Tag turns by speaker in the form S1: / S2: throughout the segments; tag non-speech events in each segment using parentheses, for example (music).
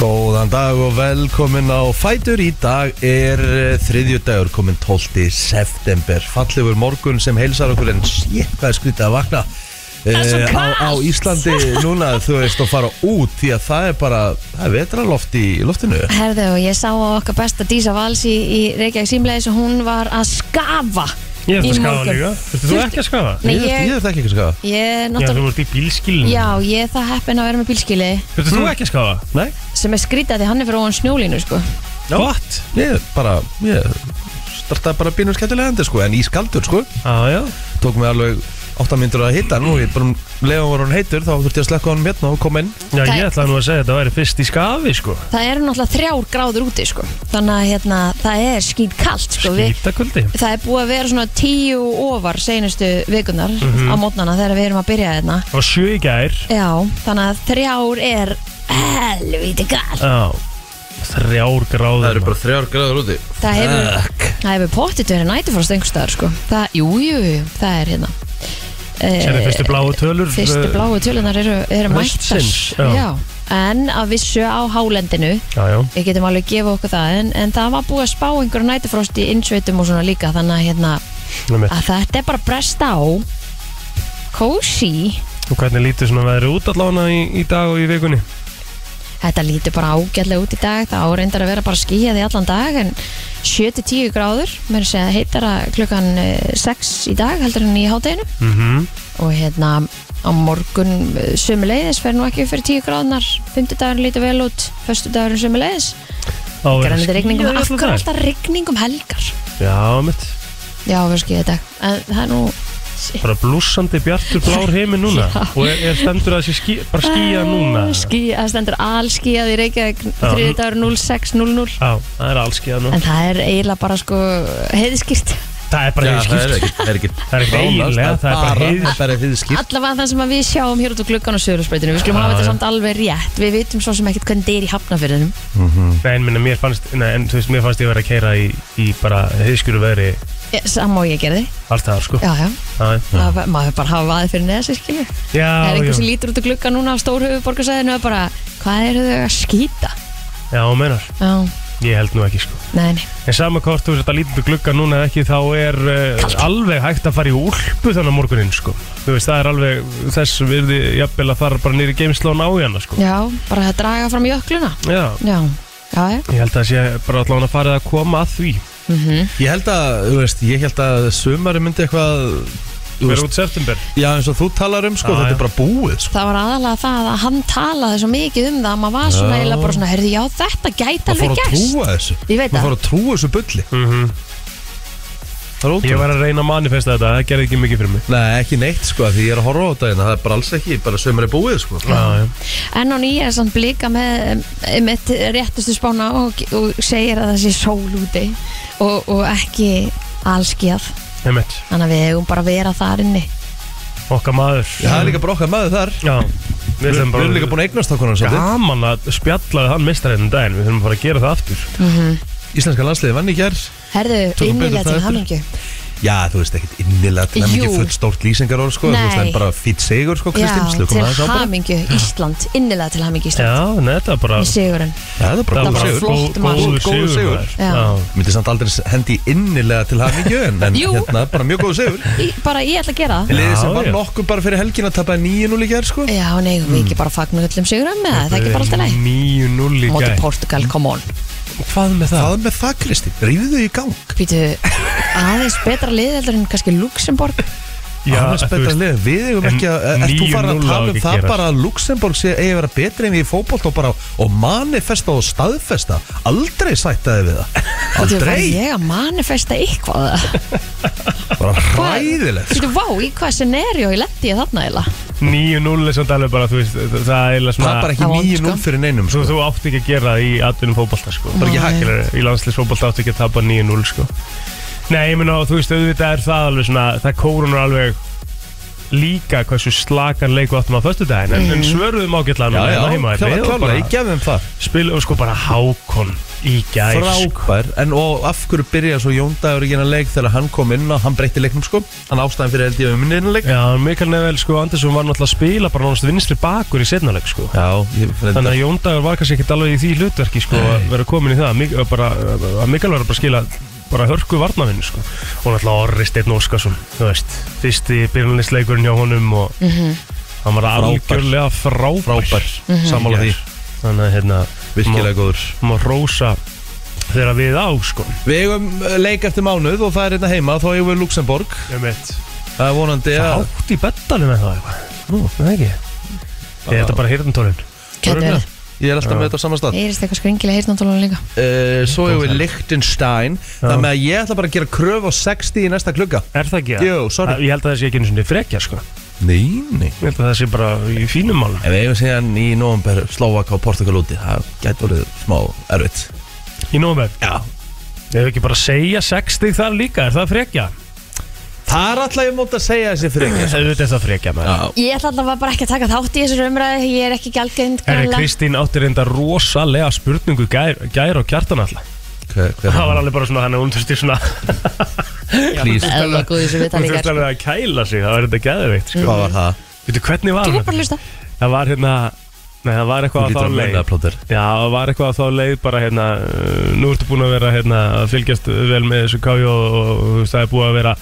S1: Góðan dag og velkomin á Fætur Í dag er eh, þriðju dagur komin 12. september Fallegur morgun sem heilsar okkur en shit hvað er skrítið að vakna
S2: er svo
S1: eh, á, á
S2: kalt.
S1: Íslandi núna þú veist að fara út því að það er bara það er vetraloft í loftinu
S2: Herðu, ég sá á okkar besta Dísa Vals í, í Reykjavík símleis og hún var að skafa
S3: Ég er
S2: í
S3: þetta að skafa
S2: morgun.
S3: líka Þurftu þú ekki að skafa?
S2: Nei,
S1: ég, ég
S2: ég,
S1: er það ekki sko. að skafa
S2: ég
S3: Já, þú
S2: náttúrulega
S3: ert í bílskilinu
S2: Já, Mm. ég er það heppin að vera með bílskili
S3: Þurftu þú ekki að skafa?
S1: Nei,
S2: sem er skrítið því hann er fyrir ofan snjólínu sko.
S3: Gott
S1: ég bara ég startaði bara bínum skemmtilega endur sko en í skaldur sko
S3: Já, já
S1: tók mig alveg 8 myndur að hitta hann og ég bara um leiðan var hann heitur þá þurfti ég að slekka hann hérna og koma inn
S3: Já,
S2: Það-
S3: ég ætlaði nú að segja að þetta væri fyrst í skafi, sko
S2: Það eru náttúrulega þrjár gráður úti sko. Þannig að hérna, það er skýt kalt sko. Við-
S3: Skítakvöldi
S2: Það er búið að vera svona tíu ofar seinustu vikunar á mótnana þegar við erum að byrja hérna
S3: Það var sjö í gær
S2: Já, þannig að þrjár er helviti kalt
S3: Já Þrjár gráður maður.
S1: þrjár græður úti
S2: Það hefur, það hefur pottit verið nætufrost einhverstaðar sko Það, jú, jú, jú, það er hérna
S3: Sérðu
S2: Eh,
S3: fyrstu bláu tölur
S2: Fyrstu
S3: eh,
S2: bláu tölunar eru, eru mættar
S3: Haustsins,
S2: já.
S3: já.
S2: En að vissu á hálendinu
S3: Já, já
S2: Við getum alveg að gefa okkur það En, en það var búið að spá einhverju nætufrost í innsveitum og svona líka Þannig að, hérna,
S3: Nei,
S2: að þetta er bara að bresta á Kósi
S3: Og hvernig lítur svona veðri út allána í, í dag og í vikunni?
S2: Þetta lítur bara ágætlega út í dag Það áreindar að vera bara skýjað í allan dag En 7-10 gráður Mér sé að heitar að klukkan eh, 6 í dag Heldur hann í hátæginu
S3: Mhm
S2: Og hérna á morgun Sumuleiðis fer nú ekki upp fyrir 10 gráðnar Fymtudagurinn lítur vel út Föstudagurinn sumuleiðis Grænandi rigningum um Af hverju er alltaf rigningum helgar?
S3: Já, mitt
S2: Já, við skýjað í dag En það er nú
S3: Bara blúsandi bjartur
S2: (laughs)
S3: blár heimi núna Og er, er stendur að þessi skí, bara skýja núna
S2: Skýja, Eh, það stendur alskýjað í Reykjavík
S3: Já.
S2: Þriðdagur 06.00
S3: Já, það er allskýja nú
S2: En það er eiginlega bara sko heiðskýrt
S3: Það er bara
S1: Já,
S3: hefur
S1: það er
S3: skýrt
S1: ekkert- það er ekkert
S3: Það er ekkert
S1: nánast,
S3: eiginlega, það er bara heiðis-
S1: það er bara heiðskýrt
S2: Allavega það sem að við sjáum hér út úr gluggan og sögurspreitinu Við skulum
S3: Já,
S2: hafa þetta
S3: já.
S2: samt alveg rétt Við vitum svo sem ekkert hvernig þetta er í hafnafyrðinum
S3: Nei, en minna, mér fannst, nei, en þú veist, mér fannst ég vera að keira í, í bara heiðskjúru veðri
S2: Samma og ég gerði
S3: allt það, sko.
S2: Já, já,
S3: Já,
S2: já. maður bara hafa vaðið fyrir neða sér skilju
S3: já.
S2: Það er
S3: já,
S2: einhver sem lítur út úr gluggan núna á stórhöfuborgarsæðinu og bara, hvað eru þau að skýta?
S3: já, hún meinar,
S2: Já,
S3: ég held nú ekki, sko.
S2: nei, nei,
S3: En sama hvort þú veist að lítið glugga núna eða ekki, þá er uh, alveg hægt að fara í úlpu þannig á morguninn, sko. Þú veist, það er alveg þess virði, jafnvel að fara bara nýri geimsla og ná í hana, sko.
S2: já, bara að draga fram jökluna
S3: Já,
S2: Já, já, já,
S3: ég held að sé bara allan að fara að koma að því.
S1: Ég held að, þú veist, ég held að sumari myndi eitthvað þú
S3: Verður
S1: veist,
S3: út september.
S1: Já, eins og þú talar um, sko,
S3: Já,
S1: þetta
S3: já.
S1: er bara búið sko.
S2: það var aðalega það að hann talaði svo mikið um það að maður var svona
S1: Já.
S2: eiginlega bara svona, heyrðu, já, þetta gæti
S1: Maður fór
S2: alveg
S1: að
S2: gæst
S1: trúa þessu
S2: Ég veit
S1: Maður
S2: það.
S1: fór að trúa þessu bulli
S3: Mm
S1: Það er
S3: Ég
S1: ótrúlega
S3: var að reyna að manifesta þetta, það gerði ekki mikið fyrir mig.
S1: Nei, ekki neitt, sko, því ég er að horfa á þetta hérna, Það er bara alls ekki, bara sumari búið, sko
S3: Já, já.
S2: En á nýja er samt blika með, eh, með réttustu spána og, og segir að það sé sól úti og, og ekki allskjað.
S3: Einmitt.
S2: Þannig að við hefum bara að vera þar inni.
S3: Okkar maður.
S1: Það er líka bara okkar maður þar
S3: Já, við
S1: Við
S3: ætlum
S1: við
S3: bara
S1: erum líka búin að eignast okkur hann svolítið
S3: gaman að spjalla við hann mistarinn um daginn, við þurfum að fara að gera það aftur
S1: Íslenska landsliði vann í gær
S2: Herðu,
S1: Tökum betur
S2: innilega
S1: það
S2: til
S1: eftir.
S2: hamingju.
S1: Já, þú veist ekkit innilega til að
S2: Jú.
S1: mikið full stórt lýsingarór, sko Þú veist,
S2: Nei.
S1: en bara fýtt sigur, sko,
S2: Já,
S1: Kristins
S2: til hamingju Ísland, innilega til hamingju Ísland.
S3: Já, neða, þetta er bara
S2: Í sigurinn.
S1: Það er bara
S2: Það er
S1: góð
S2: bara
S1: sigur
S2: flott. mark.
S3: góður
S1: Góður sigur.
S3: maður.
S2: Já.
S3: Já.
S1: myndi samt aldrei hendi innilega til hamingju en, en
S2: Jú.
S1: hérna bara mjög góðu sigur
S2: Í, bara ég ætla að gera það.
S1: liðið sem
S3: Já,
S1: var
S3: já.
S1: nokkuð bara fyrir helgin að tapa nýju núli gær sko
S2: Já, nei, við ekki bara fagnu öllum sigurum með það. Það er ekki bara alltaf leið.
S3: 9-0 í
S2: Móti
S3: gæð
S2: Portugal, come on.
S3: Hvað með það?
S1: það með það Kristi, rýðu þau í gang
S2: Býtu, aðeins betra lið heldur en kannski Luxemburg.
S3: Já,
S1: Það er
S3: þú
S1: betra
S3: veist,
S1: lið, við eigum
S3: en
S1: ekki að er- ert þú
S3: 9-0
S1: farin að
S3: á
S1: tala um
S3: ekki
S1: það
S3: gerast.
S1: bara að Luxemburg sé eigi að vera betri en við í fótbolt og bara og manifesta og staðfesta aldrei sættaði við það
S2: Býtu, var
S1: aldrei,
S2: ég að manifesta eitthvað?
S1: bara
S2: Hvað-
S1: hræðilegt sko.
S2: Þú veitu, vá, í hvað scenario ég lendi ég þarna eða?
S3: 9-0 er samt alveg bara, þú veist, það það er eiginlega
S1: það
S3: svona
S1: er bara
S2: Það
S1: ekki
S2: var vond,
S1: 9-0
S2: sko.
S1: fyrir neinum
S3: Svo
S1: sko.
S3: þú átt ekki að gera það í atvinnum fótbolta, sko
S1: bara ekki
S2: Nei.
S1: hægt
S3: Skilurðu, Í landslisfótbolta átt ekki að tapa 9-0, sko Nei, ég meina, þú veist, auðvitað er það alveg svona Það kórunur alveg líka hversu slakan leik við áttum á föstudaginn en, en svöruðum ágætlega
S1: Mm. Já, já,
S3: núna hérna heima
S1: það var
S3: við og
S1: klálega, ég gef þeim það
S3: spilum sko bara hákon í gær sko.
S1: Frábær, en og af hverju byrja svo Jón Dagur ekki hennar leik þegar hann kom inn og hann breytti leiknum sko Hann ástæðan fyrir held ég um minni leik
S3: Já, Mikael Nevel, sko, Andersson var náttúrulega að spila bara náttúrulega vinstri bakur í setnaleg, sko
S1: Já, ég fyrir
S3: Þannig að Jón Dagur var kannski ekkert alveg í því hlutverki, sko, að vera komin í það Mik að bara, að Mikael var bara að skila bara hörku varnavinn, sko Og náttúrulega Orri Steinn Óskarsson, þú veist Fyrsti byrjunleisleikurinn hjá honum og hann var algjörlega frábær,
S1: Frábær, sammála
S3: í
S1: því.
S3: gær. Þannig að, hérna,
S1: virkilega góður
S3: má rósa þegar við á, sko
S1: Við eigum eh, leik eftir mánuð og það er hérna heima, þá eigum við Luxemborg
S3: Um eitt
S1: Það er vonandi að
S3: Átt í beddanum eða það eitthvað Nú, það ekki Ég er þetta bara hirðantólin
S2: Gæti verið.
S1: Ég er alltaf með þetta á saman stað
S2: Ég erist eitthvað skringilega heyrnandólan líka
S1: Eh, Svo eigum við Liechtenstein Það með að ég ætla bara að gera kröf á 60 í næsta klukka
S3: Er það ekki?
S1: Jú, sorry.
S3: Ég held að það sé ekki einu sinni frekja sko Ég
S1: Nei, nei
S3: held að það sé bara í fínum málum
S1: En við eigum síðan í november Slovak og Portugal úti Það gæti orðið smá erfitt
S3: Í nómer
S1: Já
S3: Ef ekki bara segja 60 þar líka Er það frekja?
S1: Það er alltaf ég mót að segja þessi frekja
S3: Það er það frekja maður
S1: Já
S2: Ég ætla allavega bara ekki að taka þátt í þessar umræði Ég er ekki gælgjönd
S3: Herri, Kristín átti reynda rosalega spurningu gær, gær og kjartan alltaf
S1: Hver, hver
S3: Það var alveg bara svona þannig að hún þurfti svona
S1: Please.
S2: Það var góð í þessu viðtali
S3: Hún
S2: í
S3: þurfti
S2: gær. sko. Mm.
S3: alveg að kæla sig Það var reynda gæðveikt sko.
S1: Hvað var það?
S3: Veitu hvernig var
S2: Þú var
S3: þetta?
S2: bara að hlusta
S3: Það var hérna Nei, það var
S1: Þú
S3: eitthvað
S1: getur að
S3: að þá leið
S1: meina plóter
S3: Já, það var eitthvað að þá leið bara hérna uh, Nú ertu búin að vera hérna að fylgjast vel með þessu káju og, og þú veist, það er búin að vera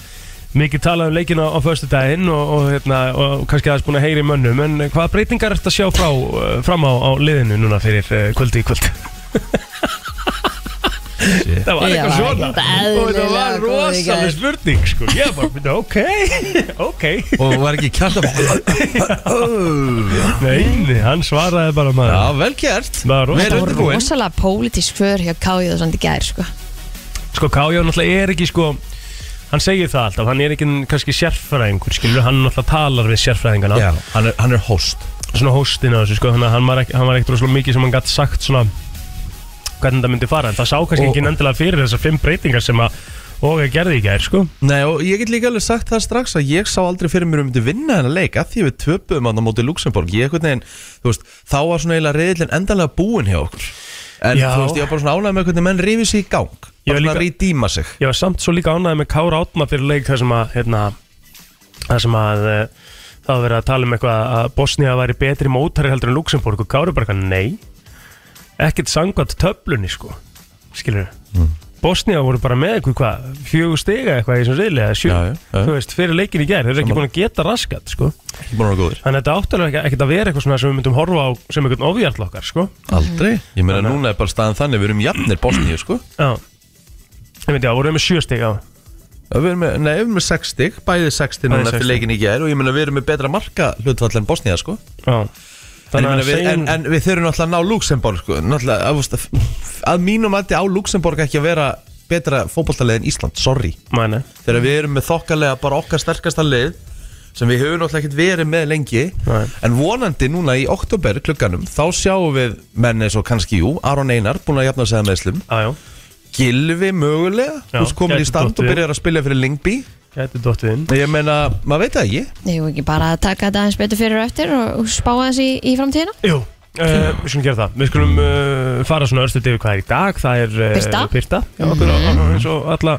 S3: mikið talað um leikina á föstu daginn og, og, hérna, og kannski aðeins búin að heyri mönnum en hvaða breytingar ertu að sjá frá, uh, fram á, á liðinu núna fyrir uh, kvöldi í kvöld? það var
S2: Ég var
S3: eitthvað svona
S2: ekkert
S3: og það var
S2: eðlilega góð í
S3: rosalega
S2: gær.
S3: spurning sko. ég var bara, ok, ok (laughs)
S1: Og var ekki (laughs) kjartan Já,
S3: Nei, nei, hann svaraði bara maður
S1: vel gert
S3: Það var rosa-
S1: Vel
S2: Það voru
S1: undirbúinn
S2: rosalega pólitísk för hjá Káju og svona í gær sko.
S3: sko Kájá náttúrulega er ekki sko hann segir það alltaf, hann er ekki kannski sérfræðingur skilur, hann náttúrulega talar við sérfræðingana
S1: Já, hann er, hann er host
S3: svona hóstinn á þessu sko, þannig að hann var ekki, hann var ekkert rosalega mikið sem hann gætt sagt svona hvernig það myndi fara, en það sá kannski
S1: Og-
S3: ekki endilega fyrir þessar fimm breytingar sem að og ég gerði í gær sko
S1: Nei, og ég get líka alveg sagt það strax að ég sá aldrei fyrir mér um myndi vinna hennar leik að því við töpuðum hann á móti Luxemburg ég einhvern veginn, þú veist, þá var svona eiginlega reyðilin endanlega búin hjá okkur en
S3: Já.
S1: þú veist, ég var bara svona ánægð með hvernig menn rifið sér í gang bara
S3: Ég var
S1: svona
S3: líka-
S1: að rýdíma sig
S3: ég var samt svo líka ánæði með Kára Átma fyrir leik þar sem að hérna, þar sem að eh, það var verið að tala um eitthvað að Bosnia væri betri mótari heldur en Luxemburg og Kári bara eitthvað nei ekkert sangvæmt töflunni sko skilur
S1: Mm.
S3: Bosnia voru bara með eitthvað hvað, fjögur stiga eitthvað í þessum riðli eða sjö,
S1: Já, já, já.
S3: þú veist, fyrir leikin í gær þeir eru ekki
S1: Sammála.
S3: búin að geta raskat sko
S1: ekki búin að vera góður,
S3: þannig að þetta áttalega ekki, ekkert að vera eitthvað svona sem við myndum horfa á sem eitthvað ofjartlokkar sko
S1: aldrei ég meina núna er bara staðan þannig, við erum jafnir Bosníu, sko
S3: já, ég myndi að voru með sjö stiga
S1: við erum með, nei, við erum með 60, bæði 60
S3: Bæði
S1: núna eftir
S3: 60.
S1: leikin í gær og ég meina við erum með betra marka hlutfall en Bosnía, sko
S3: já.
S1: En, ég meina, við,
S3: segjum-
S1: en, en við þurfum náttúrulega að ná Luxemburg sko. Náttúrulega, að, veist, að- að mínum að á Luxemburg ekki að vera betra fótballtalegin Ísland, sorry
S3: Nei, nei.
S1: þegar við erum með þokkalega bara okkar sterkasta lið sem við höfum náttúrulega ekkert verið með lengi
S3: Nei.
S1: en vonandi núna í oktober klukkanum þá sjáum við menn eins og kannski jú Aron Einar, búin að jafna sig að meðslum
S3: Já, já.
S1: Gilvi mögulega,
S3: Já,
S1: þú veist komin í
S3: gæti
S1: stand
S3: dottið.
S1: og byrjar að spila fyrir Lingby
S3: Gæti dottið inn
S1: ég meina, maður veit það ekki
S2: Ég hef ekki bara að taka þetta aðeins betur fyrir og eftir og og spá aðeins í, í framtíðina
S3: Jú Uh, við skulum gera það, við skulum uh, fara svona örstuð yfir hvað er í dag, það er uh,
S2: Birta.
S3: Birta já, okkur, mm. eins og alla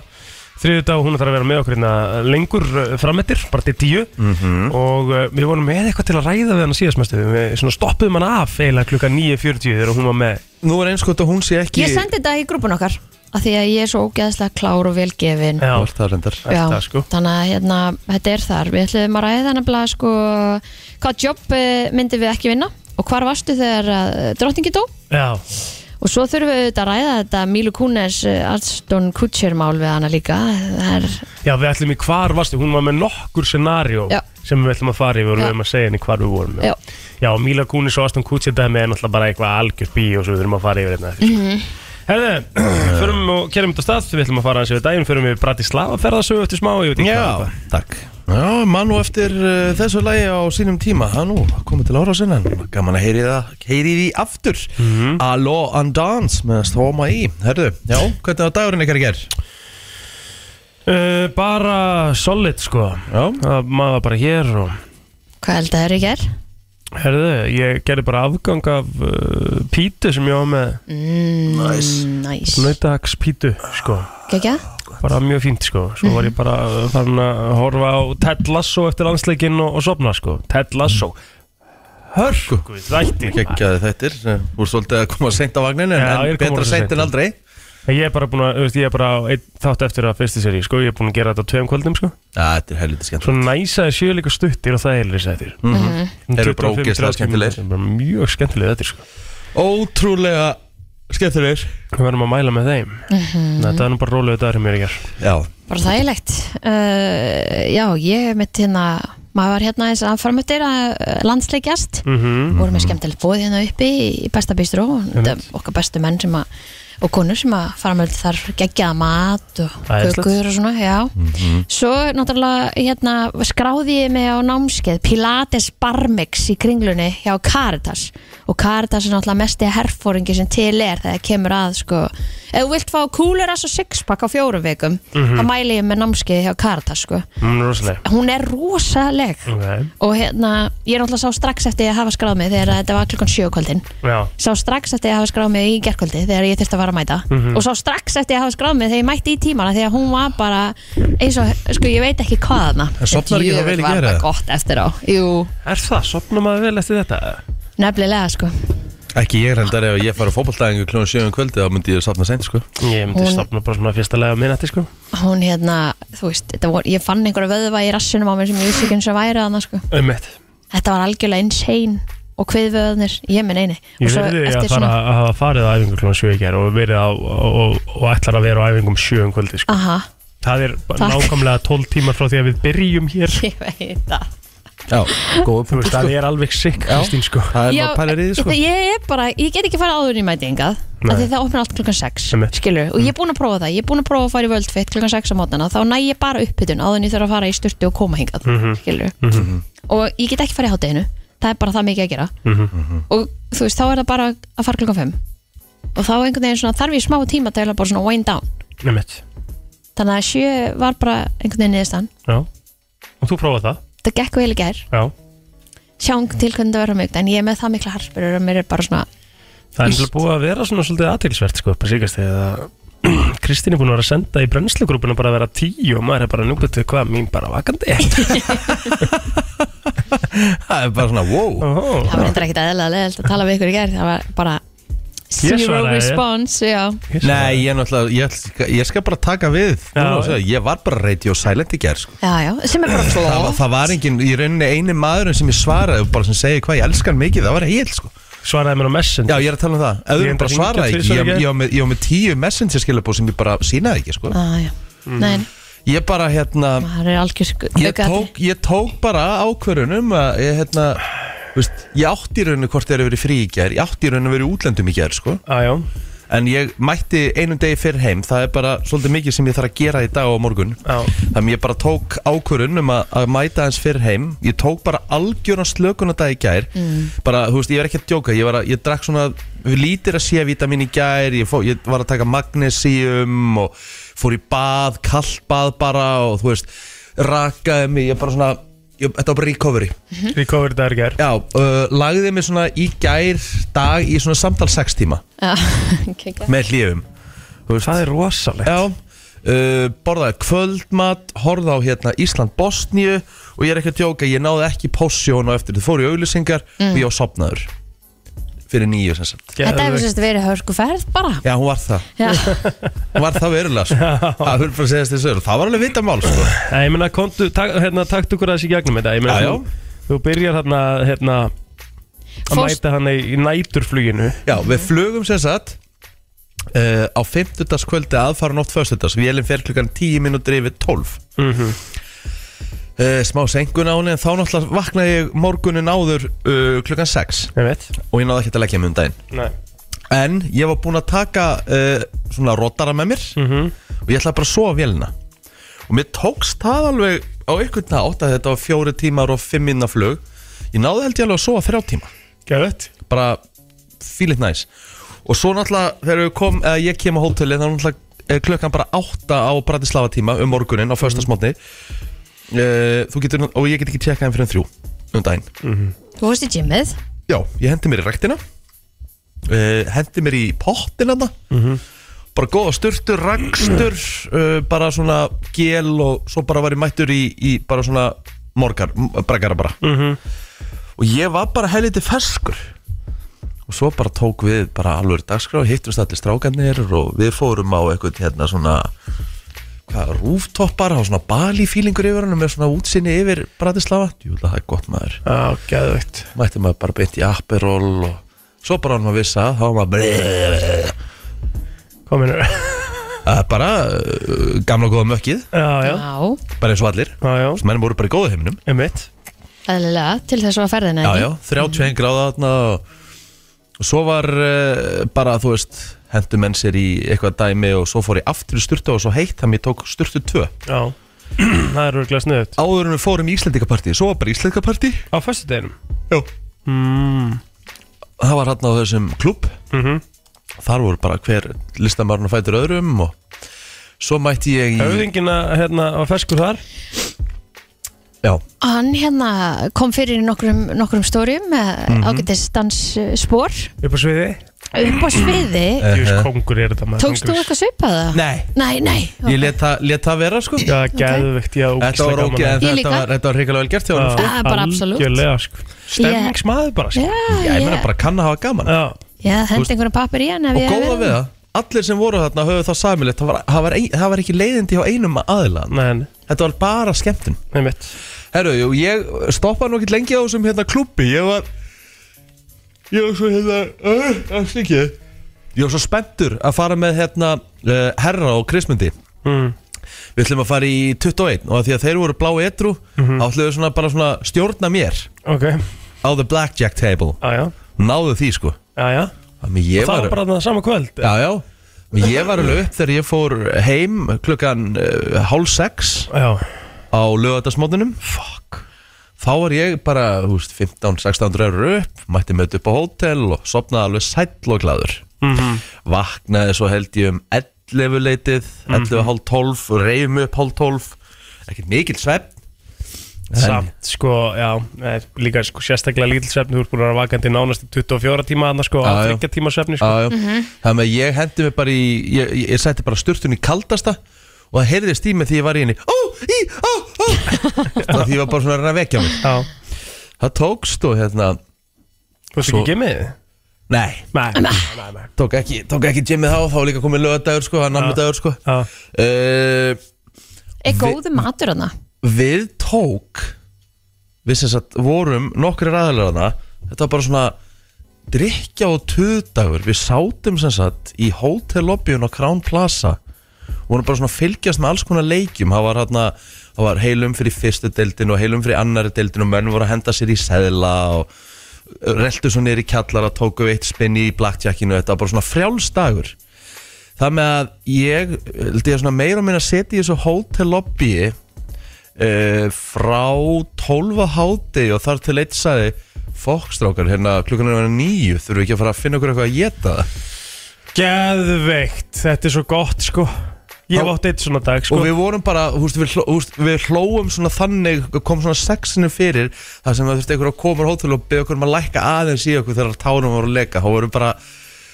S3: þriðu dag, hún þarf að vera með okkur hérna lengur uh, framettir, bara til tíu og uh, við vorum með eitthvað til að ræða við hann síðast mestu, við svona stoppuðum hann af eiginlega klukka 9.40 þegar hún var með
S1: nú er eins gott að hún sé ekki
S2: Ég sendi þetta í grúpun okkar af því að ég er svo ógeðslega klár og velgefin
S3: já,
S1: Þú ert það reyndar.
S3: eftir það sko
S2: þannig að hérna, þetta er þar Við ætlum að ræða nefnilega sko hvað jobb myndi við ekki vinna og hvar varstu þegar eh, drottningi dó
S3: já,
S2: og svo þurfum við auðvitað að ræða þetta Milu Kunis Arston Kutcher mál við hana líka það er,
S3: já, við ætlum í hvar varstu, hún var með nokkur scenario
S2: Já.
S3: sem við ætlum að fara yfir og við
S2: Já.
S3: erum að segja henni hvar við vorum
S2: já,
S3: Já, Mila Kunis og Aston Kutcher dæmi er náttúrulega bara eitthvað algjör bí og svo við þurfum að fara yfir hérna eftir. Mm
S1: Mhm.
S3: -hmm. Herðu, (clears throat) förum og kerum þetta á stað, við ætlum að fara aðeins yfir daginn, förum við Bratislava ferðasögu eftir smá, ég veit ekki
S1: Já,
S3: hvað.
S1: takk Já, mann og eftir uh, þessu lagi á sínum tíma Það nú, komið til ára sinna Gaman að heyri það, heyri því aftur
S3: Mhm.
S1: Allo and Dance með Stóma í Herðu, já, hvernig var dagurinn ykkar í ger?
S3: Uh, bara solid sko
S1: Já.
S3: Það- Maður var bara hér og
S2: Hvað held að það eru í gerð?
S3: Herðu, ég gerði bara afgang af uh, pítu sem ég var með
S2: Mm, Nice Nice
S3: Nautahags pítu sko
S2: Gekja?
S3: Bara mjög fínt sko Svo var ég bara farin að horfa á Ted Lasso eftir landsleikinn og, og sopna sko Ted Lasso Hörgu þættir
S1: Gekkjaði þettir Sko, Þú er svolítið að koma seint á vagninu en,
S3: Já, ég
S1: en
S3: er komin
S1: betra
S3: rosa
S1: seint
S3: seint.
S1: en aldrei
S3: Ég er bara búin að, þú veist, ég er bara á einn þátt eftir að fyrstu seri sko Ég er búin að gera þetta á tveim kvöldum sko
S1: Já, þetta er helviti skemmt
S3: Svo næsa er sjöleika stuttir og það er lýsa þettir mm
S2: Mhm.
S3: -hmm.
S1: Eru bara ógeðslega skemmtilegir.
S3: Mjög skemmtilegir þetta sko
S1: Ótrúlega skemmtilegir
S3: Við verðum að mæla með þeim
S2: Mhm.
S3: Þetta er nú bara rólega dagur hjá mér í gerð
S1: Já,
S2: Bara þægilegt uh, Já, ég mitt hérna Maður var hérna eins að framöftir að eh, landsleikjast
S3: mm
S2: vorum með skemmtilegt bóð hérna uppi í besta bistró okkar bestu menn sem að og konur sem að fara með þar geggjaða mat og
S3: Æðislegt.
S2: kökur og svona já. svo náttúrulega hérna, skráði ég mig á námskeið Pilates Barmix í kringlunni hjá Caritas og Caritas er náttúrulega mesti herfóringi sem til er þegar kemur að sko, ef þú vilt fá kúlur að svo sixpack á fjórum vikum þá mæli ég með námskeið hjá Caritas sko.
S3: mm, Róslega
S2: hún er rosaleg
S3: okay.
S2: og hérna, ég er náttúrulega sá strax eftir að hafa skráð mig þegar þetta var klukkan sjö á kvöldin
S3: Já,
S2: sá strax eftir að hafa skráð mig í gerkvöldi þegar ég þurfti að fara að mæta og sá strax eftir að hafa skráð mig þegar ég mætti í tímana þegar hún var bara eins og, sko ég veit ekki hvað hana
S1: En sofnar ekki þá vel í gær,
S2: var
S1: eða?
S2: bara gott eftir á Jú,
S3: er það? Sopna maður vel eftir þetta?
S2: nefnilega sko
S1: ekki ég reyndar ef ég fara á fótbolldæðingu kljóðan 7 um kvöldi þá myndi ég safna seint sko
S3: Ég myndi
S2: Hún-
S3: sopna bara svona fyrsta lega á minnati sko
S2: hún hérna, þú veist, þetta vor, ég fann einhverja vöðva í rassinum á mér sem ég vissi ekki eins og væri hana sko
S3: Ömmett
S2: þetta var algjörlega insane og hviðvöðnir, ég minn eini
S3: Ég
S2: Og svo
S3: verði að
S2: eftir
S3: fara að hafa farið á æfingu klón 7 í gerð og verið á og, og, og ætlar að vera á æfingum 7 um kvöldi sko
S2: aha, (laughs)
S3: Það er bara
S2: Takk.
S3: nákvæmlega 12 tímar frá því að við byrjum hér
S2: ég veit það
S1: Já, góða
S3: Þú veist, það er alveg sikk Kristín sko
S1: Sko. Það er
S2: Já,
S1: maður pælir í því sko
S2: þetta- Ég er bara, ég get ekki fara áður í mætingað
S3: Nei.
S2: af því það opnar allt klukkan 6
S3: Einmitt.
S2: skilur, og
S1: Mm.
S2: ég er búin að prófa það, ég er búin að prófa að fara í völdfitt klukkan 6 á mótnana, þá næ ég bara uppbytun áður en ég þurf að fara í sturtu og koma hingað
S1: Mhm.
S2: skilur,
S3: Mhm.
S2: og ég get ekki fara í hátteginu það er bara það mikið að gera og þú veist, þá er það bara að fara klukkan 5 og þá einhvern veginn svona, þarf ég smá tíma til að bara svona wind down
S3: Ömmett
S2: þannig að sjö var bara einhvern veginn niðurstaðan
S3: Já Og þú prófað það?
S2: það gekk vel í gær,
S3: Já
S2: sjáum til hvernig það verður mjög en ég er með það mikla harspyrur og mér er bara svona
S3: Það er nefnilega búið að vera svona svolítið aðtilsvert sko, bara síkast þegar að (clears throat) Kristín er búin að vera að senda í brennslugrúpuna bara að vera tíu og maður er bara núbætt við hvað mín bara vakandi
S1: (laughs) Það er bara svona wow
S3: Óhó.
S2: Það var eitthvað ekkert eðlilega leðilt að tala við ykkur í gerð Það var bara zero
S3: svaraði.
S2: response já.
S1: Nei, ég er náttúrulega, ég, ætl- ég skal bara taka við
S3: Já.
S1: Nú, segja, Ég var bara radio silent í gerð sko
S2: Já, já, sem er bara
S1: Það var,
S2: flott
S1: það var engin, í rauninni eini maðurinn sem ég svaraði og bara sem segi hvað ég elskan mikið, það var heil sko.
S3: Svaraði mér á messenger
S1: Já, ég er að tala um það,
S3: Ég
S1: öðrum
S3: reyndi
S1: bara
S3: að
S1: svaraði ekki
S3: hringja tvisvar í
S1: Ég,
S3: gær.
S1: ég, var með, ég var með tíu messenger skilabóð sem ég bara sínaði ekki sko.
S2: ah, Nei,
S1: Ég bara, hérna,
S2: það er algjör
S1: ég tók, ég tók bara ákverðunum að ég, hérna, veist, ég átti í rauninni hvort þeir eru verið frí í gær, ég átti í rauninni verið útlendum í gær sko.
S3: ah, já.
S1: En ég mætti einum degi fyrr heim, það er bara svolítið mikið sem ég þarf að gera í dag og á morgun
S3: Já.
S1: Þannig ég bara tók ákvörun um að, að mæta hans fyrr heim Ég tók bara algjörna slökuna dag í gær Bara, þú veist, ég var ekki að djóka Ég, var að, ég drakk svona lítir að sé vítamin í gær ég, fó, ég var að taka magnesium Og fór í bað, kallt bað bara Og þú veist, rakaði mig Ég bara svona, ég, þetta var bara recovery
S3: Recovery dagur ger
S1: Já, uh, lagði mig svona í gær dag Í svona samtal 6 tíma
S2: (laughs) tók
S1: Með hljöfum
S3: Það er rosalegt
S1: Já, uh, borðaði kvöldmat, horfði á hérna Ísland-Bosníu og ég er ekki að djóka, ég náði ekki posjón á eftir, þið fóru í auglýsingar og ég var sopnaður fyrir nýju sem sagt.
S2: Þetta hefur sérst verið hörku ferð bara
S1: Já, hún var það,
S2: Já,
S1: hún var það verulega sko. Það fyrir bara að segja þessi sögur, það var alveg vita mál sko.
S3: Nei, ég meina, kontu, tak, hérna, taktu hverja þessi gegnum þetta Ég meina,
S1: Já, já.
S3: þú, þú byrjar hérna, hérna að
S2: Fórst-
S3: mæta hann í, í næturfluginu
S1: Já, við flugum sem sagt uh, á fimmtudagskvöldi aðfara nótt föstudags, vélum fer klukkan 10 minútur yfir 12
S3: mm
S1: Mhm.
S3: -hmm.
S1: uh, smá senkun á henni en þá náttúrulega vaknaði ég morgunin áður uh, klukkan 6
S3: Ég veit
S1: og ég náði ekki að leggja mig um daginn
S3: Nei.
S1: En ég var búinn að taka uh, svona rótara með mér og ég ætlaði bara að sofa vélina og mér tókst það alveg á ykkur nátt að þetta var fjóri tímar og fimm minna flug ég náði held ég alveg að sofa þrjá tíma
S3: Gæðvett
S1: bara fílitt næs og svo náttúrulega þegar ég, kom, eða, ég kem á hóteli þá náttúrulega eh, klukkan bara 8 á Bratislava tíma um morgunin á föstasmotni mm. Þú getur, og ég get ekki tjekkað þeim fyrir en þrjú um daginn
S2: Þú veist í gymmið
S1: Já, ég hendi mér í rektina uh, Hendi mér í pottin þarna Bara góða sturtur, rakstur (clears throat) uh, Bara svona gel og svo bara var ég mættur í, í bara svona morgar, bregara bara Og ég var bara helviti ferskur Og svo bara tók við bara alveg dagskrá Hittumst allir strákanir og við fórum á eitthvað hérna svona hvað, rúftoppar, á svona balífílingur yfir hann með svona útsinni yfir Bratislava, júla það er gott maður
S3: Á, geðvögt
S1: mætti maður bara beint í Aperol og svo bara hann maður vissa þá var maður bara,
S3: Hvað minnur?
S1: Að bara uh, gamla og góða mökkið
S3: (laughs) Já, já,
S2: Já,
S1: bara eins og allir
S3: já, já,
S1: sem menn voru bara í góða heiminum
S3: emitt
S2: eðlilega, til þess að ferðina
S1: já,
S2: ekki?
S1: já, 31 gráða þarna og, og svo var uh, bara þú veist hendur menn sér í eitthvað dæmi og svo fór ég aftur í styrtu og svo heitt þannig ég tók styrtu 2
S3: Já, (clears throat) það er örgulega sniðut
S1: áður en við fórum í Íslendingapartí svo var bara Íslendingapartí
S3: Á föstu deginum
S1: Hmm. það var hann á þessum klubb Mhm. þar voru bara hver listamarinn og fætur öðrum og svo mætti ég í
S3: Höfðingina, hérna, á feskur þar
S1: já,
S2: Hann hérna kom fyrir í nokkrum, nokkrum stórium með
S1: Mhm.
S2: mm -hmm. ágættistansspor
S3: Upp á sviði
S2: upp á sviði
S1: Eh,
S3: Þú veist, kongur er þetta maður
S2: Tókst þú
S3: kóngur.
S2: eitthvað svipaða?
S1: Nei,
S2: Nei, nei
S1: ég let það, let það vera sko
S3: Já, geðvögt, já,
S1: Þetta var ógeð, en
S2: Ég
S1: þetta
S2: líka.
S1: var, þetta var hrikalega vel gert hjá hann sko.
S2: Það er bara absolutt.
S3: Algjörlega, sko Stemmingsmaður bara, sko
S2: Já,
S1: Já, ég
S2: ég,
S1: meina bara kann að hafa gaman
S3: Já,
S2: ég hendi einhverjum pappir í hann ef
S1: Og
S2: ég hef
S1: góða
S2: verið-
S1: við það, allir sem voru þarna höfðu það samilegt það var, það, var ein, það var ekki leiðindi hjá einum aðila
S3: neðan,
S1: Þetta var bara skemmtun
S3: emitt
S1: Herru, jú, ég stoppaði nú ekki lengi á þessum hérna klubbi Ég var Ég var svo hérna uh, Það er ekki Ég var svo spenntur að fara með hérna uh, Herra og Krismundi
S3: mm.
S1: Við ætlum að fara í 21 Og af því að þeir voru blá etru mm
S3: Mhm.
S1: -hmm. Þá ætlum við svona bara svona stjórna mér
S3: Ok,
S1: á the blackjack table
S3: já, já,
S1: náðu því sko
S3: já, já
S1: Þannig ég
S3: Það var
S1: var,
S3: bara það sama kvöld
S1: já, já. ég var alveg upp þegar ég fór heim klukkan uh, hálf sex
S3: Já,
S1: á lögatarsmóðunum fuck þá var ég bara þú veist, 15-16 röður upp mætti mötu upp á hótel og sopnaði alveg sæll og gladur
S3: Mhm.
S1: vaknaði svo held ég um 11 leitið
S3: Mhm.
S1: 11 hálf 12 og reyfum upp hálf 12 ekkert mikil svepp
S3: samt, sko, já eh, Líka, sko, sérstaklega lítil svefni Þú er búin að vera vakandi nánast í 24 tíma Þannig, sko,
S1: Já,
S3: að
S1: já.
S3: þryggja tíma svefni, sko
S1: Já, já. Þannig að ég hendi mig bara í Ég, ég, ég sætti bara sturtun í kaldasta Og það heyrðist í mig því ég var í henni Ó, í, ó, ó Það því ég var bara svona að reyna að vekja mig
S3: Já,
S1: Það tókst og hérna
S3: þú veist
S1: Svo-
S3: ekki gemið
S1: Nei,
S3: Nei, nei, nei, nei.
S1: tók ekki, tók ekki gymmið þá Þá var líka komið lögadagur sko, hann annar dagur sko
S3: Já,
S1: uh,
S2: Er góðu matur hann?
S1: Við tók Við sem sagt vorum nokkri ræðilega Þetta var bara svona Drykja og tuðdagur Við sátum sem sagt í hótellobbyun á Crown Plaza og vorum bara svona að fylgjast með alls konar leikjum það var, hana, það var heilum fyrir fyrstu deildin og heilum fyrir annari deildin og menn voru að henda sér í seðla og reltu svo niður í kjallara, tóku eitt spinni í blackjackinu, þetta var bara svona frjálsdagur það með að ég held ég svona meira og minna setja í þessu hótel lobby uh, frá 12 háti og þar til eitt sagði fokkstrákar, hérna klukkan er að vera nýju þurfum við ekki að fara að finna okkur eitthvað að geta það
S3: Geðveikt, þetta er svo gott sko Ég
S1: Já.
S3: hef átt eitt svona dag sko
S1: og við vorum bara, húst, við, hló, húst, við hlóum svona þannig, kom svona sexinu fyrir þar sem það þurfti einhver að koma á hótel og beða okkur um að lækka aðeins í okkur þegar tánum voru að leka, þá vorum bara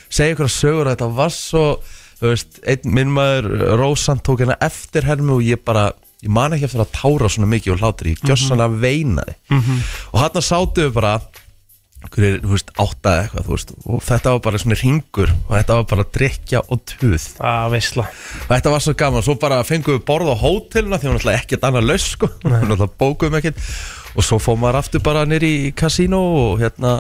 S1: segja ykkur að sögur að þetta var svo þú veist, einn minn maður Rósan tók hérna eftir hermi og ég bara ég man ekki eftir að tára svona mikið og hlátur ég gjössanlega veinaði og hann sátu við bara hverju, þú veist, áttaði eitthvað, þú veist og þetta var bara svona ringur og þetta var bara drikja og tuð
S3: Á, veistla
S1: Og Þetta var svo gaman, svo bara fengum við borð á hóteluna því hún ætlaði ekkert annað laus sko, hún ætlaði bókuðum ekkert og svo fór maður aftur bara nýri í kasínó og hérna,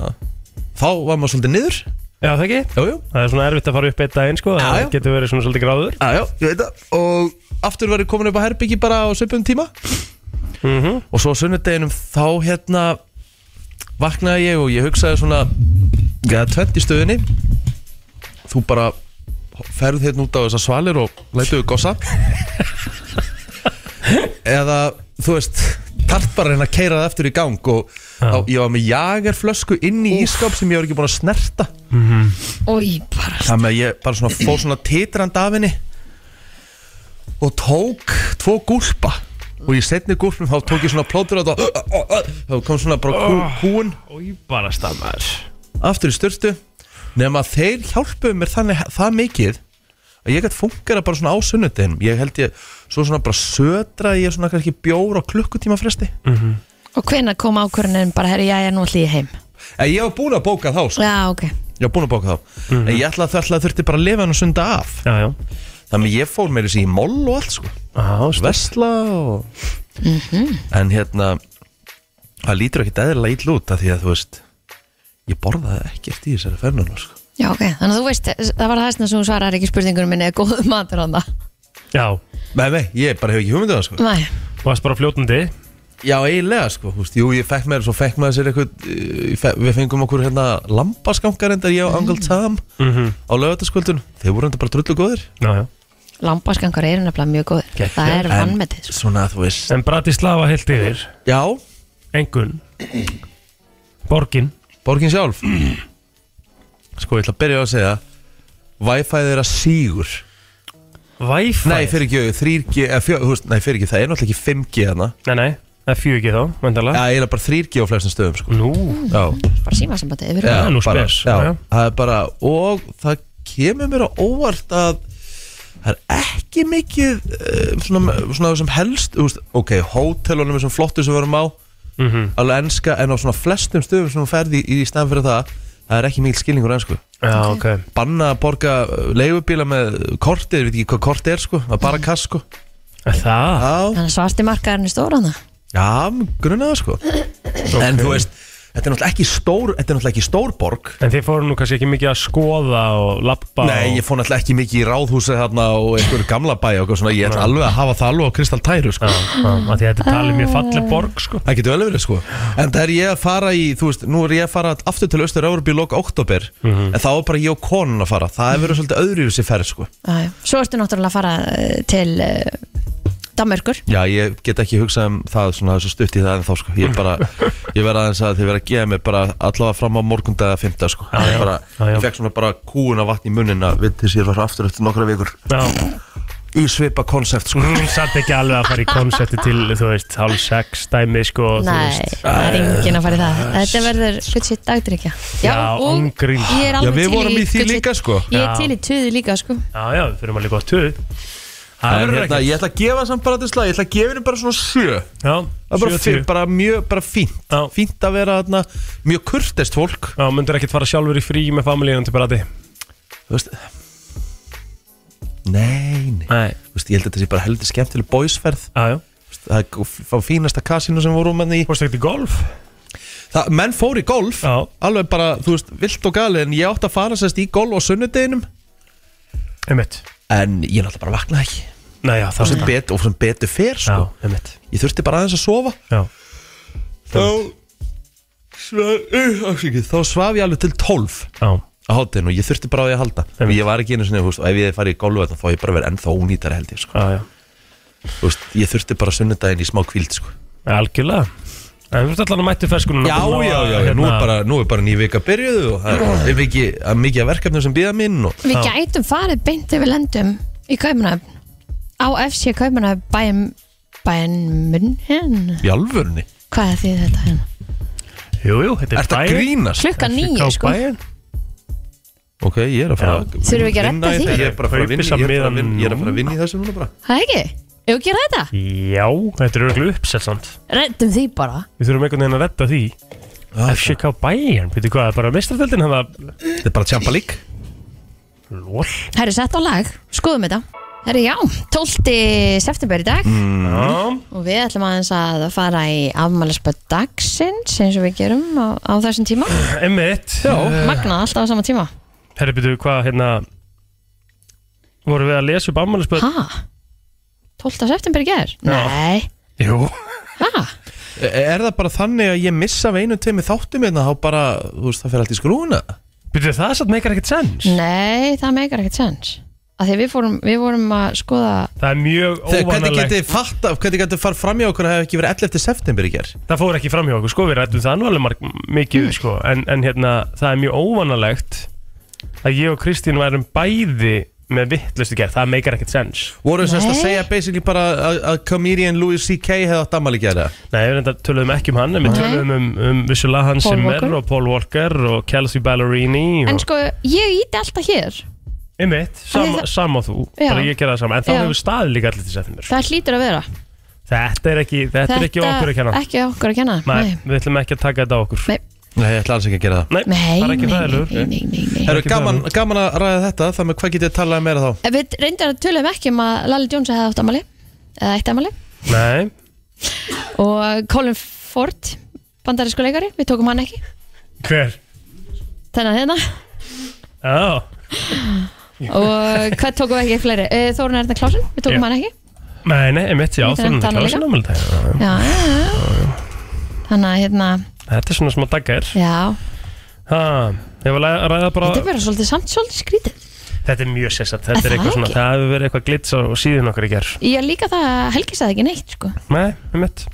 S1: þá var maður svolítið niður
S3: Já, það ekki?
S1: Jú, jú,
S3: Það er svona erfitt að fara upp eitt daginn sko
S1: Já,
S3: Það
S1: já.
S3: getur verið svona svolítið gráður
S1: aðjá, ég veit það og aftur verið komin upp á herbyggi bara á söpum tíma
S3: mm -hmm.
S1: og svo á sunnudeginum þá hérna vaknaði ég og ég hugsaði svona ja, tvent í stöðinni þú bara ferð hérna út á þessar svalir og lætu við gossa eða þú veist þarf bara að reyna að keira það eftir í gang og þá, ég var með jagerflösku inn í ískáp sem ég var ekki búin að snerta
S2: Új, bara
S1: þannig að ég bara svona fór svona titrand af henni og tók tvo gúlpa og í setni gúlpum þá tók ég svona plótur á þetta þá kom svona bara kú, kúun
S3: Í bara stammar
S1: aftur í styrtu nema að þeir hjálpuðu mér þannig það mikið að ég gætt fungera bara svona á sunnudin ég held ég, svo svona bara södra ég svona kannski bjór á klukkutíma fresti
S2: Og hvenær kom ákvörðunin bara, herri, já, já, nú ætlum ég heim
S1: en ég var búin að bóka þá sko.
S2: Já, ok
S1: ég var búin að bóka þá en ég ætla að það ætla að þurfti bara að lifa hann að sunda af
S3: Já, já
S1: þannig að ég fór meira sér í moll og allt sko
S3: Já, stærkt.
S1: vesla og
S2: Mhm.
S1: en hérna það lítur ekki eðlilega ítl út af því að þú veist ég borðaði ekkert í þessari fennun sko.
S2: Já, ok, þannig að þú veist, það var það sem þú svarar ekki spurningunum minni, er góð matur hann það
S3: Já,
S1: nei, nei, ég bara hef ekki hugmyndið það sko.
S2: Næ,
S3: þú varst bara fljótandi
S1: já, eiginlega, sko, þú veist, jú, ég fekk með svo fekk maður sér eitthvað eh, ég fe- við fengum okkur hérna lambaskangar endar ég og
S2: Mm.
S1: Angel Tam á lögataskvöldun þeir voru enda bara drullu góðir
S3: Já, já
S2: lambaskangar eru nefnilega mjög góð
S3: Gekk,
S2: Það er
S1: En
S2: vannmetið, sko
S1: svona, þú veist,
S3: En Bratislava heilt yfir
S1: já,
S3: Engun Borgin
S1: borgin (clears throat) sjálf sko, ég ætla að byrja á að segja Wi-Fi þeirra sígur
S3: Wi-Fi
S1: Nei, fyrir ekki, 3G, eða 4G, þú veist, nei, fyrir ekki, það er náttúrulega ekki 5G þarna
S3: Nei, nei, það er 4G þá,
S1: Já,
S3: vandalega
S1: ég er bara 3G á flestum stöðum, sko
S3: Nú,
S1: Já,
S2: Bara símasambandi yfir
S1: já
S3: er nú
S1: bara,
S3: spes, já.
S1: já, það er bara, og það kemur mér á óvart að það er ekki mikið uh, svona, svona sem helst, þú veist, ok, hótelunum er svona flottu sem við vorum á
S3: Mhm.
S1: alveg enska, en á svona flestum stöðum sem hún ferði í, í staðan fyrir það það er ekki mikil skilningur á ensku
S3: já, ok
S1: Banna að borga eh, leigubíla með kortið, ég veit ekki hvað kortið er, sko, að bara kass, sko
S3: Er Það,
S1: Já,
S2: Þannig að svarti markaðurinn er stóra hann
S1: Já, grunnaða sko En þú veist, þetta er náttúrulega ekki stór Þetta er náttúrulega ekki stór borg
S3: en þið fóru nú kannski ekki mikið að skoða og lappa
S1: Nei, ég
S3: og...
S1: fór náttúrulega ekki mikið í ráðhúsið þarna og einhverju gamla bæ og eitthvað svona Ég ætla alveg að hafa það alveg á kristaltæru sko
S3: Já, já, af því þetta er talið mjög falleg borg, sko
S1: Það getur vel verið sko En það er ég að fara í, þú veist, nú er ég að fara aftur til austur Európi í loka oktober En þá er bara ég og konan að fara Það hefur verið svolítið öðru yfir sér ferð sko
S2: Svo ertu náttúrulega að fara eh, til uh, Danmörkur
S1: Já, ég get ekki hugsað um það svona þessu stutt í það en þá sko Ég, bara, ég verða aðeins að þið verða að gefa mig bara allavega fram á morgundaga 5. sko
S3: Já, já.
S1: Ég, bara,
S3: Já, já.
S1: ég fekk svona bara kúuna vatn í munina við til sér var aftur eftir nokkra vikur
S3: Já,
S1: Í svipa konsept sko
S3: mm, samt ekki alveg að fara í konsepti til, þú veist, hálf sex dæmi, sko þú
S2: Nei,
S3: veist.
S2: það
S1: eh,
S2: er enginn að fara í það Þetta verður gutt sitt dagdrykja Já,
S3: Já,
S2: og
S3: ángríns.
S2: ég er
S1: Já, við
S2: alveg til
S1: vorum í því
S2: good shit-
S1: líka sko
S2: Ég er
S3: Já.
S2: til í tuði líka, sko
S3: Já, já, við fyrir alveg gott tuð Það
S1: En
S3: verður
S1: hérna,
S3: ekki
S1: ég ætla að gefa samt bara til slag Ég ætla að gefa henni bara svona sjö
S3: Já,
S1: Það er bara,
S3: 70.
S1: fyrir, bara mjög, bara fínt
S3: Já.
S1: Fínt að vera þarna, mjög kurtest fólk
S3: Já, myndur ekkert fara sjálfur í frí með familíunum til Brati
S1: Þú veist Nei, nei
S3: Nei
S1: Þú veist, Ég held að þetta sé bara heldur skemmtileg boysferð
S3: Já, já
S1: það er f- á fínasta kasinu sem vorum hann í
S3: Fórstu ekkert í golf?
S1: það, menn fór í golf
S3: Já.
S1: alveg bara, þú veist, vilt og gali en ég átti að fara sérst í golf á sunnudeginum
S3: Einmitt
S1: en ég náttúrulega bara vaknaði ekki
S3: Nei, já,
S1: og
S3: það
S1: sem, bet, og sem betur fer
S3: Já,
S1: sko.
S3: einmitt
S1: ég þurfti bara aðeins að sofa
S3: Já,
S1: þá svaf, þá svaf ég alveg til 12
S3: já
S1: á hátinn og ég þurfti bara á því að halda
S3: Einmitt.
S1: ég var ekki einu sinni, þú veist, og ef ég farið í golf þarna, þá ég bara verið ennþá ónýtari held ég sko.
S3: Já, já,
S1: Þú veist, ég þurfti bara sunnudaginn í smá kvíld sko.
S3: algjörlega En þú ert allan að mættu ferskunum
S1: Já, já, já,
S3: hérna.
S1: já, nú er bara, nú er bara ný vika byrjuðu og það er bara mikið, það er mikið af verkefnum sem býða minn og
S2: Við
S3: Já.
S2: gætum farið beint ef við lendum í Kaupmanöfn á FC Kaupmanöfn bæn, bæn munn
S1: í alvörunni
S2: Hvað er því þetta hérna?
S3: Jú, jú, þetta er
S1: Ertu að
S3: bæinn
S1: grínast?
S2: Klukkan nýju
S3: Ká
S2: sko
S3: bæinn?
S1: Ok, ég er að fara að
S2: Þurfum við ekki að redda
S1: vinna í
S2: því?
S1: þetta, Ég er bara að fara að vinna,
S3: Kaupið
S1: ég er bara að vinna, ég
S3: saman
S1: er að fara að vinna í þessu núna bara
S2: Það er ekki? Ef við gera þetta?
S3: Já, þetta er örglu uppsettsand
S2: Reddum því bara
S3: Við þurfum einhvern veginn að redda því FCK Bayern, veitu hvað, bara meistarfjöldin hann að
S1: Þetta er bara tjampa lík
S3: Lól
S2: Herri, sett á lag, skoðum þetta Herri, já, 12. september í dag
S1: Mhm.
S3: Já,
S2: og við ætlum aðeins að fara í afmælisböð dagsins eins og við gerum á, á þessum tíma
S3: emmitt
S2: Magnað alltaf á sama tíma
S3: Herri, veitu hvað, hérna Vorum við að lesa upp afmælisböð?
S2: Ha? 12. september í ger? Nei
S3: Jú
S2: Ha?
S1: E, Er það bara þannig að ég missa af einu tveimur þáttum hérna þá bara, þú veist, það fer allt í skrúna
S3: Veitu, það satt meikar ekkert sens
S2: Nei, það meikar ekkert sens að því að við fórum, við fórum að skoða
S3: Það er mjög
S1: Þegar hvernig
S3: óvanalegt
S1: getið þið fatta, hvernig getið þið farið fram í okkur að það hef ekki verið 11. september í ger
S3: Það fór ekki fram hjá okkur, sko, við rættum það nú alveg marg, mikið, sko, en, en hérna, það er mjög óvanalegt að ég og Kristín værum bæði með vittlustu gerð, það meikar ekkert sens
S1: Voru þess að
S2: Nei.
S1: segja basically bara að- að comedian Louis C.K. hefði átt ammali gera
S3: Nei, við reyndar töluðum ekki um hann en við
S2: Nei.
S3: töluðum um, um vissulega Hans
S2: Paul
S3: Zimmer
S2: Walker.
S3: og Paul Walker og Kelsey Ballerini og
S2: En sko, ég íti alltaf hér
S3: einmitt, sam,
S2: Af því það-
S3: sam og þú
S2: Já.
S3: bara ég gera það sama, en þá
S2: Já.
S3: hefur staðið líka allir til setnir
S2: Það hlýtur að vera
S3: Þetta er ekki, þetta er ekki okkur að kenna
S2: Ekki okkur að kenna
S3: Nei, við ætlum ekki að taka þetta á okkur
S2: Nei.
S1: Nei, ég ætla alls ekki að gera það
S3: Nei,
S2: Nei,
S3: það er
S2: nei,
S3: ekki
S2: nei,
S3: ræðilegur
S2: nei, nei, nei, nei.
S1: Eru gaman, gaman að ræða þetta, þannig að hvað getið þið talað um meira þá?
S2: En Við reyndar að tölum ekki um að Lalli Jones hefði átt amali eða eitt amali
S3: Nei,
S2: og Colin Ford bandarísku leikari, við tókum hann ekki
S3: hver?
S2: þennan hérna
S3: Já,
S2: og hvað tókum við ekki fleiri Eh, Þórun Erna Klásen, við tókum
S3: Já.
S2: hann ekki
S3: nei, nei, einmitt, já,
S2: Við
S3: þú
S2: þurfum
S3: erum
S2: að
S3: þetta
S2: tala
S3: klásin ámæli dag
S2: já, já, já. þannig að hérna
S3: Þetta er svona smá daggar
S2: já,
S3: Ha, ég var að ræða bara
S2: þetta er verið svolítið samt svolítið skrítið
S3: Þetta er mjög sessat,
S2: Er
S3: þetta er
S2: það
S3: eitthvað svona
S2: ekki?
S3: Það hefur verið eitthvað glits á síðun okkar í ger
S2: ég líka það að Helgi sagði ekki neitt sko.
S3: Nei, einmitt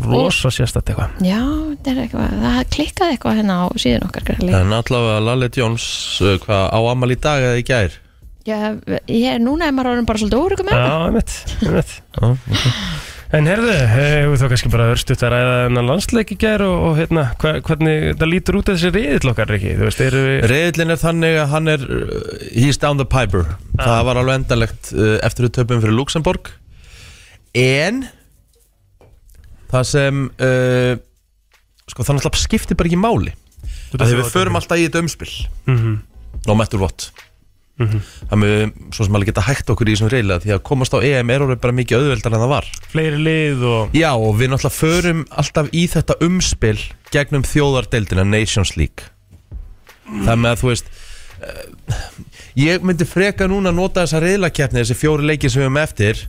S3: Rosa sérstætt eitthvað
S2: já, þetta er eitthvað, það klikkaði eitthvað hérna á síðun okkar greinilega.
S1: En allavega Lalli Jones, uh, hvað á ammali í dag eða í gær?
S2: já, ég er núna er maður orðin bara svolítið óryggur með það
S3: Já, einmitt, einmitt
S1: Já, ok.
S3: En heyrðu, hefur þá kannski bara örstuðt að ræða þennan landsleik í ger og, og hérna, hva, hvernig það lítur út af þessi riðill okkar, ekki? Þú veist, eru við
S1: Reyðlinn er þannig að hann er uh, He's down the piper Það var alveg endanlegt uh, eftir við töpum fyrir Luxemburg En Það sem uh, Sko þannig að skiptir bara ekki máli Þegar við förum alltaf í þetta umspil No matter what Þannig við svo sem alveg geta hægt okkur í þessum reyla Því að komast á EM er orðið bara mikið auðveldar en það var
S3: fleiri lið og
S1: Já og við náttúrulega förum alltaf í þetta umspil gegnum þjóðardeildina Nations League Það með að þú veist eh, Ég myndi freka núna að nota þessa reyðlakeppni þessi fjóri leiki sem við höfum eftir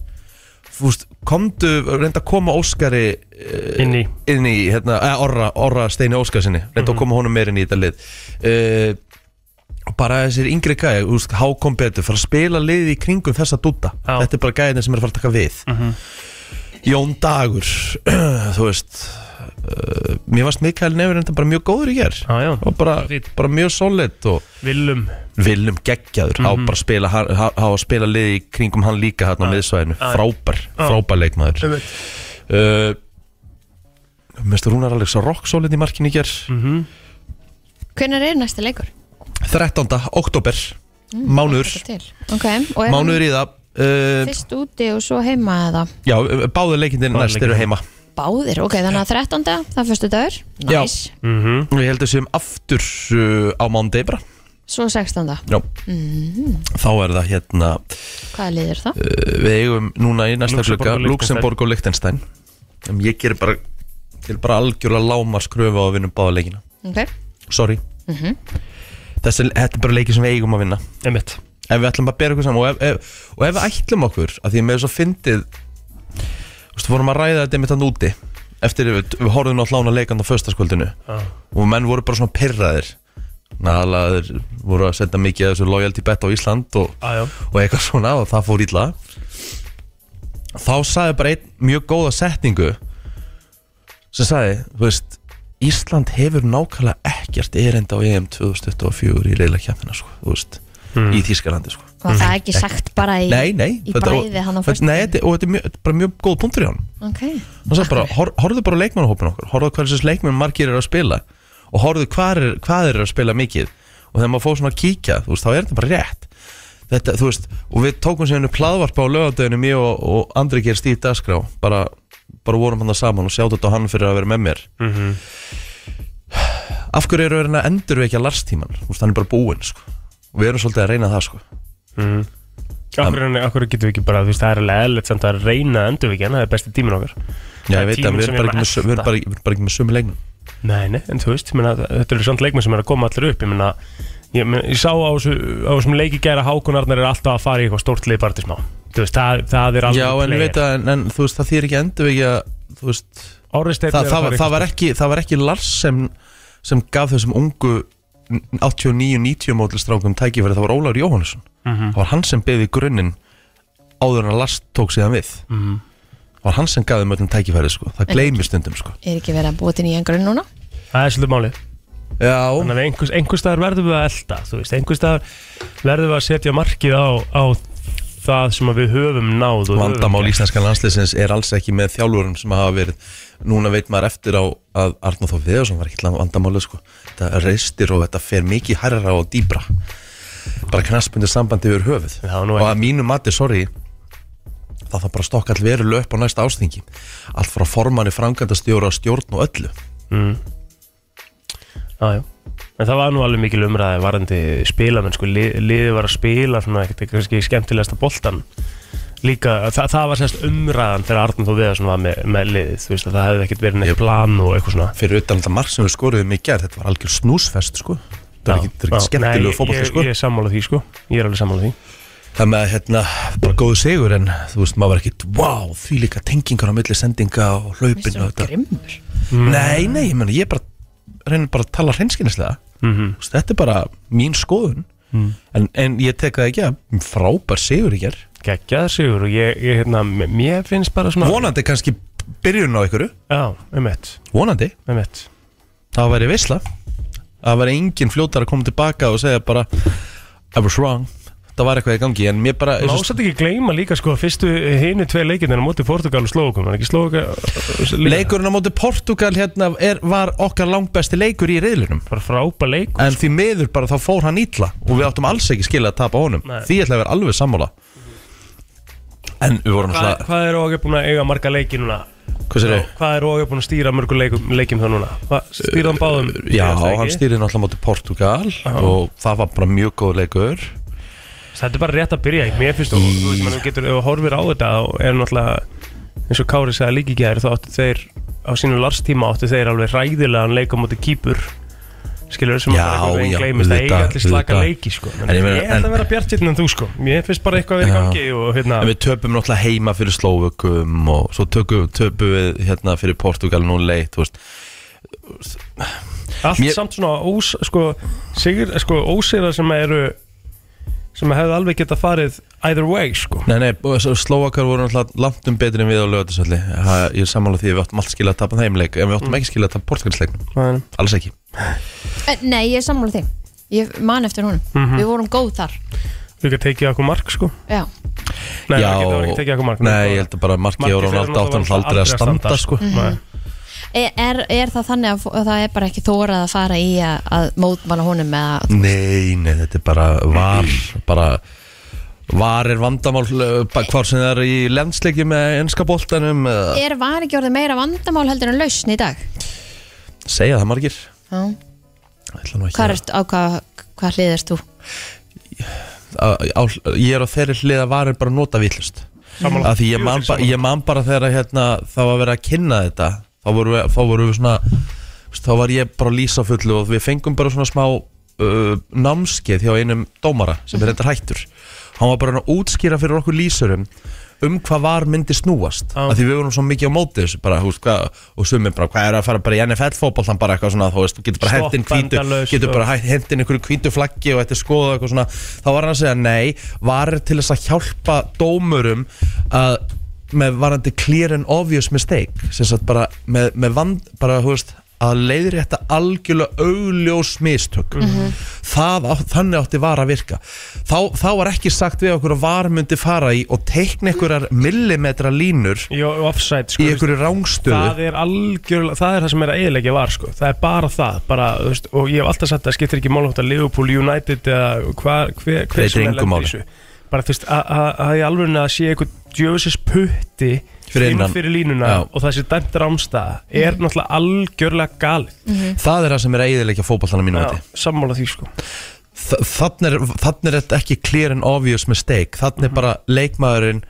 S1: Þú veist, komdu, reynda að koma Óskari eh,
S3: inn í
S1: inn í, hérna, eh, orra, orra Steini Óskarsinni reynda
S3: Mhm.
S1: að koma honum meir inn í þetta lið eh, og bara þessir yngri gæði, þú veist, hákom betur fara að spila liðið í kringum þessa dúta
S3: Já. Mhm.
S1: þetta er bara gæðin sem er að fara að taka við Jón Dagur (clears throat) þú veist uh, mér varst Mikael Nefur enda bara mjög góður í hér
S3: Já, já,
S1: og bara,
S3: Fínn.
S1: bara mjög solid og
S3: viljum
S1: viljum geggjaður mm á bara að spila, ha, ha, á að spila liði í kringum hann líka hérna á miðsvæðinu,
S3: Mhm. Já.
S1: frábær
S3: Já.
S1: frábær leikmaður uh, Mr. Rúnar Alex á rock solid í markinu í gerð
S3: Mm.
S2: hvenær er næsta leikur?
S1: 13. oktober mánuður,
S2: Þetta til. ok, Mm, og er
S1: mánuður í það
S2: hann
S1: uh,
S2: fyrst úti og svo heima eða
S1: já, báðu leikindir
S3: Báðir
S1: næst eru
S3: leikirnir.
S1: heima
S2: Báðir, ok, þannig að 13. það fyrstu dagur, næs,
S1: Já.
S3: mm
S1: við heldum séum aftur uh, á mánudegi bara
S2: svo 16.
S1: já
S2: Mm.
S1: þá er það hérna
S2: Hvað liður það?
S1: uh, við eigum núna í næsta
S3: Luxemborg
S1: klukka
S3: og Liechtenstein.
S1: Luxemburg og Liechtenstein um, ég gerir bara, gerir bara algjörlega lámars kröfu á að vinna báða leikina
S2: Ok,
S1: sorry mm
S2: Mhm.
S1: Þessi, þetta er bara leiki sem við eigum að vinna
S3: einmitt
S1: ef við ætlum að bera okkur saman og ef, ef, og ef við ætlum okkur að því að með svo fyndið þú veist, vorum að ræða þetta með þann úti eftir við, við horfðum á hlána leikand á föstaskvöldinu
S3: Já.
S1: og menn voru bara svona pirraðir Nalaðir voru að senda mikið af þessu loyalty bet á Ísland og,
S3: Já, já.
S1: og eitthvað svona og það fór illa þá sagði bara einn mjög góða setningu sem sagði, þú veist Ísland hefur nákvæmlega ekkert erenda á EM 2024 í reyla kjæmina sko, þú veist, í Þýskalandi sko.
S2: var það ekki sagt bara í,
S1: Nei, nei
S2: í
S1: þetta- og-
S2: bræði hann á
S1: þetta-
S2: fyrstu?
S1: Nei, þetta, og þetta er mjög, þetta er bara mjög góð punktur í hann
S2: Ok,
S1: Hann sagði bara, hor, horfðu bara á leikmannahópin okkur Horfðu hvað þessi leikmann margir eru að spila Og horfðu hvað er, hvað er að spila mikið Og þegar maður fór svona að kíkja, þú veist, þá er þetta bara rétt Þetta, þú veist, og við tókum sér henni plaðvarpa á lögadöðinu Ég og, og Andri ger stíf dagskrá Bara, bara vorum hann það saman og sjátt þetta á hann fyrir að vera með mér
S3: Mhm.
S1: Af hverju eru verið að endurvekja larstíman? Þú veist, hann er bara búinn, sko Og við erum svolítið að reyna það, sko
S3: Mhm. Akkur, en, akkur getum við ekki bara, þú veist, það er alveg eðlert samt að reyna að endur við ekki, en það er besti tímin okkar
S1: Já,
S3: Það
S1: ég
S3: er
S1: veit að
S3: tíminn
S1: við
S3: sem
S1: erum
S3: við
S1: bara
S3: erum
S1: ekki með
S3: að
S1: sö- við erum
S3: elta.
S1: bara ekki- við erum bara ekki með sömu leikmenn
S3: Nei, nei, en þú veist, ég meina, þetta eru samt leikmenn sem er að koma allir upp Ég meina, ég, meina, ég sá á, þessu, á þessum leiki gæra Hákunarnar er alltaf að fara í eitthvað stórt liðparti smá Þú veist, það, það er alveg
S1: Já, en við veit að, en, en þú veist, það þýr ekki endurvekja Þú veist,
S3: Orðisteinn
S1: það,
S3: er að
S1: það,
S3: fara í
S1: það,
S3: eitthvað
S1: var ekki, það var ekki Lars sem, sem gaf þessum ungu 89-90 mótlistrákum tækifæri, það var Ólaur Jóhannesson
S3: Mhm.
S1: það var hann sem beði grunninn áður en að Lars tók síðan við
S3: Mhm.
S1: það var hann sem gaf þeim öllum tækifæri sko. það gleymir stundum sko.
S2: er ekki verið að búa til nýjan grunn núna?
S3: stórt- Það er svolítið málið
S1: Já,
S3: þannig að einhvers, einhvers staðar verðum við að elta þú veist, einhvers staðar verðum við að setja markið á, á það sem að við höfum náð og
S1: vandamál
S3: höfum gert.
S1: íslenskan landsleysins er alls ekki með þjálfurum sem hafa verið Núna veit maður eftir á að Arnóð Þóf Viðarsson var ekki vandamálu sko Þetta reistir og þetta fer mikið hærra og dýbra Bara knaspundir sambandi yfir höfuð
S3: Já, nú er-
S1: Og að mínu mati, sorry Það þarf bara að stokka all veru löp á næsta ástingi Allt frá formanni framkvæmdastjóra, stjórn og öllu
S3: Já, já. En það var nú alveg mikil umræði varandi spilamenn, sko, lið, liðið var að spila svona ekkert kannski skemmtilegasta boltan líka, það, það var sérst umræðan þegar Arnum Þó Viðarsson var með, með liðið þú veist að það hefði ekkert verið neitt plan og eitthvað svona
S1: Fyrir utan þetta mark sem við skoruðum í gerð Þetta var algjör snúsfest sko Þetta er
S3: Já,
S1: ekki, þetta er ekki
S3: já. Nei,
S1: skemmtilegu fótbolti
S3: ég-
S1: sko
S3: Ég er sammála því sko, ég er alveg sammála því
S1: Það með að hérna, bara góðu sigur en þú veist, maður var ekkit, wow, því líka tengingar á milli sendinga og
S2: Mér
S1: hlaupin
S2: svo
S1: og þetta.
S2: grimmur
S1: Nei, nei, ég meni, ég bara reynir bara að tala hreinskynnislega.
S3: Mhm.
S1: Þú veist, Þetta er bara mín skoðun, en, en ég tek það ekki að frábær sigur ég er.
S3: Gekkjaður sigur og ég, ég hérna, mér finnst bara svona
S1: Vonandi kannski byrjun á ykkur,
S3: Já, um eitt,
S1: vonandi,
S3: um eitt
S1: það væri veisla. Það væri engin fljótar að koma tilbaka og segja bara, I was wrong, það var eitthvað í gangi, en mér bara...
S3: Má satt ekki gleyma líka sko fyrstu hinu tvei leikirnir á móti Portugal og Slókum, er ekki uh, Slóka
S1: Leikurinn á móti Portugal hérna er, var okkar langbesti leikur í reyðlunum
S3: bara frápa leikur
S1: en því miður bara þá fór hann ítla og við áttum alls ekki skilja að tapa honum
S3: Nei.
S1: því ætla að vera alveg sammála en við vorum
S3: Hvað,
S1: alltaf
S3: hvað er Róge búin að eiga marga leiki núna?
S1: hvað sér
S3: Hvað er Róge búin að stýra mörgum leikum, leikum þá núna? Hva, stýra hann báðum?
S1: Eh, já,
S3: síðasta leiki?
S1: hann stýrði náttúrulega móti Portugal og það var bara mjög góð leikur
S3: Þetta er bara rétt að byrja, mér finnst þú, þú veist, maður getur, ef þú horfir á þetta og er náttúrulega, eins og Kári sagði líki gæri, þá áttu þeir, á sínum larstíma áttu þeir alveg ræðilegan leik á móti kýpur, skilur sem
S1: Já,
S3: að það
S1: já,
S3: er gleimist að eiga
S1: auðvitað,
S3: allir slaka
S1: auðvitað.
S3: leiki, sko.
S1: En ég
S3: ég
S1: meina-
S3: ætla
S1: en-
S3: að vera bjartinn en þú, sko. Mér finnst bara eitthvað verið í
S1: Já.
S3: gangi og hérna,
S1: en við töpum náttúrulega heima fyrir Slóvökum og svo tökum, töpum við hérna fyrir Portugal nú leitt þú veist.
S3: allt
S1: mér-
S3: samt svona ós, sko, sigur, sko, ósýra sem eru, sem hefði alveg geta farið either way, sko.
S1: nei, nei, Slóvökar voru náttúrulega langt um betri en við á lögatisöldi ég er sammála því að við áttum allt skilja að tapa þeim leik en við
S3: Mm.
S1: áttum ekki skilja að tapa Portugalsleiknum
S3: Það
S1: alls ekki
S2: Eh, Nei, ég er sammála þeim Ég man eftir honum
S1: Mhm.
S2: Við vorum góð þar
S3: er líka tekið okkur mark, sko.
S2: Já,
S3: Nei,
S1: Já,
S3: það var ekki tekið okkur mark.
S1: Nei, ég held að bara markið á
S3: Markið
S1: Ronaldo
S3: þeirra
S1: átt hann
S3: náttúrulega
S1: aldrei að standa sko.
S3: Nei.
S2: er, er, er það þannig að, fó- að það er bara ekki þórað að fara í að, að mótmála honum með að
S1: Nei, nei, þetta er bara var bara var er vandamál eh, ba- hvar sem það er í landsleiki með ennska boltanum eða
S2: Er var ekki orðið meira vandamál heldur en lausn í dag?
S1: segja það margir
S2: Já.
S1: Ég ætla nú ekki
S2: Hvað er, á hvað, hvað hlið erst þú?
S1: að- á- á- Ég er á þeirri hlið að var er bara nota villust
S3: Sammála.
S1: Af því ég man, ba ég man bara þegar að, hérna, það var verið að kynna þetta þá voru við, þá voru við svona veist, þá var ég bara á lýsa fullu og við fengum bara svona smá uh, námskeið hjá einum dómara sem er reyndar hættur hann var bara að útskýra fyrir okkur lýsurum um hvað var myndi snúast
S3: Já.
S1: af því við vorum svo mikið á móti þessu bara, húst, hvað, og sumir bara, hvað er að fara bara í NFL fótboltan bara eitthvað svona, þú veist, þú getur bara hendin
S3: Stoppa
S1: hvítu,
S3: endalaust
S1: getur
S3: og-
S1: bara hendin einhverju hvítu flaggi og þetta er skoða eitthvað svona þá var hann að segja nei, varir til þess að hjálpa dómurum að með varandi clear and obvious mistake sem sagt bara með, með vand, bara, þú veist að leiðir þetta algjörlega augljós mistök
S3: Mhm.
S1: það, á- þannig átti var að virka þá, þá var ekki sagt við okkur að var myndi fara í og teikna einhverjar millimetra línur
S3: Jó, offside, sko.
S1: í
S3: veist,
S1: einhverju rángstöðu
S3: Það er algjörlega, það er það sem er að eðilegja var, sko. Það er bara það, bara, þú veist, og ég hef alltaf sagt að það skiptir ekki málum þetta Liverpool, United eða hvað, hver,
S1: Breytir
S3: hver sem er
S1: engu
S3: lendir
S1: máli.
S3: í þessu. Bara, þú veist, að- að að í alveg að sé einhver djöfisins putti
S1: Fyrir
S3: inn
S1: innan.
S3: fyrir línuna
S1: Já.
S3: og það sé dæmt rámstaða er náttúrulega algjörlega galið.
S1: það er það sem er eiginleika fótballtana mínu viti
S3: Mhm. Já, sammála því, sko.
S1: þannig er, þarna er þetta ekki clear and obvious mistake þannig
S3: Mhm.
S1: er bara leikmaðurinn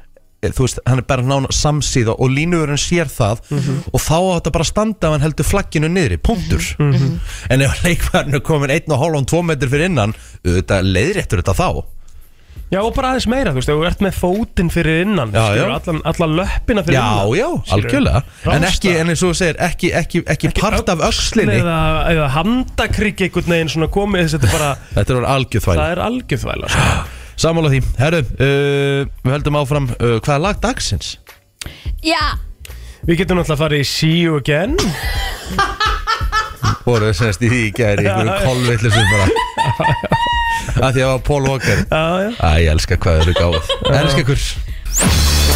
S1: eh, þú veist, hann er bara nána samsíða og línugurinn sér það
S3: Mhm.
S1: og þá á þetta bara að standa ef hann heldur flagginu niðri, punktur
S3: Mhm.
S1: en ef leikmaðurinn er komin 1,5-2 metr fyrir innan, þetta leiðréttur þetta þá
S3: Já og bara aðeins meira, þú veist, ef þú ert með fótinn fyrir innan
S1: Já,
S3: skilur,
S1: já.
S3: Allan, alla löppina fyrir
S1: já,
S3: innan
S1: já,
S3: skilur.
S1: algjörlega en
S3: Rásta.
S1: ekki, en eins og þú segir, ekki, ekki, ekki, part af öxlinni,
S3: eða, eða handakrík einhvern veginn svona komið þess að þetta
S1: (laughs)
S3: er bara
S1: þetta er algjörþvæl
S3: það er algjörþvæla sko.
S1: sammála því, herru, uh, við heldum áfram uh, hvað er lag dagsins?
S2: Já,
S3: Við getum náttúrulega að fara í See You Again
S1: og voru semst í því í gæri einhverju kolvillisum bara að því að það var Paul Walker
S3: Já, já.
S1: Æ, ég elska hvað þau eru gáð Elska ykkur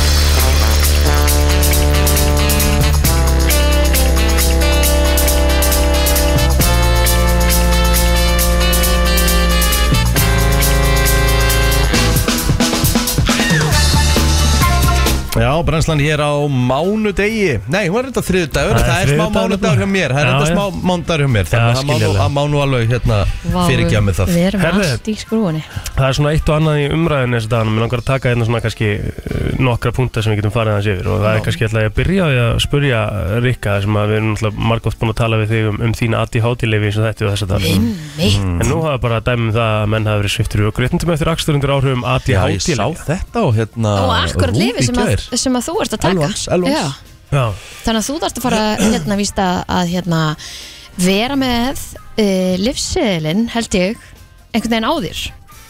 S1: Já, brennslan hér á mánudegi Nei, hún er þetta þriðudagur
S3: Það
S1: Það
S3: er
S1: er smá
S3: þriðjudagur
S1: mánudagur hjá mér Það er
S3: Já,
S1: þetta
S3: já.
S1: smá mánudagur hjá mér Þannig
S3: Já,
S1: að það má nú-
S3: skiljanlega.
S1: að má nú alveg hérna fyrirgjá mig það
S2: Við erum
S3: Herðu.
S2: allt í skrúinni
S3: Það er svona eitt og annað í umræðinu þessu dagann Mér langar að taka hérna svona kannski eh, nokkra púnta sem við getum farið aðeins yfir og það er kannski alltaf að byrja á því að spurja Rikka sem að við erum alltaf margótt búin að tala við þig um, um þína ADHD-leifi eins og þetta og þess að
S1: Mm.
S3: það
S2: Mitt
S3: En nú hafa bara dæmum það að menn hafa verið sviftur og grétundum eftir akstur undir áhrifum
S1: Já,
S3: ADHD
S1: ég sá þetta og hérna
S2: Og akkurat
S1: RÚV
S2: lifi
S1: í
S2: sem, að-
S1: gær.
S2: sem að þú ert að taka
S1: Elvans, Elvans.
S2: Já.
S3: Já,
S2: Þannig að þú þarfst að fara hérna víst að, að hérna, vera með uh, livsseðilinn held ég einhvern veginn á þér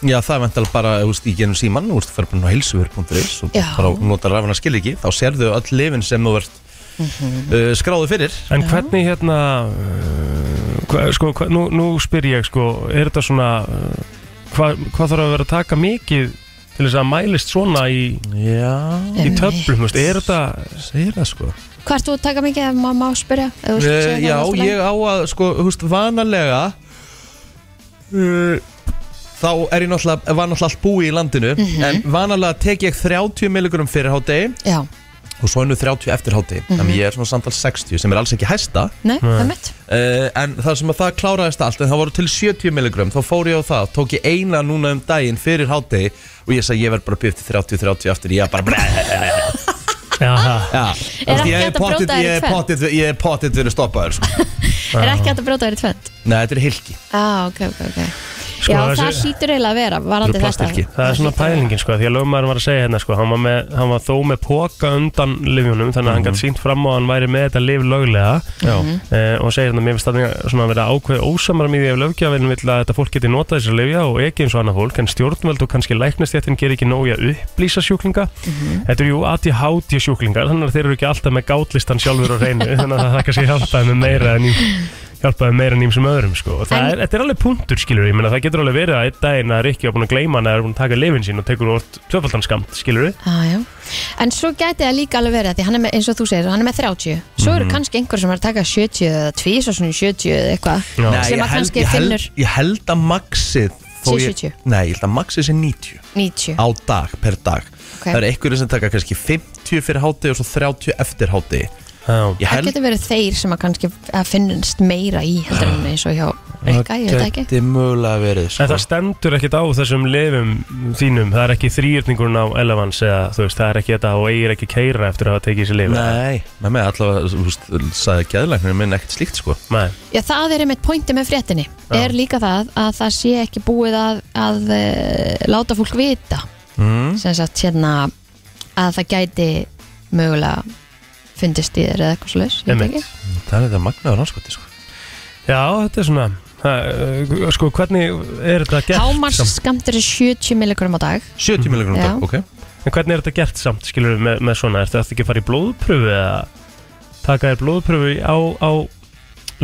S1: Já, það er vantilega bara, þú veist, í genum síman Þú veist, það er bara nú heilsuver.is og
S2: Já.
S1: bara notar rafana skil ekki þá sérðu öll lifin sem þú ert
S2: Mhm.
S1: uh, skráðu fyrir
S3: en hvernig hérna eh, hva, sko, hva, nú, nú spyr ég sko, er þetta svona eh, hva, hvað þarf að vera að taka mikið til þess að mælist svona í,
S1: Já,
S3: í
S2: Einmitt.
S3: töflum, þú veist, er þetta
S1: segir það sko
S2: Hvað ert þú að taka mikið ef maður má spyrja? Ef þú vilt
S1: uh,
S2: segja það
S1: Já,
S2: allt í lagi?
S1: ég á að, sko, þú veist, vanalega uh, þá er ég náttúrulega var náttúrulega allt búi í landinu
S2: Mhm.
S1: en vanalega tek ég 30 milligurum fyrir hádegi
S2: Já,
S1: og svo hennu 30 eftir hádegi
S2: Mhm.
S1: þannig ég er svona samtals 60 sem er alls ekki hæsta
S2: nei, það er mitt
S1: Uh, en það sem að það kláraðist allt en það voru til 70 milligram, þá fór ég á það tók ég eina núna um daginn fyrir hátegi og ég sagði ég verð bara byrjt til 30-30 aftur ég er bara (laughs)
S3: Jaha,
S1: ja.
S2: Er ekki
S1: ég
S2: hægt að brjóta
S1: pottþétt-
S2: þér í
S1: ég er
S2: tvennt?
S1: pottit ég er pottit verið stoppaður
S2: (laughs)
S1: sko.
S2: Er ekki hægt að brjóta þér í tvönd?
S1: nei, þetta er hilki,
S2: Já, ok, ok, ok
S3: sko,
S2: Já, það
S3: þessi-
S2: sýtur eiginlega að vera
S1: Sko, þetta
S2: varandi
S1: eru
S2: þetta
S1: plastilki
S3: það er svona pælingin sko, því að lögmaður var að segja hérna sko, hann var, með, hann var þó með póka undan livjunum, þannig að hann gæti sínt fram á að hann væri með þetta liv löglega eh, og segir hérna, mér finnst þannig að svona að vera ákveð ósamram í því ef löggjafinn vill að þetta fólk geti notað þessar livja og ekki eins og annað fólk, en stjórnveld og kannski læknastjættin ger ekki nóg í að upplýsa sjúklinga þetta eru jú ADHD sjúklingar þannig að þeir eru ekki alltaf með gátlistan sjálfur á reynu, þannig að það kannski hjálpaði með meira en í hjálpaði meira en ímsum öðrum sko. Og það
S2: En-
S3: er, þetta er alveg punktur skilur ég meina það getur alveg verið að einn daginn að Rikki var búin að gleyma hann eða er búin að taka lifin sín og tekur orð tvöfaldan skamt skilur ég
S2: Já, já. En svo gæti það líka alveg verið að því hann er með, eins og þú segir, hann er með 30 Svo
S1: Mhm.
S2: eru kannski einhver sem er að taka 70 eða 2 svo svona í 70 eða eitthvað
S3: Já.
S1: Nei,
S2: Sem
S1: ég
S2: að
S1: held-
S2: kannski
S1: ég held-
S2: finnur-
S1: ég held að maxið þó
S2: Sé
S1: ég-
S2: 70.
S1: nei, ég held að maxið sé 90
S2: 90
S1: á dag, per dag
S2: Ok.
S1: það eru einhverju sem taka kannski 50 fyrir hátegi og svo 30 eftir hátegi ég
S2: Það
S1: held
S2: getur verið þeir sem að kannski að finnast meira í heldur en eins og hjá Rikka, ég veit það ekki
S1: geti mögulega verið sko.
S3: en það stendur ekkit á þessum lifum þínum, það er ekki þrýrningurinn á elefans eða þú veist, það er ekki þetta og eigir ekki keira eftir að hafa tekið þessi lifi
S1: Nei, með mig allavega, þú veist, sagði gæðlæknirinn minn ekkert slíkt sko
S3: Nei.
S2: Já, það er einmitt pointi með fréttinni er líka það að það sé ekki búið að, að uh, láta fólk vita mm. sem sagt hérna að það gæti mögulega fundist í þér eða eitthvað slags
S3: Einmitt.
S1: Það er þetta magnaður anskoti sko
S3: já, þetta er svona það, eh, sko, hvernig er þetta gert
S2: Hámars
S3: samt?
S2: skamtur er 70 milligram á dag
S1: 70 milligram
S2: Já.
S1: dag, ok
S3: En hvernig er þetta gert samt, skilur við, með, með svona? Ertu þetta ekki að fara í blóðpröfu eða taka þér blóðpröfu á, á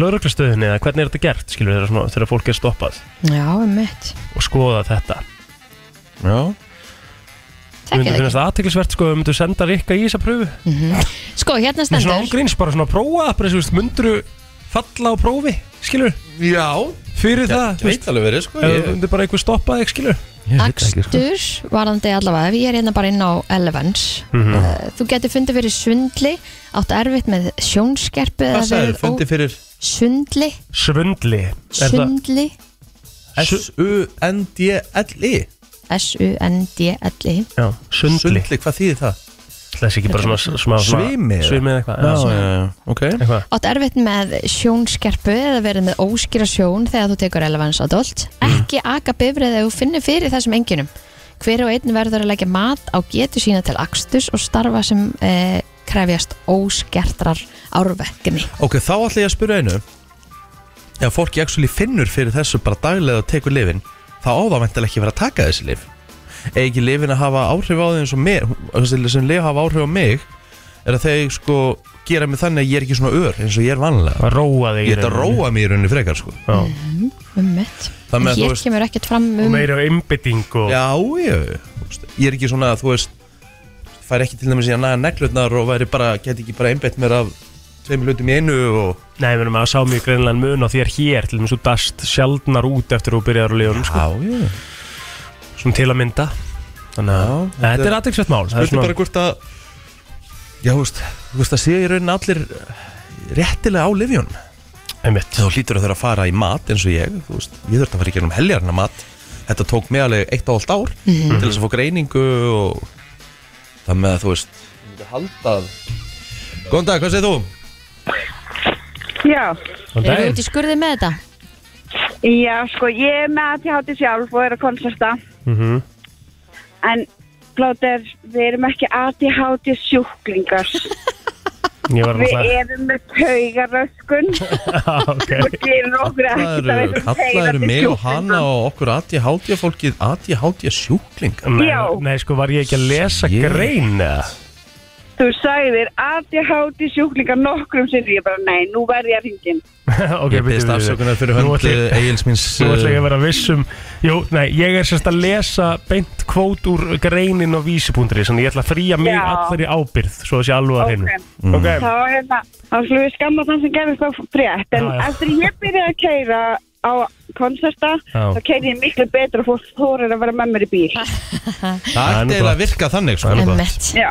S3: lauruglastöðinni eða hvernig er þetta gert, skilur við, þegar, svona, þegar fólk er stoppað
S2: Já, einmitt
S3: og skoða þetta?
S1: Já,
S2: Þekkið
S3: Mér myndi
S2: þið
S3: finnast það aðteklisvert, sko, ef við myndum senda Rikka í þessa pröfu.
S2: ekki. Sko, hérna
S3: Nei, svona
S2: stendur
S3: ángríns, bara svona að prófa, bara þess að mynduru falla á prófi, skilur við,
S1: já
S3: fyrir
S1: Það
S3: það, þú veist,
S1: veit alveg verið sko
S3: ef þú myndir bara einhver stoppa þig, skilur sko.
S2: Akstur varandi allavega ef ég er hérna bara inn á Elevens
S1: Mhm.
S2: uh, Þú getur fundið fyrir svindli átt erfitt með sjónskerpu
S1: Hvað sagði, fundi fyrir
S2: Svindli
S3: Svundli. Er það-
S2: Sundli
S1: S-U-N-D-L-I
S2: S-U-N-D-L-I
S3: Já, sundli.
S1: Sundli, hvað þýðir það?
S3: Þessi ekki bara svona, svona, svona
S1: Svimi eða?
S3: svimi eða eitthvað. Já,
S1: já, já, ok
S3: eitthvað.
S2: Átt erfitt með sjónskerpu eða verið með óskýra sjón þegar þú tekur relevans adult Ekki aka bifrið eða þú finnir fyrir þessum enginum Hver og einn verður að leggja mat á getu sína til akstus og starfa sem eh, krefjast óskertrar árvekni
S1: Ok, þá ætla ég að spyrja einu Ef fólk ég actually finnur fyrir þessu bara daglega og tekur lifin þá á það vantilega ekki verið að taka þessi lif Eða ekki lifin að hafa áhrif á því eins og mér þessi sem lif hafa áhrif á mig er að þeir sko gera mig þannig að ég er ekki svona ör eins og ég er vanlega
S3: að róa þig í
S1: Ég ætti að
S3: rauninni.
S1: róa mig í rauninni frekar sko
S3: Já.
S2: um mitt
S1: Þannig að þú
S2: Hér
S1: veist-
S2: kemur ekkert fram
S3: og
S2: um
S3: meira einbytting og
S1: Já, ég, ég er ekki svona að þú veist fær ekki til dæmis í að naga neglutnar og væri bara, get ekki bara einbett mér af tveimur hlutum í einu og
S3: Nei, við erum að sá mjög greinilega mun á þér hér til þess að þú dast sjaldnar út eftir þú byrjar á liðunum sko,
S1: já
S3: sem til að mynda Þannig að
S1: Já, þetta
S3: þetta
S1: er-
S3: er aðeinsvægt mál Það er
S1: Spurning
S3: svona-
S1: bara hvort að Já, þú veist, þú veist að séu í rauninni allir eh, réttilega á livjón
S3: Einmitt.
S1: Þú hlýtur að þurfa að fara í mat eins og ég Þú veist, ég þurfti að fara í gennum heljarna mat Þetta tók mig alveg eitt og allt ár
S3: Mhm.
S1: Til þess að fá greiningu og Það með að þú veist Ég myndi halda að Góðan dag, hvað segir þú?
S4: Já,
S3: Góðan
S2: Eru
S3: daginn.
S2: út í skurði með þetta?
S4: já, sko, ég er með ADHD sjálf og er að konserta
S3: Mhm.
S4: En, Plóter, við erum ekki ADHD
S1: (laughs)
S4: sjúklingar
S3: Ég var
S4: Við
S3: náttúrulega
S4: erum með
S1: (laughs)
S4: taugaröskun
S1: Ah,
S3: Já, ok.
S4: Og gerir okkur ekkert að
S1: Kallaður,
S4: vera
S1: kallaður
S4: taugandi
S1: mig og
S4: sjúklingar.
S1: hana og okkur aðti hátja fólkið Aðti hátja sjúklinga
S3: Nei,
S4: Já.
S3: Nei, sko, var ég ekki að lesa
S1: Shit.
S3: grein eða? (laughs)
S4: Þú sagðir ADHD sjúklingar nokkrum sinni Ég bara, nei, nú verð ég að ringin
S3: Ok,
S1: Ég
S3: bíddu,
S1: beðist
S3: bíddu, bíddu.
S1: afsökunar fyrir hönd
S3: Nú
S1: eh,
S3: ætla ég-
S1: Egilsmins
S3: Nú ætla ég
S1: eh,
S3: að vera viss um Jú, nei, ég er sérst að lesa beint kvót úr greinin og vísipúndri Þannig ég ætla að fría mig
S4: Já.
S3: allari ábyrð Svo þessi alveg að
S4: Ok.
S3: hreinu
S1: Mm.
S3: Ok,
S4: Þá, hérna, þá slúið við skamma þann sem gerist á frétt En
S3: Já, já.
S4: eftir ég byrjaði að keira á konserta
S3: Já.
S4: Þá keiri ég miklu betur og fólk þórir að vera með mér í bíl
S1: Það
S3: Það er
S1: ætti
S3: nú
S1: eiginlega
S3: gott.
S1: að virka þannig sko.
S3: Það er nú
S2: Um
S3: gott.
S2: mitt
S4: Já,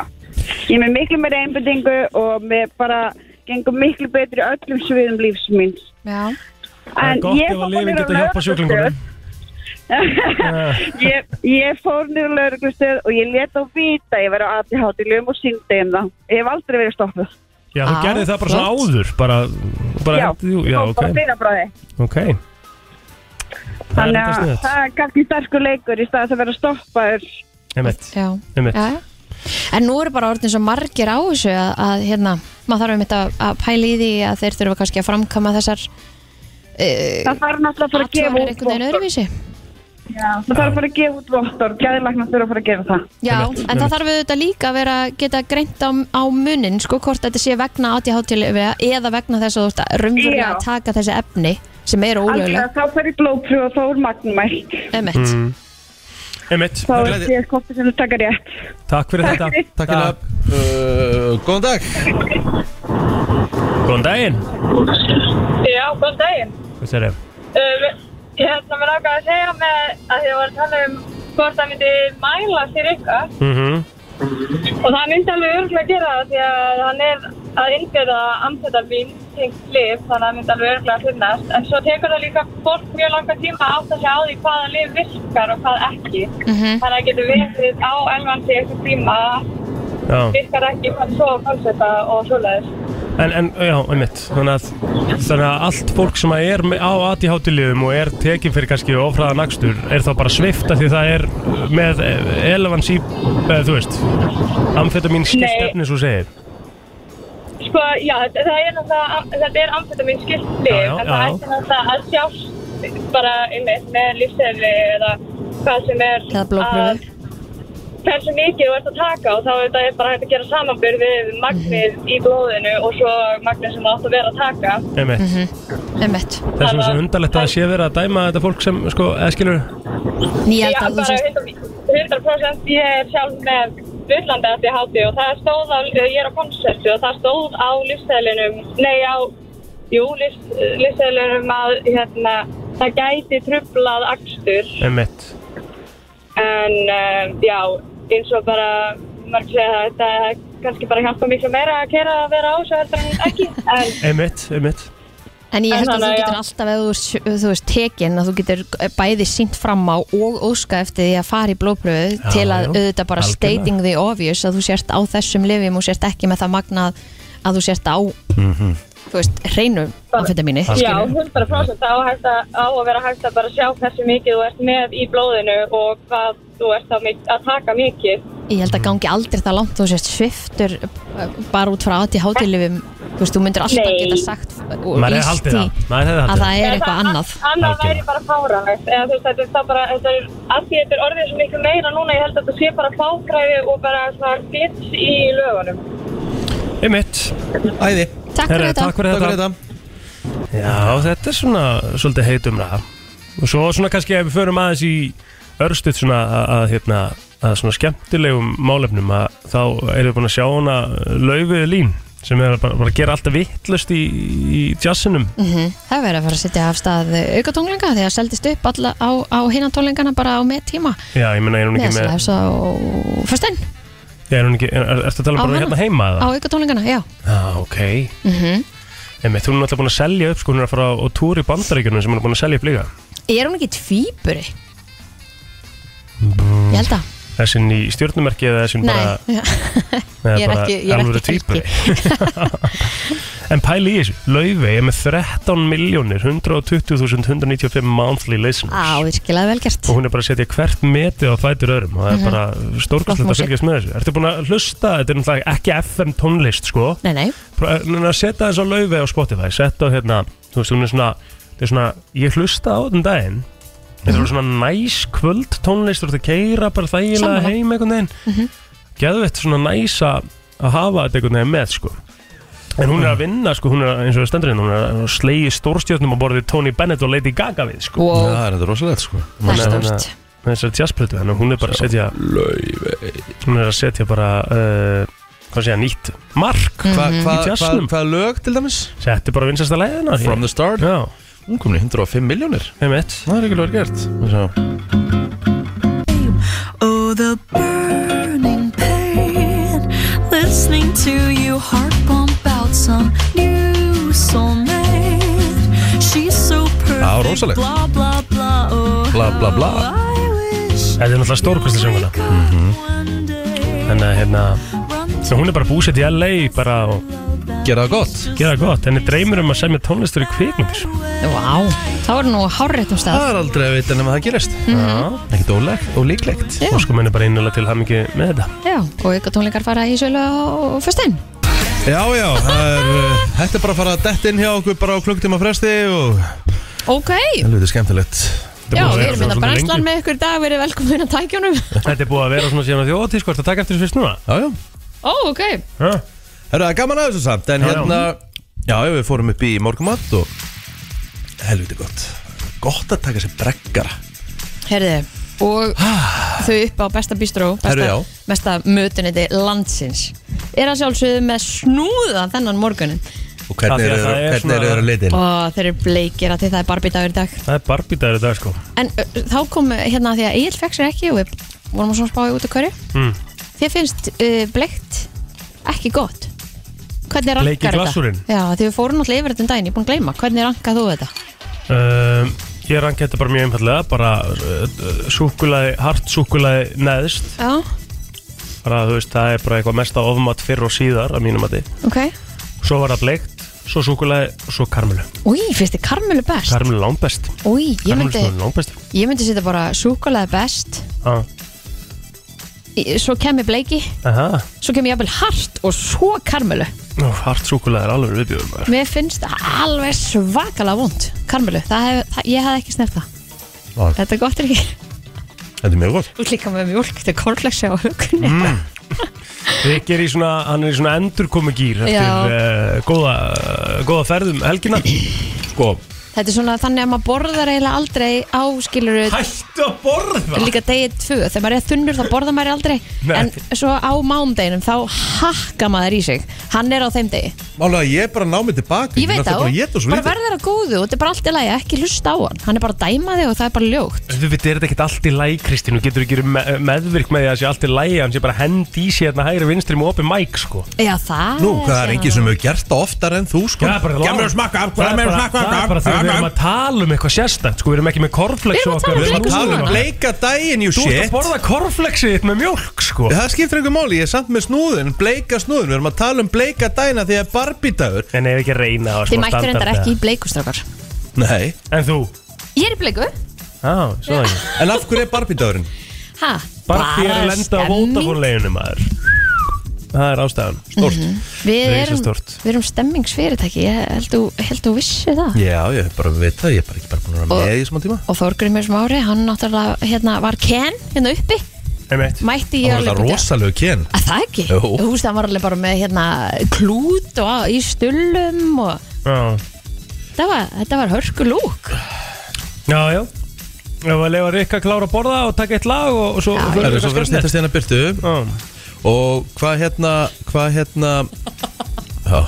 S4: ég er með miklu meira einbendingu og með bara gengur miklu betri öllum sviðum lífs míns.
S2: Já,
S3: það er
S4: En
S3: gott
S4: ég
S3: ef
S4: fór
S3: að lifin
S4: niður á
S3: geta hjálpa sjúklingunum Eh,
S4: (laughs) ég, ég fór niður á lauruglustöð og ég let á vita að ég verið á ADHD lögum og síndi um það. Ég hef aldrei verið stoppuð.
S3: Já, þú
S2: Á,
S3: gerði það bara svona
S2: flott.
S3: áður Bara, bara
S4: Ah, Já,
S3: jú, já,
S4: og
S3: ok,
S4: bara byrja frá því.
S3: ok Það er
S4: Þannig
S3: þetta
S4: að
S3: sniðt
S4: það er kannski sterkur leikur í stað þess að vera stoppaður.
S3: Einmitt,
S2: já,
S3: einmitt
S2: já En nú eru bara orðin svo margir á þessu að, að hérna, maður þarf um þetta að pæla í því að þeir þurfa kannski að framkama þessar uh,
S4: Það þarf náttúrulega að fara að gefa
S2: aðtjóðanir
S4: út
S2: einhvern veginn
S4: vottorð.
S2: öðruvísi
S4: Já, Það þarf að fara að gefa út vottor. Gæðilagnar þurfa að fara að gera það.
S2: Já,
S3: Einmitt,
S2: en það þarf
S3: einmitt.
S2: auðvitað líka að vera geta greint á, á munin, sko, hvort þetta sé vegna átíðhátíðlega eða vegna þess að þú ert að raunverulega
S4: Já.
S2: að taka þessi efni sem eru
S4: Algjörlega,
S2: ólögulega,
S4: þá fer ég blóðpröf og þá er magnumælt.
S2: emitt
S3: Einmitt,
S4: Þá er
S1: Glæði-
S4: ég skoppið sem þú takkar rétt.
S3: takk fyrir þetta
S4: fyrir.
S1: Takk fyrir uh, Góðan dag
S3: Góðan daginn
S5: Já, góðan daginn.
S3: Hvað sér ég?
S5: Um, hérna, mér langaði að segja með að þið voru að tala um hvort það myndi mæla fyrir ykkar
S3: Mhm,
S5: og það myndi alveg örgulega gera það því að hann er að innbyrða amfetamín tengt lif þannig að það myndi alveg örgulega finnast en svo tekur það líka fólk mjög langa tíma að átta sig á því hvaða lif virkar og hvað ekki
S2: Mhm.
S5: þannig að það getur verið á elvandi eitthvað tíma
S3: já
S5: virkar ekki hvað svo og hvað þetta og svoleiðis.
S3: En, en, já, einmitt Þannig að, þannig að allt fólk sem að er með- á ADHD-liðum og er tekin fyrir kannski ofraða nakstur er þá bara svifta því það er með eh, elefans í, eða, þú veist amfetamín skilt
S5: Nei.
S3: efni svo segir
S5: Sko, já, þetta það er náttúrulega, þetta er amfetamin skilti,
S3: Já, já,
S5: en það
S3: já.
S5: ætti náttúrulega að sjást bara einmitt með lífsefni eða hvað sem er
S2: Eða blóðprufu.
S5: að hversu mikið þú ert að taka og þá er þetta bara hægt að gera samanbyrð við magnið
S2: Mhm.
S5: í blóðinu og svo magnið sem það átt að vera að taka.
S3: Einmitt, mm -hmm.
S2: emitt,
S3: það er svona svo undarlegt að það sé verið að dæma þetta fólk sem, sko, eða skilur
S5: Já,
S2: nýjald að þú
S5: bara
S2: sést
S5: 100% ég er sjálf með villandi að ég háti og það stóð á, ég er á konsertu og það stóð á lífstæðlinum, nei á, jú, lífstæðlinum að hérna, það gæti trublað akstur
S3: Einmitt,
S5: en uh, já, eins og bara mörg segja það, þetta er kannski bara hjálpa miklu meira að kera að vera á þessu heldur en ekki, en
S3: einmitt, einmitt
S2: En ég held að þú
S5: Þannig að
S2: getur
S5: já.
S2: alltaf ef þú, ert- þú veist tekin að þú getur eh, bæði sínt fram á og óska eftir því að fara í blóðpröfu
S3: Já,
S2: til að
S3: já,
S2: auðvitað bara
S3: algjörlega.
S2: stating the obvious að þú sért á þessum lifjum og sért ekki með það magnað að þú sért á
S3: Mhm.
S2: þú veist, hreinum amfetamínu
S5: Já, 100% á, hægt að, á að vera hægt að bara sjá hversu mikið þú ert með í blóðinu og hvað þú ert að, að taka mikið.
S2: Ég held að gangi aldrei það langt þú sért sviftur uh, bara út frá aðti hátilifum þú veist, þú myndir alltaf
S5: Nei.
S2: geta sagt og
S3: Maður hefði
S2: lýst
S3: haldið
S2: því
S3: það, maður hefði
S2: að
S3: haldið
S2: það er
S5: En
S2: eitthvað
S5: það-
S2: annað
S5: Annað
S3: Algjörlega.
S5: væri bara fáránlegt. Eða, þú veist, þetta er það bara, þetta er, að því þetta er orðið svo miklu meira núna, ég held að þetta sé bara fákræði og bara svona glits í lögunum.
S3: Einmitt.
S1: Æði,
S2: Takk fyrir
S3: Herra,
S2: þetta
S3: takk fyrir
S1: takk
S3: þetta.
S1: fyrir þetta
S3: Já, þetta er svona svolítið heitum ræða og svo svona kannski ef við förum aðeins í örstuð svona að, að, hérna, að svona skemmtilegum málefnum að þá erum við búin að sjá hana laufið lín sem er bara, bara að gera alltaf vittlust í, í jazzinum
S2: Mhm. Það er verið að fara að setja af stað aukatónlinga því að seldist upp alla á, á hinna tónlingana bara á með tíma
S3: Já, ég meina, er hún
S2: með
S3: ekki
S2: þess að
S3: með
S2: hefsa á fyrstinn
S3: Já, er hún ekki, er, er, ertu að tala
S2: Á
S3: bara
S2: hana?
S3: hérna heima
S2: á
S3: eða?
S2: aukatónlingana, já
S3: Já, ok
S2: mm
S5: Mhm.
S3: Emi, Þú er náttúrulega búin að selja upp sko, hún er að fara á túr í bandaríkjunum sem hún er búin að selja upp líka
S2: Er hún ekki tvíburi? Ég held að,
S3: Þessin í stjórnumerki eða þessin
S2: nei
S3: bara
S2: já.
S3: Eða
S2: Ég er
S3: bara
S2: ekki- ég er ekki
S3: alvöru tvíburi. en pæli í þessu, Laufey er með 13 miljónir 120.195 monthly
S2: Á,
S3: listeners
S2: virkilega vel gert
S3: og hún er bara að setja hvert metið á fætur öðrum og það
S2: Mhm.
S3: er bara stórkastlegt
S2: Flott
S3: að fylgjast með þessu Ertu búin að hlusta, þetta er náttúrulega ekki FM tónlist sko,
S2: Nei, nei,
S3: en að setja þess á Laufey á Spotify, setja á hérna þú veist, hún er svona, þetta er svona ég hlusta á þetta um daginn þetta er svona næs kvöld tónlist þú ert að keira bara þægilega
S2: Sammála.
S3: heim einhvern veginn geðvett svona næs að að hafa þetta einhvern veginn með sko en hún er að vinna sko, hún er að- eins og það stendur hérna, hún er að slegi stórstjörnum á borðið Tony Bennett og Lady Gaga við sko
S1: Já,
S2: wow,
S1: það er þetta rosalegt sko
S2: það er
S3: Nei, nei,
S2: stórt
S3: með þessari jazzplötu þannig að hún er bara að setja hún er að setja bara uh, hvað sé ég, nýtt mark
S1: Hva- hva-
S3: Í
S1: hva-
S3: jazznum.
S1: Hvaða lög til dæmis?
S3: setti bara vinsasta leiðina
S1: From the start
S3: já,
S1: Hún komin í 105 miljónir
S3: heimitt
S1: Það er ekki lögur gert Sjá.
S6: Oh, the burning pain. Listening to you heart bump out some new soulmate. She's so perfect.
S3: Ah,
S1: Já, rosalegt.
S6: Blah, blah, blah. Oh,
S1: Bla, bla, bla.
S6: how I wish
S3: þetta er náttúrulega stórkvæmstu
S6: I'd
S3: sönguna
S6: wake up one day,
S3: Mhm. þannig að hérna,
S6: run
S3: svo hún er bara búsett í LA bara og
S6: to that
S1: Gera það gott
S3: gera það gott henni dreymir um að semja tónlistur í kvikmyndir
S2: Vá, þá er nú hárrétt um stað
S1: Það er aldrei að vita nema það gerist
S3: já
S1: Ekkert ólegt, ólíklegt
S2: Já,
S3: og sko menn er bara innilega til hamingi með þetta
S2: já, og aukatónlingar fara í sölu á fyrstinn
S1: Já, já, það er uh, Þetta er bara að fara að detta inn hjá okkur bara á klukktíma fresti og
S2: Ok,
S1: helviti skemmtilegt
S2: já,
S3: búið að
S2: við
S3: vera
S2: erum þetta
S3: svona
S2: brennslan
S3: lengi.
S2: með ykkur í dag, verið velkomin að
S3: (laughs)
S2: tækjunum
S3: Þetta er búið að vera svona síðan á þjóti sko, ertu að taka eftir þessu fyrst núna?
S1: Já, já
S2: Ó, ok,
S3: Ha?
S1: Herru, það er gaman að þessu samt En
S3: Já, já.
S1: hérna, já, já, við fórum upp í morgumatt og helviti gott Gott að taka sér breggara
S2: Herði, og
S3: Ah.
S2: þau upp á besta bistró,
S1: Herðu,
S2: besta,
S1: já.
S2: besta mötuniti landsins er að sjálfsögðu með snúða þennan morgunin
S1: Og
S3: Af því
S1: hvernig
S3: að
S1: eru
S3: það er
S1: hvernig
S3: svona-
S1: eru þeirra litin?
S2: og þeir eru bleikir að því það er barbidagur í dag
S3: Það er barbítaður í dag sko
S2: en ö, þá kom hérna að því að Egil fekk sér ekki og við vorum að svona spáði út af hverju
S3: Mm.
S2: þér finnst uh, bleikt ekki gott hvernig rankar
S3: Bleiki glasúrin?
S2: þetta? Já, því við fórum alltaf yfir þetta um daginn, ég er búin að gleyma hvernig rankar þú þetta?
S3: um, Ég rangi þetta bara mjög einfallega bara uh, súkulaði, hart súkulaði neðst
S2: Já,
S3: bara þú veist, það er bara eitthvað mesta ofmat fyrr og síðar að mínum að þið
S2: ok
S3: Svo var það bleikt, svo súkulaði og svo karmelu
S2: Új, finnst þið karmelu best?
S3: Karmelu langbest
S2: Új, ég
S3: Karmelu
S2: myndi,
S3: er langbest
S2: ég myndi setja bara súkulega best
S3: ah.
S2: Í- svo kemur bleiki,
S3: Aha.
S2: svo kemur jafnvel hart og svo karmelu.
S3: Nú, hart súkulaði er alveg viðbjöðum maður
S2: Mér finnst það alveg svakalega vond karmelu, það hef, það, ég hef ekki snert það.
S1: Vá.
S2: Þetta er gott er ekki. (laughs)
S1: Þetta er mjög gott
S2: Þú ert líka með mjölk, þetta er kornfleksi á hugunni. Mm,
S3: Rikki er í svona, hann er í svona endurkomugýr
S2: Já.
S3: eftir uh, góða, uh, góða ferðum helgina
S1: Sko,
S2: þetta er svona þannig að maður borðar eiginlega aldrei á skiluru
S3: Hættu að borða
S2: líka degið tvö. Þegar maður er þunnur þá borðar maður aldrei.
S3: Nei.
S2: En svo á mándeginum þá hakka maður í sig. Hann er á þeim degi.
S1: málega ég er bara að ná mig tilbaka
S2: Ég veit það
S1: það
S2: og bara
S1: Bara
S2: verður að góðu og þetta er bara allt í lagi, ekki hlusta á hann. Hann er bara að dæma þig og það er bara ljótt.
S3: Þú veit, er þetta ekkert allt í læg, Kristín og getur ekki verið me meðvirk með því að það sé allt í læg hann sé bara hend í sig hérna hægri vinstri með opið mæk, sko
S2: Já, það
S1: Nú, hvað er
S2: síðan
S1: enginn
S2: annað.
S1: sem hefur gert það oftar en þú, sko?
S3: Það er bara lág-
S1: Gemur að smakka,
S3: Það
S1: hvað
S3: er
S1: er meira
S3: bara-
S1: smakka?
S3: Það er bara þegar við erum að tala um eitthvað sérstætt, sko Við erum ekki með
S2: Við
S3: korflex
S2: erum að
S1: Við
S2: tala um
S1: erum að tala um
S2: Snúðuna.
S1: bleika daginn, you
S3: Þú ert að
S1: shit
S3: borða korflexið þitt með mjólk, sko
S1: Það skiptir einhver máli, ég er samt með snúðun, bleika snúðun Við erum að tala um bleika dagina því að barbítagur
S3: En ef ekki að reyna á smá
S2: Þið mættur endar
S3: standard,
S2: ekki í bleikustrákar
S1: Nei,
S3: eða- En þú?
S2: Ég er í bleiku
S3: Á, svo það ekki
S1: en af hverju er barbítagurinn?
S2: ha,
S3: Barbi er að lenda á
S2: stemming.
S3: vótafónleginu, maður Það er ástæðan
S1: Stort
S2: Við
S3: Það er
S2: erum,
S3: risastórt.
S2: við erum stemmingsfyrirtæki Ég held þú, held þú vissi það
S1: (laughs) Já, ég hef bara veit það, ég er bara ekki bara búin að vera
S2: Og-
S1: með í smá tíma
S2: Og Þorgrymur Smári, hann náttúrulega hérna, var Ken hérna uppi
S3: einmitt
S2: mætti
S1: Það
S2: ég
S1: var
S2: alveg
S1: þetta rosalegu kyn
S2: að það ekki,
S1: Jú.
S2: þú veist það var alveg bara með hérna klút og á- í stullum og
S3: Já,
S2: þetta var, þetta var hörku lúk
S3: já, já Ég var að lefa Rikka að klára að borða og taka eitt lag og, og svo
S1: Það
S2: Já,
S1: er svo fyrir að
S3: skemmtilegt.
S1: snýttast hérna byrtu
S3: Já,
S1: Og hvað hérna Hvað hérna
S2: (laughs)
S1: Já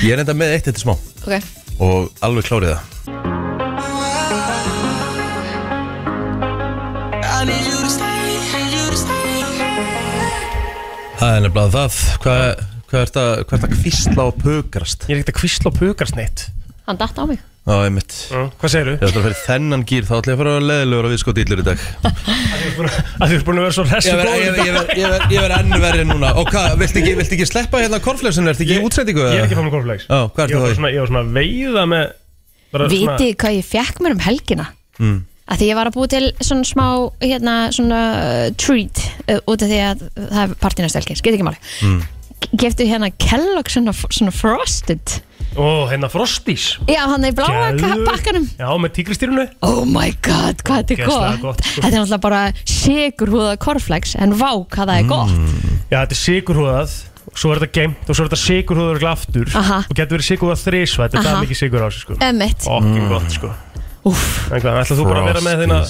S1: Ég er enda með eitt þetta smá
S2: ok,
S1: Og alveg klárið það Það er nefnilega það Hvað, hvað ert að, hvað ert að kvistla og pökrast?
S3: Ég er ekkert að kvísla og pukast neitt
S2: hann datt á mig
S1: Já, einmitt
S3: Já, Hvað segirðu?
S1: Ég ætla að fyrir þennan gýr Þá ætla ég að fara að leðilegur að viðskot íllur í dag
S3: Að þú ert búin að vera svo hressu
S1: Ég verð
S3: góður
S1: ver, ver, ver enn verri núna Og hvað, viltu ekki, viltu ekki sleppa hérna korflöfsinn? Ertu ekki í útsendingu?
S3: Ég er
S1: eða?
S3: ekki famin korflegs
S1: Já, hvað ertu þá í?
S3: Ég var bara svona- ég var svona að veiða með bara svona-
S2: vitið hvað ég fekk mér um helgina mm. að því ég var að búi til svona smá hérna svona uh, treat uh, út af því að það er partinastelgi skil ekki máli mm. geftu hérna Kellogg svona, svona frosted
S3: Ó, hérna Frostís
S2: já hann er í bláa
S3: Geðveikt.
S2: ka- pakkanum
S3: Já, með tígristýrunu
S2: oh my god hvað þetta er
S3: Ógeðslega
S2: gott,
S3: gott, sko.
S2: þetta er náttúrulega bara sigur húða korflex en vá hvað það er gott
S3: Já, þetta er sigurhúðað Svo er þetta geimt og svo er þetta sigurhúðað örugglega aftur
S2: Aha.
S3: Og getur verið sigurhúðað þrisva Þetta er
S2: Aha.
S3: það mikið sigur á sig sko
S2: ömmit
S3: Okkur gott sko
S2: Úff,
S3: En hvað, ætla þú bara að vera með þína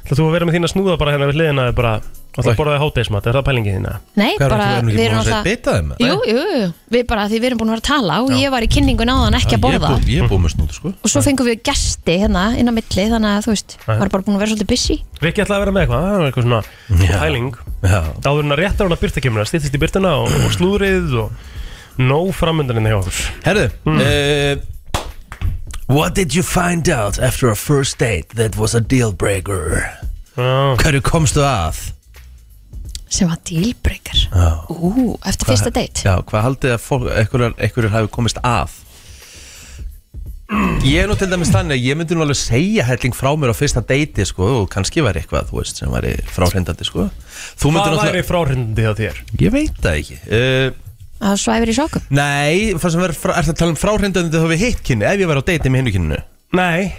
S3: Ætla þú að vera með þína snúða bara hérna við hliðina þér bara Ætla
S1: Oj.
S3: að borðaði hátegismat, er það pælingið þína?
S2: nei
S1: Hvað er
S2: bara
S1: þetta? Við erum ekki búin að hérna? beita þeim? eða?
S2: Jú, jú, jú, við bara því við erum búin að vera að tala og ég var í kynningun áðan ekki að borða
S1: Ég er bú- Ég er búið með snútu sko
S2: og svo fengum við gesti hérna inn á milli þannig að þú veist, var bara búin að vera svolítið busy
S3: Rikki ætla að vera með eitthvað, það er eitthvað svona
S1: Já.
S3: pæling
S1: Já
S3: Áður en að réttar hún að byrta kemur, það stýttist í byrtuna og, og slúðrið og nóg framöndarinn hjá okkur
S1: Herðu
S3: Hmm.
S1: eh, What did you find out after a first date that was a deal breaker?
S3: Já,
S1: Hverju komstu að?
S2: sem var dealbreaker
S1: Já.
S2: Ú, eftir fyrsta date
S1: Já, hvað haldið að fólk, einhverjar, einhverjar hafi komist að? Ég er nú til dæmis þannig að ég myndi nú alveg segja helling frá mér á fyrsta deiti sko og kannski væri eitthvað, þú veist, sem væri fráhrindandi sko Þú myndir
S3: Hvað
S1: náttúrulega,
S3: væri fráhrindandi hjá þér?
S1: ég veit það ekki uh,
S2: að svæfir í sjókum
S1: Nei, það sem verður, frá- ertu að tala um fráhrindandi þá við hitt kynni, ef ég væri á deiti með hinnu kynnu
S3: Nei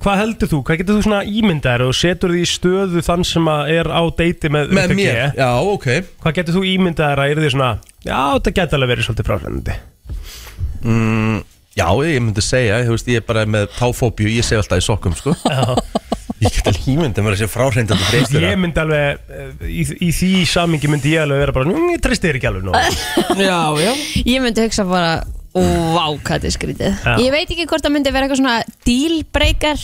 S3: Hvað heldur þú? Hvað getur þú svona ímyndaðir og setur því í stöðu þann sem að er á deiti með,
S1: Með
S3: Rikka G?
S1: mér, já, ok
S3: Hvað getur þú ímyndaðir að er því svona Já, þetta getur alveg verið svolítið fráhrindandi
S1: Já, ég myndi segja, þú veist, ég er bara með táfóbíu, ég segi alltaf í sokkum, sko Ég get alveg ímyndið mér að sé fráhrindandi breyslur
S3: Ég myndi alveg, eh, í, í því samingi myndi ég alveg vera bara "Mm, Ég treysti þér ekki alveg nú
S1: (laughs) Sko. Já, já
S2: ég myndi hugsa bara, ó, vá, hvað þetta er skrítið
S3: Já.
S2: ég veit ekki hvort það myndi vera eitthvað svona dealbreaker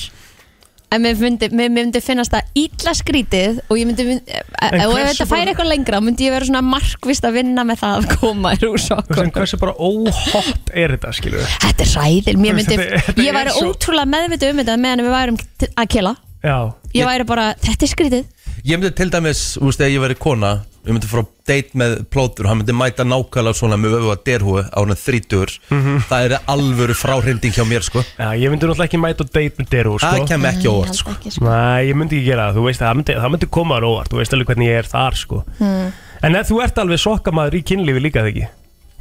S2: en mér myndi, mér myndi finnast það illa skrítið og ég myndi, myndi
S3: En
S2: og ef
S3: hversu
S2: þetta færi
S3: bara-
S2: eitthvað lengra þá myndi ég vera svona markvist að vinna með það að koma þér úr sjókum
S3: Hversu, hversu bara óhott er þetta, skilur við
S2: þetta er sæðil, mér myndi
S3: Þetta- þetta
S2: ég
S3: er
S2: væri
S3: svo-
S2: ótrúlega meðvitið um þetta meðan við værum t- að kela
S3: Já,
S2: ég væri bara, þetta er skrítið
S1: Ég myndi til dæmis, þú veist, ef ég væri kona Ég myndi fara á date með plótur Hann myndi mæta nákvæmlega svona með öfu að derhúi á hann þrítur Það er alvöru fráhrinding hjá mér, sko
S3: já ég myndi náttúrulega ekki mæta á date með Deru, sko
S1: Það kem ekki á
S2: Ég
S1: óvart,
S2: held
S1: sko
S2: ekki, sko.
S3: Nei, ég myndi ekki gera það, þú veist það myndi, það myndi koma þér á óvart, þú veist alveg hvernig ég er þar sko En ef þú ert alveg sokkamaður í kynlífi líka þegar ekki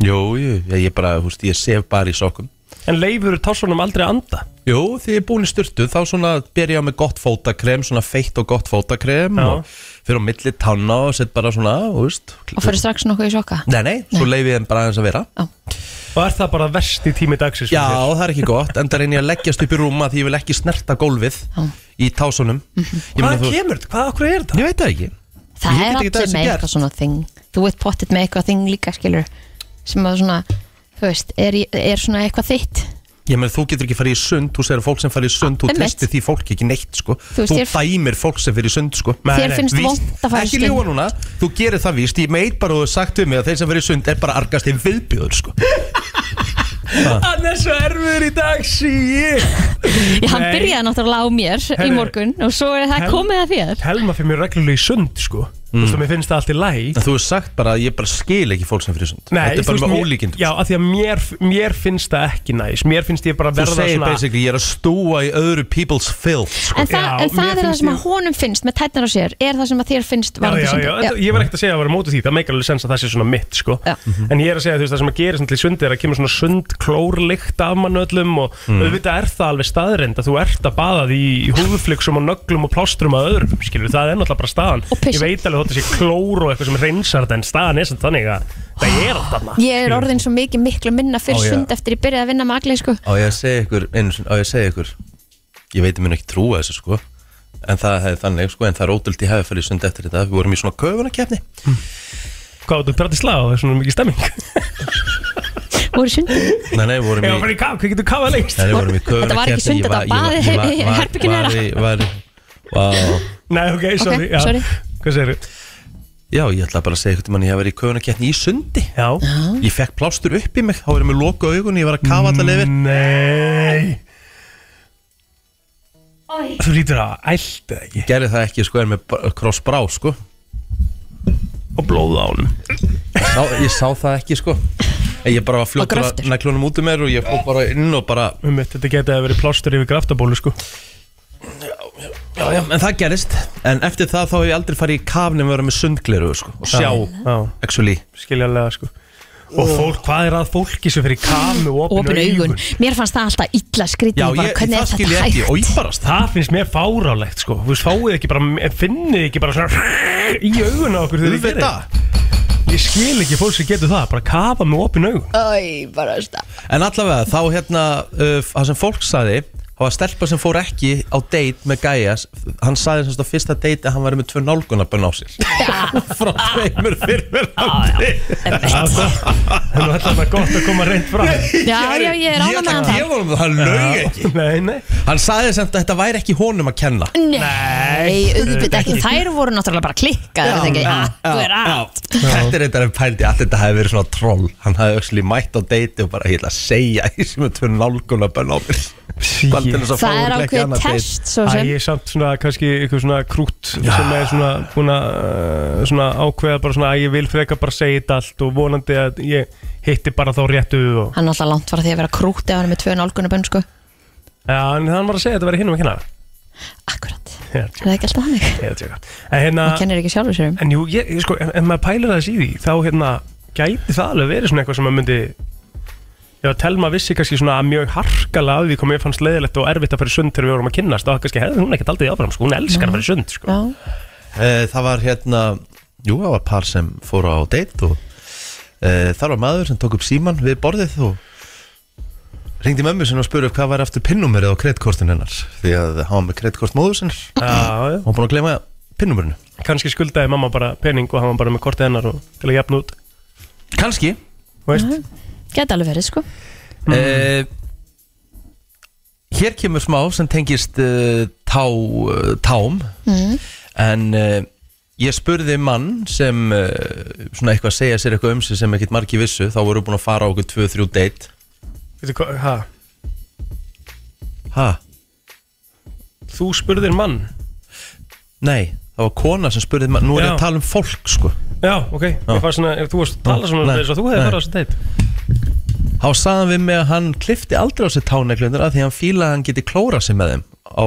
S1: Jú, jú, ég, ég bara, þú veist, ég sef bara í sokkum
S3: En leifur tásunum aldrei að anda
S1: Jú, því ég er búin í styrtu þá svona ber ég á með gott fótakrem svona feitt og gott fótakrem
S3: Já.
S1: og fyrir á milli tanna og sett bara svona, þú veist
S2: og fyrir strax nokkuð í sjokka
S1: Nei, nei, svo leif ég þeim bara aðeins að vera
S3: Og er það bara verst í tími dagsins
S1: Já, það er ekki gott, enda reyni ég að leggjast upp í rúma því ég vil ekki snerta gólfið í tásunum Ég meina,
S3: Hvað
S1: þú-
S3: kemur þetta? Hvað okkur er þetta?
S1: Ég veit það ekki
S2: það
S1: Ég
S2: er
S1: get ekki
S2: allir
S1: þessu
S2: með
S1: gert.
S2: eitthvað svona þing þú ert pottitt með eitthvað þing líka skilur sem að svona, þú veist, er, í- er svona eitthvað þitt
S1: Ég meina, þú getur ekki farið í sund, þú segir að fólk sem farið í sund þú
S2: Einmitt.
S1: tristir því fólk ekki neitt, sko
S2: veist,
S1: Þú
S2: ég-
S1: dæmir fólk sem fyrir í sund, sko
S3: Nei,
S2: þér
S3: nei,
S2: finnst
S1: Víst.
S2: vond að fara í
S1: Ekki
S2: stund.
S1: ljúa núna, þú gerir það víst Ég meit bara og þú hefur sagt við mig að þeir sem fyrir sund er bara argast þeim viðbjóður sko.
S3: Hann er svo erfur í dag, sí
S2: Já, hann
S3: Nei.
S2: byrjaði náttúrulega á mér í
S3: Herru,
S2: morgun og svo er það
S3: hel-
S2: komið að þér
S3: Helma fyrir mér reglulega í sund, sko mm. Þú veist, og mér finnst það allt í læg
S1: En þú hefur sagt bara að ég bara skil ekki fólk sem frísund
S3: Nei,
S1: Þetta er
S3: þú
S1: bara
S3: veist,
S1: með
S3: mér-
S1: ólíkindum
S3: Já, af því að mér, mér finnst það ekki næs Mér finnst ég bara
S1: Þú
S3: verða
S1: segir
S3: svona
S1: basically ég er að stúa í öðru people's filth sko.
S2: En það,
S3: Já,
S2: en það
S3: mér
S2: er það
S3: finnst
S2: sem
S3: ég-
S2: að honum finnst með tætnar á sér, er það sem að þér finnst
S3: Já,
S2: varandi
S3: já, já,
S2: sundið.
S3: já. ég var ekkert að segja að vera mótið því Það meikar alveg sens að það sé svona mitt, sko
S2: Já.
S3: En ég er að segja, þú veist, það sem að gera svona til sundi er að kemur svona sund klórlikt af mann öllum og auðvitað er það alveg staðrend að þú ert að baða því í húðflixum og nöglum og plástrum að öðrum, skilur, það er náttúrulega bara staðan
S2: Og pissi.
S3: Ég veit alveg þótt að sé klór og eitthvað sem reynsar þetta en staðan er sem þannig að það er allt þarna
S2: Ég er orðin svo mikið miklu minna fyrir
S1: Ó, já.
S2: sund eftir ég byrjaði að vinna með agli sko.
S1: Á ég að segja ykkur, einu sinni, á ég að segja ykkur Ég veit ég mun ekki trúa þessu sko En það hefði þannig sko, en það er ótrúld ég hefði farið í sund eftir þetta Við vorum í svona köfunakefni
S3: Hvað, þú pratir slag og það er svona mikið stemming
S2: Voru sundið.
S1: Nei, nei, við vorum
S3: Já,
S1: í
S3: bara í kaf, hvað getur kafað lengst?
S1: Nei, við vorum í köfunakefni
S2: Þetta var ekki sund, þetta var baðið í herberginu þeirra.
S1: Var, var, var,
S3: Nei, ok, sorry, já.
S2: sorry.
S3: Hvað segir þú?
S1: já, ég ætla bara að segja ykkur til manni Ég hef verið í köfunakefni í sundi
S3: Já
S2: Ah.
S1: Ég fekk plástur upp í mig, þá verið mér loka augun Ég var að kafa allar
S2: Mm.
S1: yfir
S3: Nei Þú lítur að ælta ekki
S1: Gerði það ekki sko, er með krossbrá sko
S3: Og blóða á hún
S1: Sá, ég sá það ekki sko En Ég bara var fljóttur
S2: Og
S1: að
S2: gröftur.
S1: neklunum út um mér og ég fór bara inn og bara
S3: Um mitt, þetta geti að verið plástur yfir graftabólu sko
S1: já, já, En það gerist En eftir það þá hef ég aldrei farið í kafnum að vera með sundgleru sko, og sjá
S3: Já,
S1: actually
S3: skiljanlega sko Og fólk, hvað er að fólki sem fyrir kamu og
S2: Opin
S3: opinu
S2: augun.
S3: augun?
S2: Mér fannst það alltaf illa skrítið.
S1: Já,
S2: bara,
S1: ég,
S2: hvernig
S1: það
S2: er
S1: skil ég
S2: þetta
S1: ekki
S2: hægt?
S1: og ég bara það
S3: Það finnst mér fárálegt sko Þú veist, fáið ekki bara, finnið ekki bara svona (laughs) Í augun á okkur þegar þið
S1: Auðvitað.
S3: gerir Ég skil ekki fólk sem getur það Bara kafa með opinu augun
S2: Æ,
S3: (laughs)
S2: bara stað.
S1: En allavega þá hérna uh, það sem fólk saði það var stelpa sem fór ekki á date með Gæjas hann saði semst á fyrsta date að hann væri með tvö nálgunarbönn á sér (laughs) frá tveimur fyrir
S3: Þannig að þetta er gott að koma reynd fram
S2: (laughs) Já, já, ég er ánægð með hann það.
S1: Ég var um það, hann laug ekki
S3: Nei, nei
S1: Hann saði sem að þetta væri ekki honum að kenna
S2: Nei, auðvitað ekki. Þær voru náttúrulega bara klikkað, er það ekki? Ah, Þú er allt.
S1: Þetta er eitthvað pældi að þetta hefði verið svona troll Hann hefði öxli mætt á deiti og bara ég ætla að segja Ég sem er tvö nálguna bönn á mér Bara til þess að fá
S2: Það er
S1: örugglega ekki
S2: ákveðið
S1: annað date.
S2: test, svo
S3: Æ,
S2: sem.
S3: ég er samt svona, kannski, eitthvað svona krútt sem er svona, búin að uh, svona ákveða bara svona að ég vil freka bara segja þetta allt og vonandi að ég hitti bara þá réttu og
S2: Hann er alltaf langt var því að vera krútið á hann með tvö nálgunabönn, sko.
S3: Já, en hann var að segja þetta verið hinum að kenna
S2: Akkurat.
S3: Já,
S2: Er það ekki alltaf þannig?
S3: ég tjóka En hérna,
S2: Hann kennir ekki sjálfur sér um.
S3: en jú, ég, ég sko, en, en maður pælir aðeins í því þá hérna, gæti það alveg verið svona eitthvað sem maður myndi Já, Telma vissi kannski svona mjög harkalega af því hvað mér fannst leiðilegt og erfitt að fara í sund þegar við vorum að kynnast og kannski hefði hún ekkert aldrei áfram, sko, hún elskar að fara í sund, sko.
S2: Já.
S1: Eh, Það var hérna Jú, það var par sem fór á date og uh, þar var maður sem tók upp síman við borðið og ringdi mömmu sinni og spurði hvað var aftur pinnúmerið á kreddkortin hennar því að hann var með kreddkort móður sinni og
S3: Já, já.
S1: hann var búin að glema pinnúmerinu
S3: kannski skuldaði mamma bara pening og hann var bara með kortið hennar og til að jafna út
S1: Kanski
S3: þú veist,
S2: Gæti alveg verið, sko.
S1: Eh, Hér kemur smá sem tengist uh, tá, uh, tám en uh, ég spurði mann sem uh, svona eitthvað að segja sér eitthvað um sig sem ekkert margi vissu þá voru búin að fara á okkur 2-3 date
S3: veitu hvað, ha
S1: ha,
S3: þú spurðir mann,
S1: nei, það var kona sem spurði mann nú er ég
S3: Já.
S1: að tala um fólk sko
S3: já, ok ég fannst svona, ef þú varst að tala svona um
S1: Nei,
S3: þess að þú hefði
S1: nei.
S3: farað þess að deitt
S1: þá sagðan við mig að hann klifti aldrei á sér táneglundur af því að hann fílaði að hann geti klórað sig með þeim á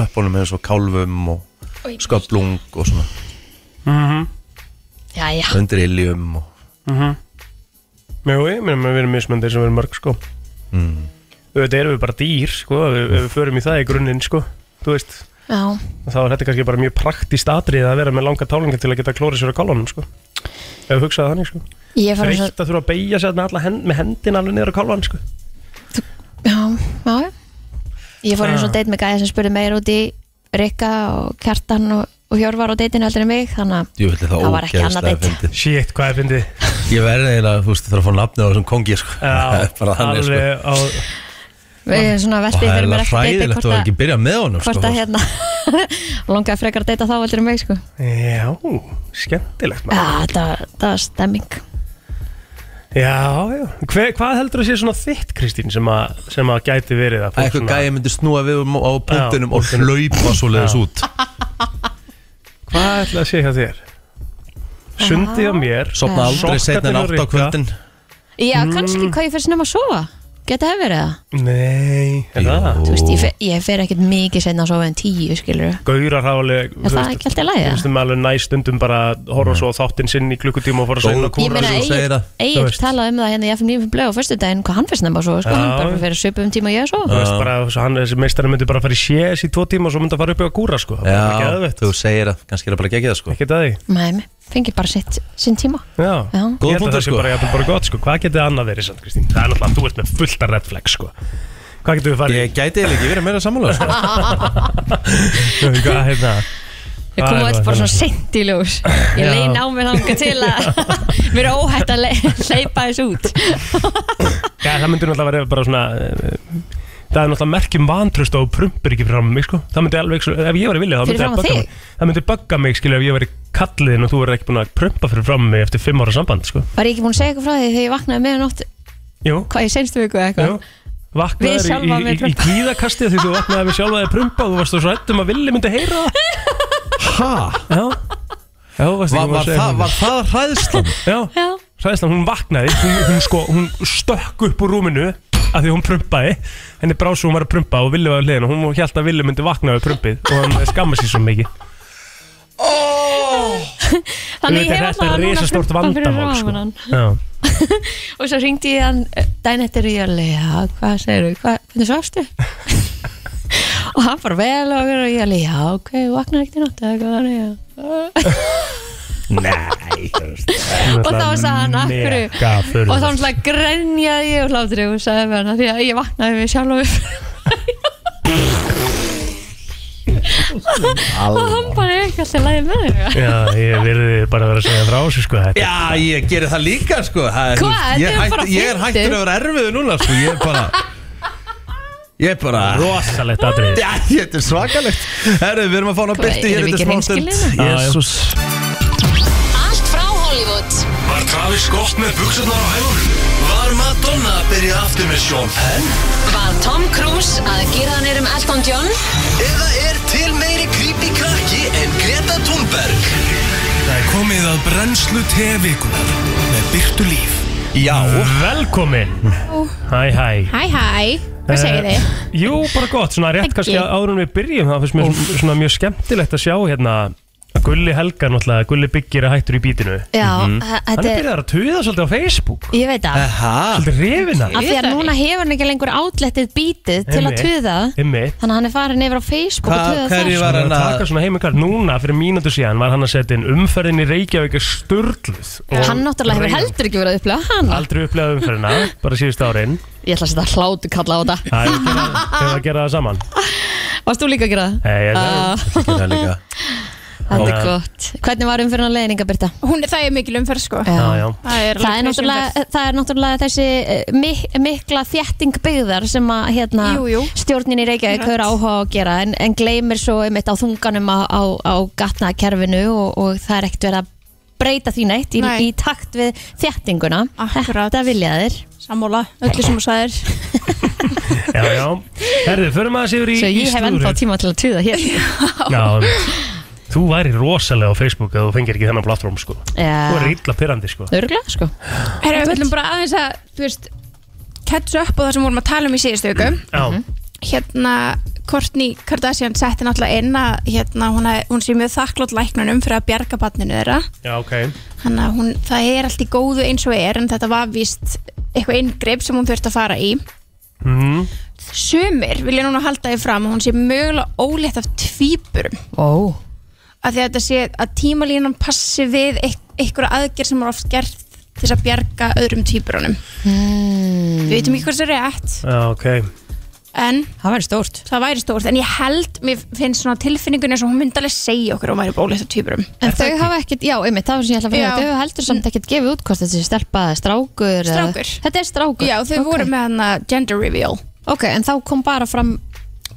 S1: löpunum eins og kálfum og sköplung og svona
S3: Mhm,
S2: Já, já.
S1: undir iljum og
S3: jú, ég meina við erum mismöndir sem við erum mörg sko mm. auðvitað erum við bara dýr sko, ef við, ef við förum í það í grunninn sko þú veist,
S2: Já.
S3: þá er þetta kannski bara mjög praktíst atrið að vera með langa tálingar til að geta klórið sér á kálunum sko ef við hugsaði þannig sko
S2: Ég er farin svo
S3: Reitt að þurfa að beigja sér með, hend, með hendin alveg niður á kálvan sko
S2: Já, já, já. Ég fór
S1: Ah.
S2: eins og date með gæði sem spurði meir út í Rikka og Kjartan og, og Hjörvar á deitinu heldur en mig þannig að
S1: Jú, þetta er það
S2: Það var ekki annað
S1: ógeðslega
S2: deitt.
S1: fyndið.
S3: Shit, hvað er fyndið
S1: Ég verði eiginlega, þú veist, það er að fá nafnið á þessum kongi sko. (laughs) Það
S3: Já,
S1: er bara hann sko.
S3: alveg á
S2: við erum svona
S1: Og
S2: veltið
S1: það er
S2: fyrir
S1: alveg
S2: mér eftir deiti
S1: hræðilegt
S2: hvort
S1: að
S2: að,
S1: ekki byrja með honum sko.
S2: hvort að hérna (laughs) longaði frekar að deita þá heldur en mig sko.
S3: Já, skemmtilegt
S2: Já,
S3: maður
S2: þetta það var stemming
S3: Já, já Hver, Hvað heldur að sé svona þitt, Kristín, sem, a, sem að gæti verið að
S1: Að Eitthvað gæði myndi snúa við um- á punktinum og
S3: punktinum.
S1: hlaupa svo leiðis út
S3: Hvað ætla að sé hjá þér? Sundið á mér
S1: Sopna aldrei
S3: Sokkarnir
S1: setna en
S3: á
S1: átt á
S3: Rikka.
S1: kvöldin
S2: Já,
S1: Mm.
S2: kannski hvað ég fyrir snemma að sofa Geta það verið það?
S3: Nei, er það?
S2: Þú veist, ég fer, ég fer ekkert mikið setna að sofa en tíu, skilur
S3: Gaurar háleg
S2: Er það ekki alltaf lægið?
S3: Þú veist, með alveg næst stundum bara að horfa svo á þáttinn sinn í klukkutíma og fara að segna
S1: Mm. Góð
S2: Ég
S1: kúra
S2: meina,
S1: sem þú segir að
S3: Þú
S2: Egil
S3: veist.
S2: talaði um það hérna í FM 9 blöð á fyrstu daginn hvað hann fyrir snemma að sofa, sko,
S3: Já.
S2: hann bara fyrir svipum tíma og ég að
S3: Þú
S2: sofa
S3: veist bara, þessi- hann, þessi meistari myndi bara fara í sjés í tvo tíma og svo myndi að fara upp í að kúra, sko Það var ekki
S1: Já,
S3: aðvett,
S1: þú segir að kannski er að bara gegja það sko
S3: ekki það því
S2: Nei, fengi bara sitt, sinn tíma
S3: Já,
S2: Já.
S1: Góð
S3: ég held að
S1: punktur,
S3: það sé
S1: sko.
S3: bara, jafnvel bara gott, sko Hvað getið annað verið, sann Kristín? Það er náttúrulega, þú ert með fullta red flag, sko Hvað getum við farið?
S1: Ég gæti eða ekki verið meira sammála (laughs) sko.
S3: Ég... (laughs) Hvað, hérna,
S2: Við
S3: Það
S2: komum
S3: er
S2: alls
S3: bara
S2: bara svona
S3: þannig.
S2: sent í
S3: (laughs)
S2: ljós Ég
S3: Já.
S2: leina á mig þanga til
S3: (laughs)
S2: að mér er óhætt að le- hleypa þessu út
S3: Já, það myndi náttúrulega verið bara svona eh, Það er náttúrulega merkjum vantröst og prumpur ekki fyrir fram mig sko Það myndi alveg, ef ég var að vilja það
S2: Fyrir
S3: myndi
S2: framan
S3: það bugga
S2: þig?
S3: mig Það myndi bugga mig skilja ef ég var í kalliðin og þú verið ekki búin að prumpa fyrir fram mig eftir fimm ára samband sko
S2: Var ég ekki búin að segja eitthvað frá því þegar ég vaknaði með nótt
S3: Jú,
S2: hvað ég senstu viku eða
S3: jú
S2: eitthvað Við
S3: Vaknaðir í,
S2: sjálfa
S3: í,
S2: mig
S3: í, í
S2: prumpa.
S3: kvíðakasti því þú vaknaði við sjálfaði prumpa og þú varst svo rætt um að villi myndi heyra það
S1: Ha?
S3: Já, já, þú varst
S1: Var,
S3: ekki búin
S1: var,
S3: að segja
S1: það,
S3: það.
S1: var það hræðslan?
S3: Já,
S2: Já,
S3: Sæðislega, hún vaknaði, hún, hún, sko, hún stökk upp úr rúminu af því hún prumpaði, henni brá svo hún var að prumpa og Villi var að hliðin og hún held að Villi myndi vakna við prumpið og hann skamma sér svo mikið.
S2: þannig ég
S3: Auðvitað er
S2: hef
S3: þetta
S2: alltaf núna
S3: risastórt
S2: prumpa fyrir
S3: vandamál, sko.
S2: framan hann.
S3: Já.
S2: (laughs) og svo ringdi ég hann eh, daginn eftir og ég alveg, já, hvað segirðu, hvað, hvernig svafstu? (laughs) og hann bara vel og, og ég alveg, já, ok, vaknar ekkert í nótt eða eitthvað þannig, já.
S1: (laughs) Nei þú veist.
S2: og þá sagði hann, af hverju
S3: hverju?
S2: og þá hann grenjaði ég og hlátri og sagði við hann að því að ég vaknaði við sjálf (laughs) og hann bara er ekki alltaf lægið með þér
S3: Já, ég virði bara að vera að segja frá þessu sko þetta.
S1: Já, ég gerir það líka sko það, er- þú
S2: Hvað?
S1: veist, Ég,
S2: Þetta er
S1: hætt-
S2: bara
S1: ég er
S2: fyndið.
S1: hættur að vera erfiðu núna sko Ég er bara Ég er bara
S3: Rosalegt atrið.
S1: Já, þetta er svakalegt Herru, við erum að fá hana
S2: Hvað,
S1: byrti
S2: erum
S1: hér
S2: við
S1: eftir
S2: ekki
S1: smá stund
S2: hreinskilin?
S3: Jésús.
S7: Allt frá Hollywood
S8: Var Travis Scott með buksurnar á hægur? Var Madonna að byrja aftur með Sean Penn?
S7: Var Tom Cruise að gera hann erum Elton John
S8: Eða er til meiri creepy krakki en Greta Thunberg? Það er komið að brennslu tevikunar með byrtu líf.
S1: Já, Mm.
S3: Velkomin. Hæ, hæ.
S9: Hæ, hæ, hvað segir þið?
S3: Eh, Jú, bara gott, svona rétt
S9: Ekki.
S3: kannski áður en við byrjum það finnst mér svona, svona mjög skemmtilegt að sjá hérna að Gulli Helga náttúrulega, Gulli Byggir er hættur í bítinu
S2: já, þa-
S3: Mhm. Hann
S2: þetta
S3: er Eh.
S2: er,
S3: byrjað að tuða svolítið á Facebook
S2: ég veit að
S1: hæ?
S3: Svolítið rifina
S2: af því að núna hefur hann ekki lengur átlettið bítið til að
S3: Einmitt.
S2: tuða
S3: Einmitt
S2: þannig að hann er farin yfir á Facebook og
S1: Hva-
S2: tuða þar
S1: hverju
S2: sko.
S1: var-
S3: Hann er að
S1: hann að-
S3: taka svona heimikar Núna fyrir mínútu síðan var hann að setja inn umferðin í Reykjavík er sturgluð
S2: hann náttúrulega hefur heldur ekki verið að upplega hann
S3: Aldrei upplegað umferðina, bara síðust árin
S2: ég ætla að setja hlátu kalla á þetta
S3: Það er ekki að, hefur að gera það saman
S2: varst þú líka að gera það?
S3: Nei, Eh, ég
S2: Ah.
S3: er
S1: Það líka
S2: þetta
S3: Já.
S2: er gott hvernig var umfyrir hann leiðninga Birta?
S9: Hún, það er mikil umferð sko
S3: Já, já.
S9: Það er,
S2: Það er, náttúrulega, það er náttúrulega þessi eh, mik mikla þjætting byggðar sem að hérna,
S9: Jú, jú.
S2: stjórnin í Reykjavík hefur
S9: Akkurat.
S2: áhuga á að gera en, en gleymir svo einmitt á þunganum á, á, á gatnakerfinu og, og það er ekkert verið að breyta því neitt í,
S9: Nei.
S2: í takt við þjættinguna
S9: Akkurat.
S2: þetta vilja þeir
S9: Sammála, öllu sem þú sagðir
S3: Já, já Herðu, förum aðeins yfir í
S2: svo ég
S3: í
S2: hef ennþá
S3: slúðrið.
S2: tíma til að tuða
S9: (laughs)
S2: hér
S3: Já, um, þú væri rosalega á Facebook að þú fengir ekki þennan plattform sko Þú er
S2: ja,
S3: illa pyrrandi sko
S2: örgulega sko
S9: Herra, við ætlum bara aðeins að, þú veist catch up á það sem vorum að tala um í síðustu viku
S3: Já,
S2: Mhm.
S9: Hérna, Kourtney Kardashian setti náttúrulega inn að hérna, hún, hafði- hún sé mjög þakklátt læknunum fyrir að bjarga barninu þeirra
S3: já, ok
S9: Þannig að hún, það er allt í góðu eins og er en þetta var víst eitthvað inngrip sem hún þurfti að fara í
S3: mm.
S9: Sumir vilja núna halda því fram að hún sé mögulega ólétt af tvíburum
S2: Ó,
S9: að því að þetta sé að tímalínan passi við eit- einhverja aðgerð sem er oft gert til þess að bjarga öðrum tvíburunum við veitum ekki hvað það er rétt
S3: Já, ok
S9: en
S2: það væri stórt
S9: það væri stórt en ég held, mér finnst svona tilfinningun eins og hún myndi alveg segja okkur að hún væri bólið af tvíburum
S2: En þau hafa ekkert, já, einmitt, það var sem ég ætla að
S9: Já.
S2: finna Þau hafa heldur samt ekkert gefið út hvort þetta er stelpa, eða strákur eða-
S9: Strákur.
S2: Þetta er strákur?
S9: já, þau
S2: Ok.
S9: voru með hana gender reveal
S2: Ok, en þá kom bara fram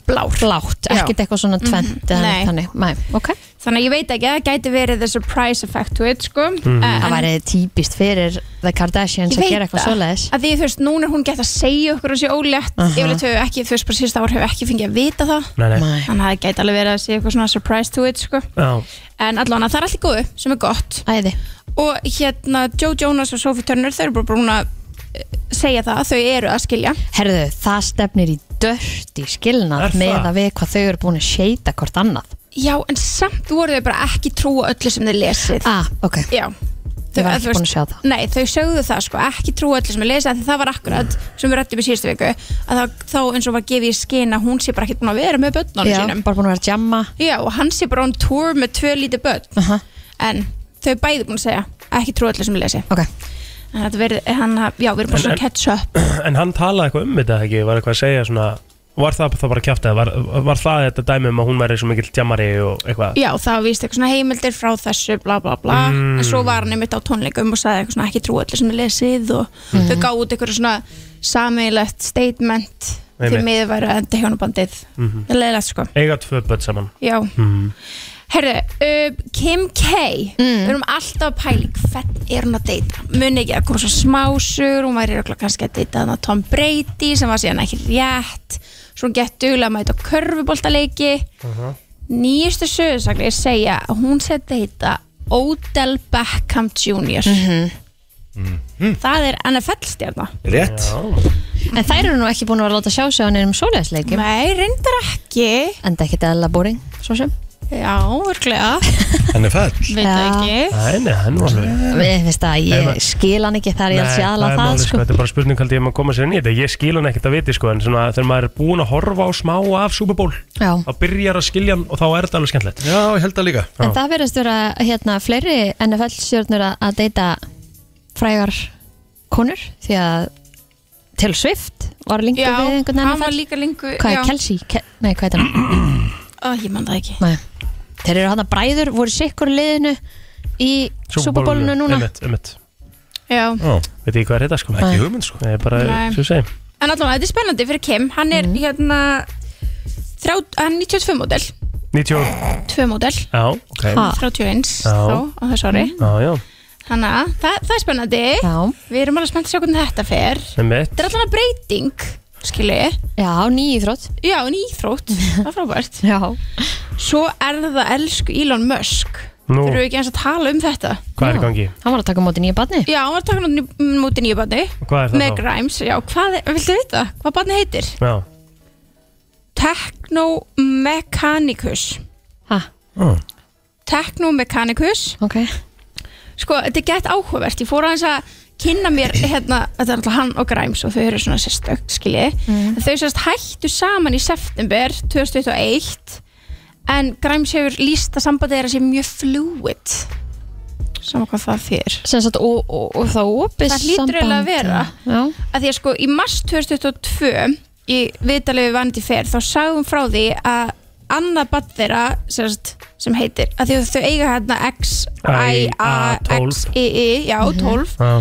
S9: blár
S2: blátt, ekkert eitthvað svona tvent eða
S9: Mhm. Nei.
S2: neitt þannig, Nei, ok
S9: þannig að ég veit ekki, það gæti verið the surprise effect to it sko
S2: Mm.
S9: En-
S2: Það væri típist fyrir The Kardashians
S9: Ég
S2: að
S9: veit
S2: gera eitthvað
S9: það.
S2: svoleiðis
S9: að því þú veist, núna er hún gett að segja okkur og sé ólétt,
S2: Aha.
S9: yfirleitt höfum við ekki þú veist, bara síðust ár höfum við ekki fengið að vita það
S3: Nei, nei.
S2: Nei.
S9: þannig að það gæti alveg verið að sé eitthvað svona surprise to it sko.
S3: Já, (clears throat)
S9: en allavega það er allt í góðu sem er gott
S2: Æði
S9: og hérna Joe Jonas og Sophie Turner þau eru bara búin að eh, segja það þau eru að skilja
S2: Herðu, það stefnir í dörrt í
S3: Er
S2: skilnað
S3: það?
S2: með að við hvað þau eru búin að shata hvort annað
S9: já, en samt voru þau bara ekki trúa öllu sem þau lesið
S2: Ah, ok,
S9: já
S2: ég var
S9: að
S2: ekki búin
S9: þú
S2: að
S9: veist-
S2: sjá það
S9: Nei, þau sögðu það sko, ekki trúa öllu sem er lesið af því það var akkurat, sem við rættum í síðustu viku að það, þá eins og var gefið í skyn að hún sé bara ekki búin að vera með börnunum
S2: Já,
S9: sínum
S2: bara búin að vera að jamma
S9: Já, og hann sé bara on tour með tvö lítið börn
S2: Aha,
S9: en þau bæði búin að segja ekki trúa öllu sem er lesið
S2: Ok,
S9: Þannig að þetta verið, hann, já, við erum bara
S3: En-
S9: svona
S3: en-
S9: catch up
S3: en hann talaði eitthvað um þetta ekki Var eitthvað að segja svona Var það það bara kjáftið var, var það þetta dæmi um að hún væri svo mikill tjammari og eitthvað
S9: Já, það var víst eitthvað svona heimildir frá þessu bla bla bla, en svo var hann einmitt á tónleikum og sagði eitthvað svona ekki trú allir sem er lesið og þau gáðu út eitthvað svona sameiglegt statement til
S3: Einmitt.
S9: miður væri að enda hjónabandið það er leiðilegt sko,
S3: Eiga tvö börn saman
S9: já Herðu, uh, Kim K
S2: Mm.
S9: við erum alltaf að pæli hvern er hún að deyta, muni ekki að hún er svo smásur, hún væri örugglega kannski að deyta þannig Tom Brady sem var síðan ekki rétt svo hún gett duglega að mæta á körfuboltaleiki nýjustu sögursakli segja að hún sé að heita Odell Beckham Jr.
S2: Mhm.
S9: Það er NFL stjarna.
S1: Rétt
S2: en þær eru nú ekki búin að vera að láta sjá sig á neinum svoleiðisleikim
S9: Nei, reyndar ekki.
S2: Enda ekkit eðla boring, svo sem
S9: Já,
S2: (laughs)
S9: örglega.
S1: Henni fell
S9: Veit
S2: Já.
S9: ekki.
S3: Nei, nei, hann var alveg
S2: Ég finnst að
S3: Nei,
S2: ég
S3: ma-
S2: skil hann ekki þar ég alls
S3: Nei,
S2: ég aðla
S3: það er
S2: það
S3: málið,
S2: sko
S3: Þetta er bara spurning haldið um að koma sér inn í þetta Ég skil hann ekkert að viti sko En svona, þegar maður er búin að horfa á smá af Super Bowl
S2: Já,
S3: Þá byrjar að skilja hann og þá er þetta alveg skemmtilegt
S1: Já, ég held það líka
S2: en það verðast vera hérna fleiri NFL-stjórnur að að deyta frægar konur því að Taylor Swift var linkur
S9: Já,
S2: við einhvern
S9: hann var
S2: NFL
S9: líka lengur.
S2: Hvað
S9: já.
S2: er Kelsey? Ke nei, hvað er það?
S9: Ó, ég man það ekki.
S2: Nei. Þeir eru hann að bræður, voru sikkur liðinu í Superbólunu núna
S3: Einmitt, einmitt
S9: Já.
S1: Ó,
S3: Veit ekki hvað er þetta sko
S1: ekki hugmynd sko
S3: Nei, bara,
S9: Nei.
S3: svo segi
S9: En allavega, þetta er spennandi fyrir Kim. Hann er hérna, þrjá, hann er 92 módel.
S3: 90
S9: 2 módel.
S3: Já, ok
S2: Ha,
S9: 31
S3: Já. Mhm.
S9: þá á þessu ári.
S3: Já, já,
S9: Þannig að það, það er spennandi.
S2: Já,
S9: Við erum alveg spennt að sjá hvernig þetta fer.
S3: einmitt
S9: Þetta er alltaf breyting, skilji.
S2: já, nýjithrótt
S9: Já, en íþrótt, það er frábært.
S2: Já,
S9: Svo er það elsku Elon Musk.
S3: Nú,
S9: Þurfum við ekki eins að tala um þetta?
S3: hvað er í gangi?
S2: hann var að taka á móti nýja barni
S9: Já, hann var að taka hann út í- múti nýju barni.
S3: Hvað er það
S9: Með
S3: þá?
S9: Grimes, já, hvað er, viltu vita? Hvað barni heitir?
S3: Já,
S9: Technomechanicus.
S2: Ha,
S9: Technomechanicus.
S2: ok
S9: Sko, þetta er gett áhugavert. Ég fór aðeins að kynna mér, hérna, þetta er alltaf hann og Grimes og þau eru svona sérstök, skilji. Mm. Þau sérst hættu saman í september 2021 en Grimes hefur líst að sambandi þeirra sé mjög fluid. Sama hvað það fyrir.
S2: Sem sagt, og, og, og það opið
S9: Það hlýtur eiginlega að vera.
S2: Já,
S9: að því að sko í mars 2022 í viðtalegu við Vandi Fer þá sagði hún frá því að annað badd þeirra sérst, sem heitir að því að þau eiga hérna X, I, A, X, I, I já, 12
S3: já,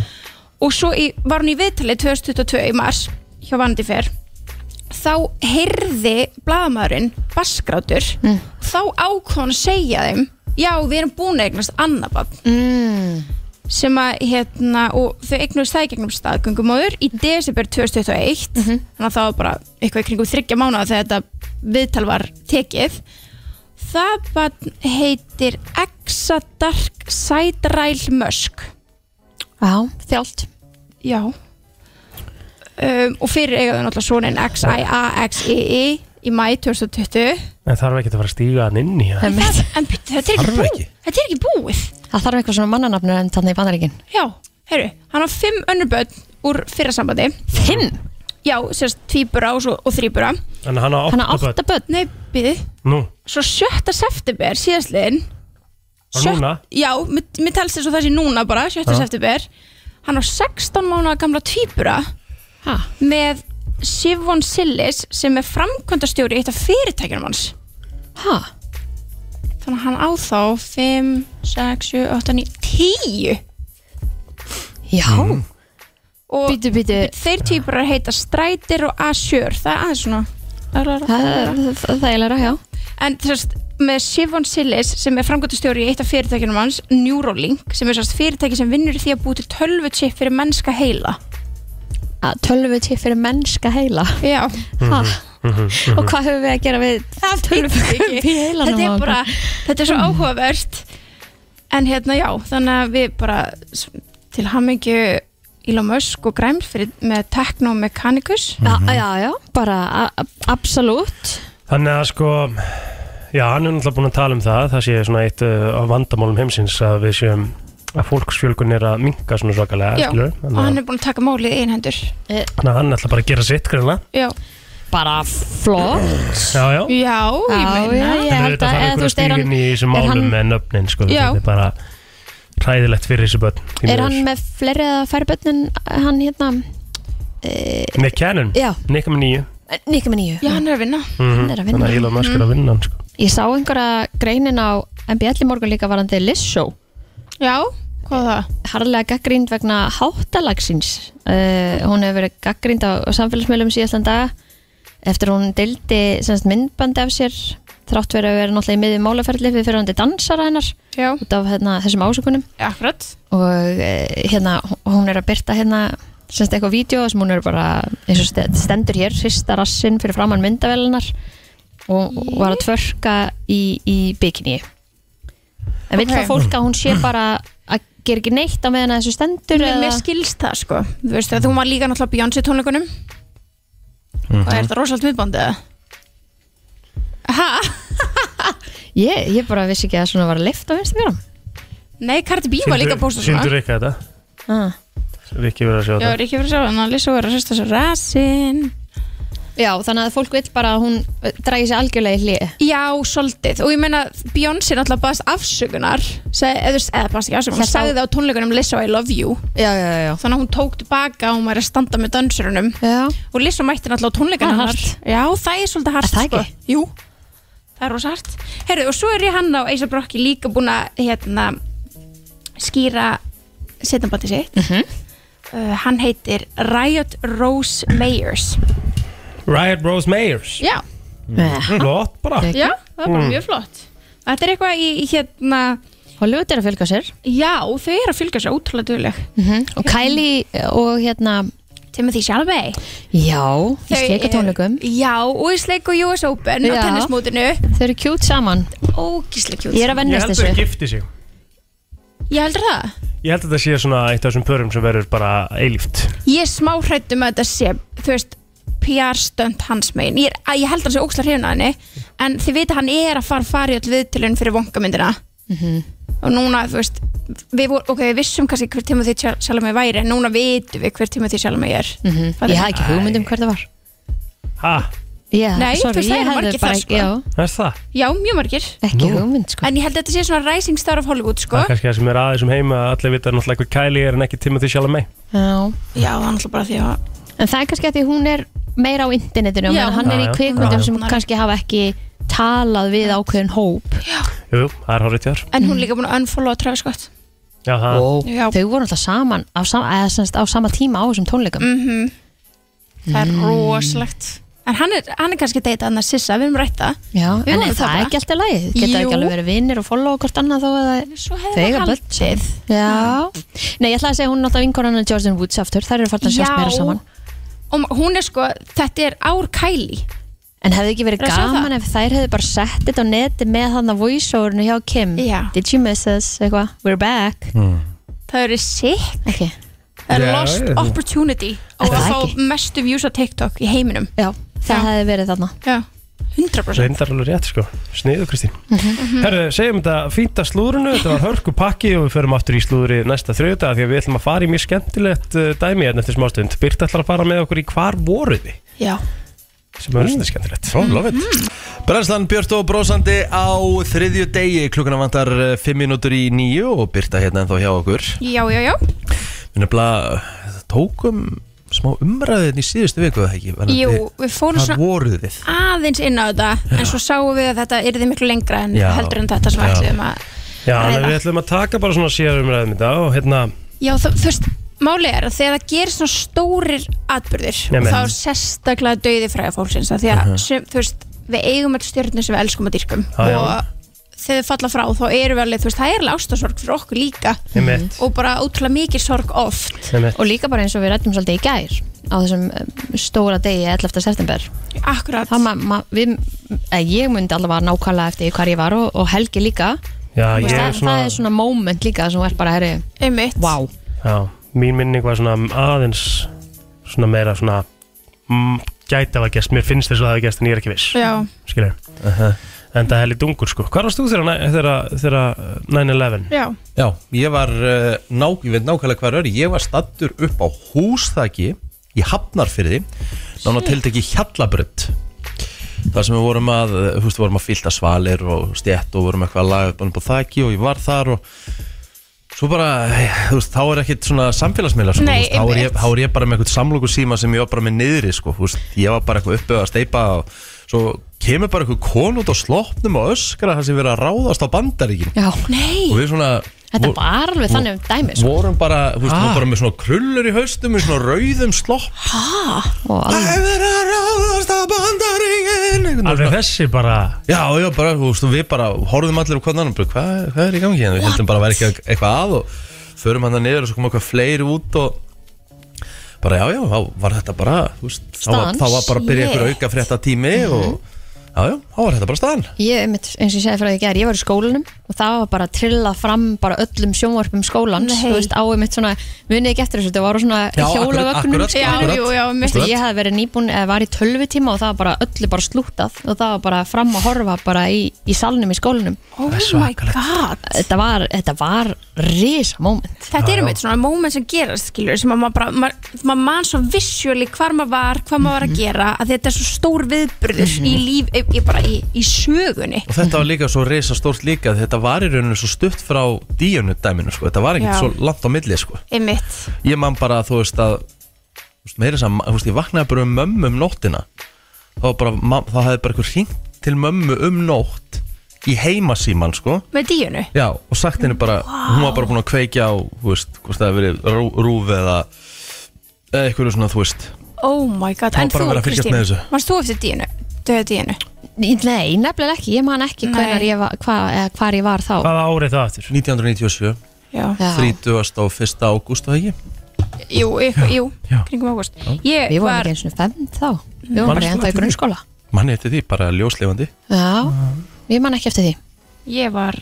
S9: og svo í, var hún í viðtalið 2022 í mars hjá Vandi Fer þá heyrði blaðamæðurinn baskrátur þá ákvon að segja þeim já, við erum búin að eignast annað badd
S2: mm,
S9: sem að hérna og þau eignuðist það í gegnum staðgöngumóður í desember 2021 þannig að það var bara eitthvað í kringum þryggja mánuða þegar þetta viðtal var tekið það bara heitir Exadark Sædræl Mösk
S2: já þjált
S9: já um, og fyrir eigaðu náttúrulega svonin XIAXII E, í mæ 2020
S3: en þarf ekki að fara að stíga hann inn í það
S2: Það
S9: en byrju, þetta er ekki
S1: Þarf
S9: búið
S1: ekki?
S9: þetta er ekki búið
S2: þarf eitthvað svona mannanafnur en þannig í bandaríkin
S9: já, herru, hann á fimm önnur börn úr fyrra sambandi
S2: Fimm,
S9: Já, sérst tvíbura og, svo, og þrýbura
S3: En hann á
S2: hann á
S3: átta
S2: átta
S3: börn
S2: börn
S9: Nei, býði
S3: Nú,
S9: Svo 7. september síðastliðin
S3: og
S9: Sjött-
S3: núna
S9: Já, mér, mér telst þess að það sé núna bara 7. september Hann á 16 mánuða gamla tvíbura
S2: Ha,
S9: með Sivon Sillis sem er framkvæmdastjóri í eitt af fyrirtækjunum hans
S2: ha,
S9: Þannig að hann á þá 5, 6, 7, 8, 9, 10
S2: já
S9: Og
S2: Býtu, býtu
S9: þeir tvíburar heita Strætir og Asjör Það er aðeins svona
S2: Það það- það er læra, já
S9: En þess að með Sivon Sillis sem er framgötustjóri í eitt af fyrirtækjunum hans Neuralink, sem er sérst fyrirtæki sem vinnur í því að búi til tölvuchip fyrir mennska heila
S2: að tölvu til fyrir mennska heila
S9: Já
S2: ha,
S9: Og
S3: Mhm.
S2: og hvað höfum við að gera við tölvu í heilanum á
S9: Þetta er
S2: okkur?
S9: bara, þetta er svo áhugavert En hérna já, þannig að við bara s- til hamingju Elon Musk og Grimes fyrir, með Technomekanicus
S2: Já, já, já, bara a- a- absolutt
S3: Þannig að sko Já, hann er náttúrulega búin að tala um það Það sé svona eitt uh, af vandamálum heimsins að við séum að fólksfjölgun er að minka svona svakalega
S9: Já,
S3: skilur,
S9: og hann er búin að taka málið í einhendur
S3: Þannig að hann ætla bara að gera sitt greinlega
S9: Já,
S2: bara flott
S3: Já, já
S9: já, ég
S2: Já, já,
S9: meina
S2: ég held
S3: En auðvitað
S2: að
S3: þarf
S2: eða þú
S3: einhver að
S2: veist, er
S3: stíga
S2: hann,
S3: inn í þessum
S2: er
S3: málum
S2: hann-
S3: með nöfnin sko,
S9: Já.
S3: Þetta er bara hræðilegt fyrir þessu börn því
S2: er
S3: miður.
S2: hann með fleiri eða færri börn en hann hérna e,
S3: Með Canon,
S2: Já.
S3: Nikka með nýju
S2: Nikki með nýju
S9: Já, hann er að vinna
S2: Hann er að vinna.
S3: Þannig að Elon Musk er að vinna hann sko.
S2: Ég sá einhverja greinin á MBL í morgun líka varandi Lissó
S9: Já, hvað var það?
S2: harðlega gaggrind vegna háttalagsins uh, hún hefur verið gaggrind á, á samfélagsmiðlum síðastan daga eftir að hún deildi semst, myndbandi af sér þrátt verið að vera náttúrulega í miðið málaferðli við fyrirhandi dansara hennar
S9: Já,
S2: út af hérna, þessum ásökunum
S9: akkurat
S2: og eh, hérna hún er að byrta hérna semst eitthvað vídeo sem hún er bara eins og st- stendur hér, hrista rassinn fyrir framann myndavelinar og og var að tvörka í, í bikini en vil
S9: Ok.
S2: þá fólk að hún sé bara að gera ekki neitt á meðan að þessu stendur
S9: Mér, mér skilst það sko Þú veist að þú var líka náttúrulega á Beyoncé tónleikunum Hvað er þetta rosalt miðbandið? Ha?
S2: ég, ég bara vissi ekki að svona var að lifta á Instagram
S9: Nei, Cardi B var líka að posta
S3: Sýndu
S9: svona
S3: Rikka þetta
S2: ah.
S3: Rikki verður að sjá
S9: Já,
S3: þetta
S9: er ekki verið að sjá hann að Lisa var að sérsta svo rasin
S2: já, þannig að fólk vil bara að hún eh, dragi sér algjörlega í hlið
S9: Já, svolítið Og ég meina, Beyoncé náttúrulega baðast afsökunar seg, eða, þú veist, eða baðast ekki afsökunar Hún
S2: Hélt á-
S9: sagði það á tónleikunum Lisa I love you
S2: já, já, já,
S9: Þannig að hún tók tilbaka og hún var að standa með dansurunum
S2: já.
S9: Og Lisa mætti náttúrulega á
S2: Það
S9: tónleikunum
S2: er
S9: hennar. Já, það er svolítið hart
S2: Er það ekki?
S9: Sko. Jú, það er rosa hart Herru, og svo er ég hann á Eisa Brokki líka búin að hérna, skýra setjambandi sitt uh, Hann heitir Riot Rose Mayers
S3: Riot Rose Mayers
S9: Já,
S3: Flott bara
S2: Geggjað.
S9: Já, það er bara mjög flott Þetta er eitthvað í, í hérna
S2: Hollywood er að fylga sér
S9: Já, þau eru að fylgja sér ótrúlega dugleg
S2: og Kylie eh, og hérna
S9: Timothy Chalamet
S2: já, í
S9: Þau
S2: sleika tónleikum
S9: eru- Já, og í sleik og US Open á
S2: Já.
S9: tennismótinu
S2: Þau eru kjút saman,
S9: Ógíslega kjút
S2: ég er að
S3: Ég
S2: vennast
S3: held að
S2: þessu
S3: það gifti sig
S9: Ég heldur það
S3: Ég held að þetta sé svona eitt af þessum pörum sem verður bara eilíft
S9: Ég er smá hrættum að þetta sé Þú veist, PR stönd hans megin Ég, er, að, ég heldur hann sé ógíslega hrifna henni En þið vita hann er að fara fara í öll viðtölun fyrir vongamyndina
S2: Mhm.
S9: Og núna, þú veist Við, vor, ok, við vissum kannski hver Timothy Chal- Chalamet væri En núna vitum við hver Timothy Chalamet er mm -hmm.
S2: Ég hafði ekki hugmynd um hver það var
S3: Ha,
S2: Já,
S9: Nei, þú veist, það
S2: ég
S9: eru
S2: hefði
S9: margir
S2: bara-
S9: þar, sko.
S2: Já,
S3: er það?
S9: Já, mjög margir
S2: ekki
S3: Nú.
S2: hugmynd sko
S9: En ég held að þetta sé svona rising star of Hollywood sko
S3: Það er kannski það sem er aðeins um heima að allir vita náttúrulega hvað Kylie er en ekki Timothy Chalamet
S2: Já.
S9: Já, það er náttúrulega bara því að
S2: En það er kannski að því hún er meira á internetinu
S9: Já,
S2: Já, hann er
S3: já,
S2: í
S3: já.
S2: kvikmyndum
S3: Já,
S2: sem
S9: já.
S2: kannski hafa ekki talað við ákveðin hóp
S3: Jú, jú, það er horrið tjár
S9: En hún er líka búin að unfollowa Travis Scott
S3: Já, það
S2: Ó.
S9: Já.
S2: Þau voru alltaf saman á, sam eða, semst, á sama tíma á þessum tónleikum
S9: Mm. Mhm.
S2: Mm.
S9: Það er rosalegt En hann er, hann er kannski að deyta hann að sissa, við erum rætta
S2: Já,
S9: Við
S2: en
S9: vorum
S2: er
S9: það
S2: það
S9: bara.
S2: er ekki alltaf lægið Geta
S9: Jú.
S2: ekki alveg verið vinnir og followa hvort annað þó að það
S9: Svo
S2: Þau
S9: hefði
S2: eiga
S9: hann
S2: börn
S9: haldið
S2: Já, nei ég ætlaði að segja hún er alltaf vinkonan að Jordan Woods aftur, þær eru farin að sjást meira saman
S9: Og ma- hún er sko, þetta er ár Kylie
S2: En hefði ekki verið
S9: Er það
S2: gaman
S9: það?
S2: ef þær hefði bara sett þetta á neti með hann að voiceoverinu hjá Kim
S9: Já.
S2: Did you miss us? Eitthvað, we're back
S3: Mm.
S9: Það eru sick
S2: okay.
S9: Það
S3: Já,
S9: er lost
S3: já.
S9: opportunity Á
S2: Er
S9: að
S2: það
S9: fá
S2: ekki?
S9: mestu views á TikTok í heiminum
S2: Já, það
S9: Já.
S2: hefði verið þarna
S9: Já, 100%
S3: reyndar alveg rétt sko Sniðu Kristín Herðu, segjum þetta fínt að slúðrunu Þetta var hörku pakki og við förum aftur í slúðri næsta þrjóta Því að við ætlum að fara í mjög skemmtilegt uh, dæmi En eftir smástund Byrt ætlar að fara með okkur í hvar voruð þið
S9: Já,
S3: Sem er mm. skemmtilegt
S1: Oh, love it Brænslan Björn og brósandi á þriðju degi Klukkuna vantar 5 mínútur í nýju og byrta hérna ennþá hjá okkur
S9: já, já, já
S1: Við nefnilega eh, tókum smá umræðin í síðustu viku eða ekki Varðandi
S9: Jú, við fórum
S1: Hvað
S9: svona
S1: voruð þið?
S9: aðeins inn á þetta En svo sáum við að þetta yrði miklu lengra En
S1: Já.
S9: heldur en þetta
S1: Já.
S9: sem við ætlum að
S3: Já,
S9: Ræða.
S3: en við ætlum að taka bara svona sérum ræðum þetta og hérna,
S9: Já, þú þú veist, máli er að þegar það gerir svona stórir atbyrðir
S3: Nei,
S9: þá
S3: menn.
S9: er sérstaklega döiði fræða fólksins af því að, sem, þú veist, við eigum öll stjörnum sem við elskum og dýrkum
S3: Já, já.
S9: og þegar þau falla frá þá erum við alveg, þú veist, það er alveg ástasorg fyrir okkur líka
S3: Einmitt.
S9: og bara ótrúlega mikið sorg oft
S2: Mhm.
S3: Einmitt.
S2: og líka bara eins og við rættum svolítið í gær á þessum um, stóra degi 11. september
S9: akkurat,
S2: þá ma, ma, við, eh, ég myndi allavega nákvæmlega eftir hvar ég var og, og Helgi líka
S3: Já,
S2: Þú
S3: ég
S2: veist,
S3: er
S2: það, það er
S3: svona
S2: svona moment líka sem er bara herri,
S9: einmitt
S2: wow
S3: já, Mín minning var svona aðeins svona meira svona mm, gæti að gæst, mér finnst þess að það hafa gæst en ég er ekki viss
S9: já,
S3: skilur en það er heldur dungur sko hvað varst þú þegar næ- þegar- þegar 9-11
S9: já,
S1: Já, ég var, uh, ná, ég veit nákvæmlega hvað er, ég var stattur upp á húsþaki í Hafnarfyrði, nána tiltekki Hjallabrönd, þar sem við vorum að, eh, þú veist, við vorum að fylta svalir og stjætt og vorum eitthvað að laga upp á þaki og ég var þar og svo bara, eh, þú veist, þá er ekkit svona samfélagsmiðla, sko, þú
S9: Nei,
S1: veist, þá er, ég,
S9: einmitt.
S1: þá er ég bara með eitthvað samlóku síma sem ég var bara með niðri, sko, þú veist, ég var bara eitthvað uppið að steipa og svo kemur bara eitthvað kon út á sloppnum og öskra það sem verið að ráðast á bandaríkin
S2: Já,
S9: nei
S1: og við svona
S2: þetta
S1: vor-
S2: var alveg þannig um dæmi sko.
S1: vorum bara, þú veist, ah. bara með svona krullur í haustum með svona rauðum slopp
S2: og alveg,
S1: er að ráðast á bandaringin
S3: alveg þessi bara
S1: Já, já, bara, þú veist, og við bara horfðum allir á hvernig annan, bara, hvað, hvað er í gangi hérna, við heldum bara að vera ekki eitthvað að og förum hann niður og svo kom eitthvað fleiri út og bara, já, já, þá var þetta bara, þú veist, þá var,
S2: Staðan,
S1: þá var bara að byrja
S9: shit.
S1: eitthvað auka frétta tími og, já, já, þá var þetta bara staðan.
S2: ég, einmitt, eins og ég segi fyrir að ég ger ég var í skólanum og það var bara trillað fram bara öllum sjónvarpum skólans
S9: Nei.
S2: þú veist, á einmitt svona, munið ekki eftir þessu þetta var á svona
S1: Já,
S2: hjólavögnum
S1: akkurat, akkurat,
S9: Já,
S1: akkurat,
S9: jú, já, mitt.
S1: akkurat.
S2: ég hef verið nýbúin eða var í tölvutíma og það var bara öllu bara slútað og það var bara fram að horfa bara í, í salnum í skólanum
S9: oh my god
S2: þetta var, þetta var risa moment
S9: þetta er einmitt svona moment sem gerast skilur sem að maður bara, maður mað man svo vissjóli hvar maður var, hvað maður var
S3: Mhm.
S9: að gera að þetta er svo stór viðbyrður í líf, í, bara í, í sögunni
S1: Og þetta var líka svo reysa stórt líka því Þetta var í rauninu svo stutt frá díunu dæminu sko. Þetta var ekkert
S9: Já.
S1: svo langt á milli sko.
S9: einmitt,
S1: Ég man bara þú veist að þú veist, meira sem, þú veist, Ég vaknaði bara um mömmu um nóttina Þá, var bara, ma- þá hefði bara einhver hringt til mömmu um nótt Í heimasíman sko.
S9: með díunu
S1: Já, og sagt henni bara Hún var bara búin að kveikja á þú veist, Hvort það hefði verið rú, rúf eða eða Eitthvað svona þú veist
S9: oh my god,
S1: Það
S9: en
S1: var bara
S9: þú
S1: að vera að fylgjast
S9: Kristín,
S1: með þessu.
S9: varst þú eftir díunu döða díunu,
S2: nei, nefnilega ekki, ég man ekki
S9: Nei.
S2: hvenar ég var, hva, eða hvar ég var þá
S3: hvaða árið það aftur
S1: 1997,
S9: já,
S2: Já.
S1: 30. og 1. ágúst og ekki
S9: jú, ykkur, jú kringum águst, ég
S2: við vorum
S9: var
S2: ekki eins og fem þá við vorum bara enda
S3: Manstu
S2: í
S3: eftir
S2: grunnskóla
S1: Manni eftir því, bara ljóslefandi Ah.
S2: já, ég man ekki eftir því
S9: ég var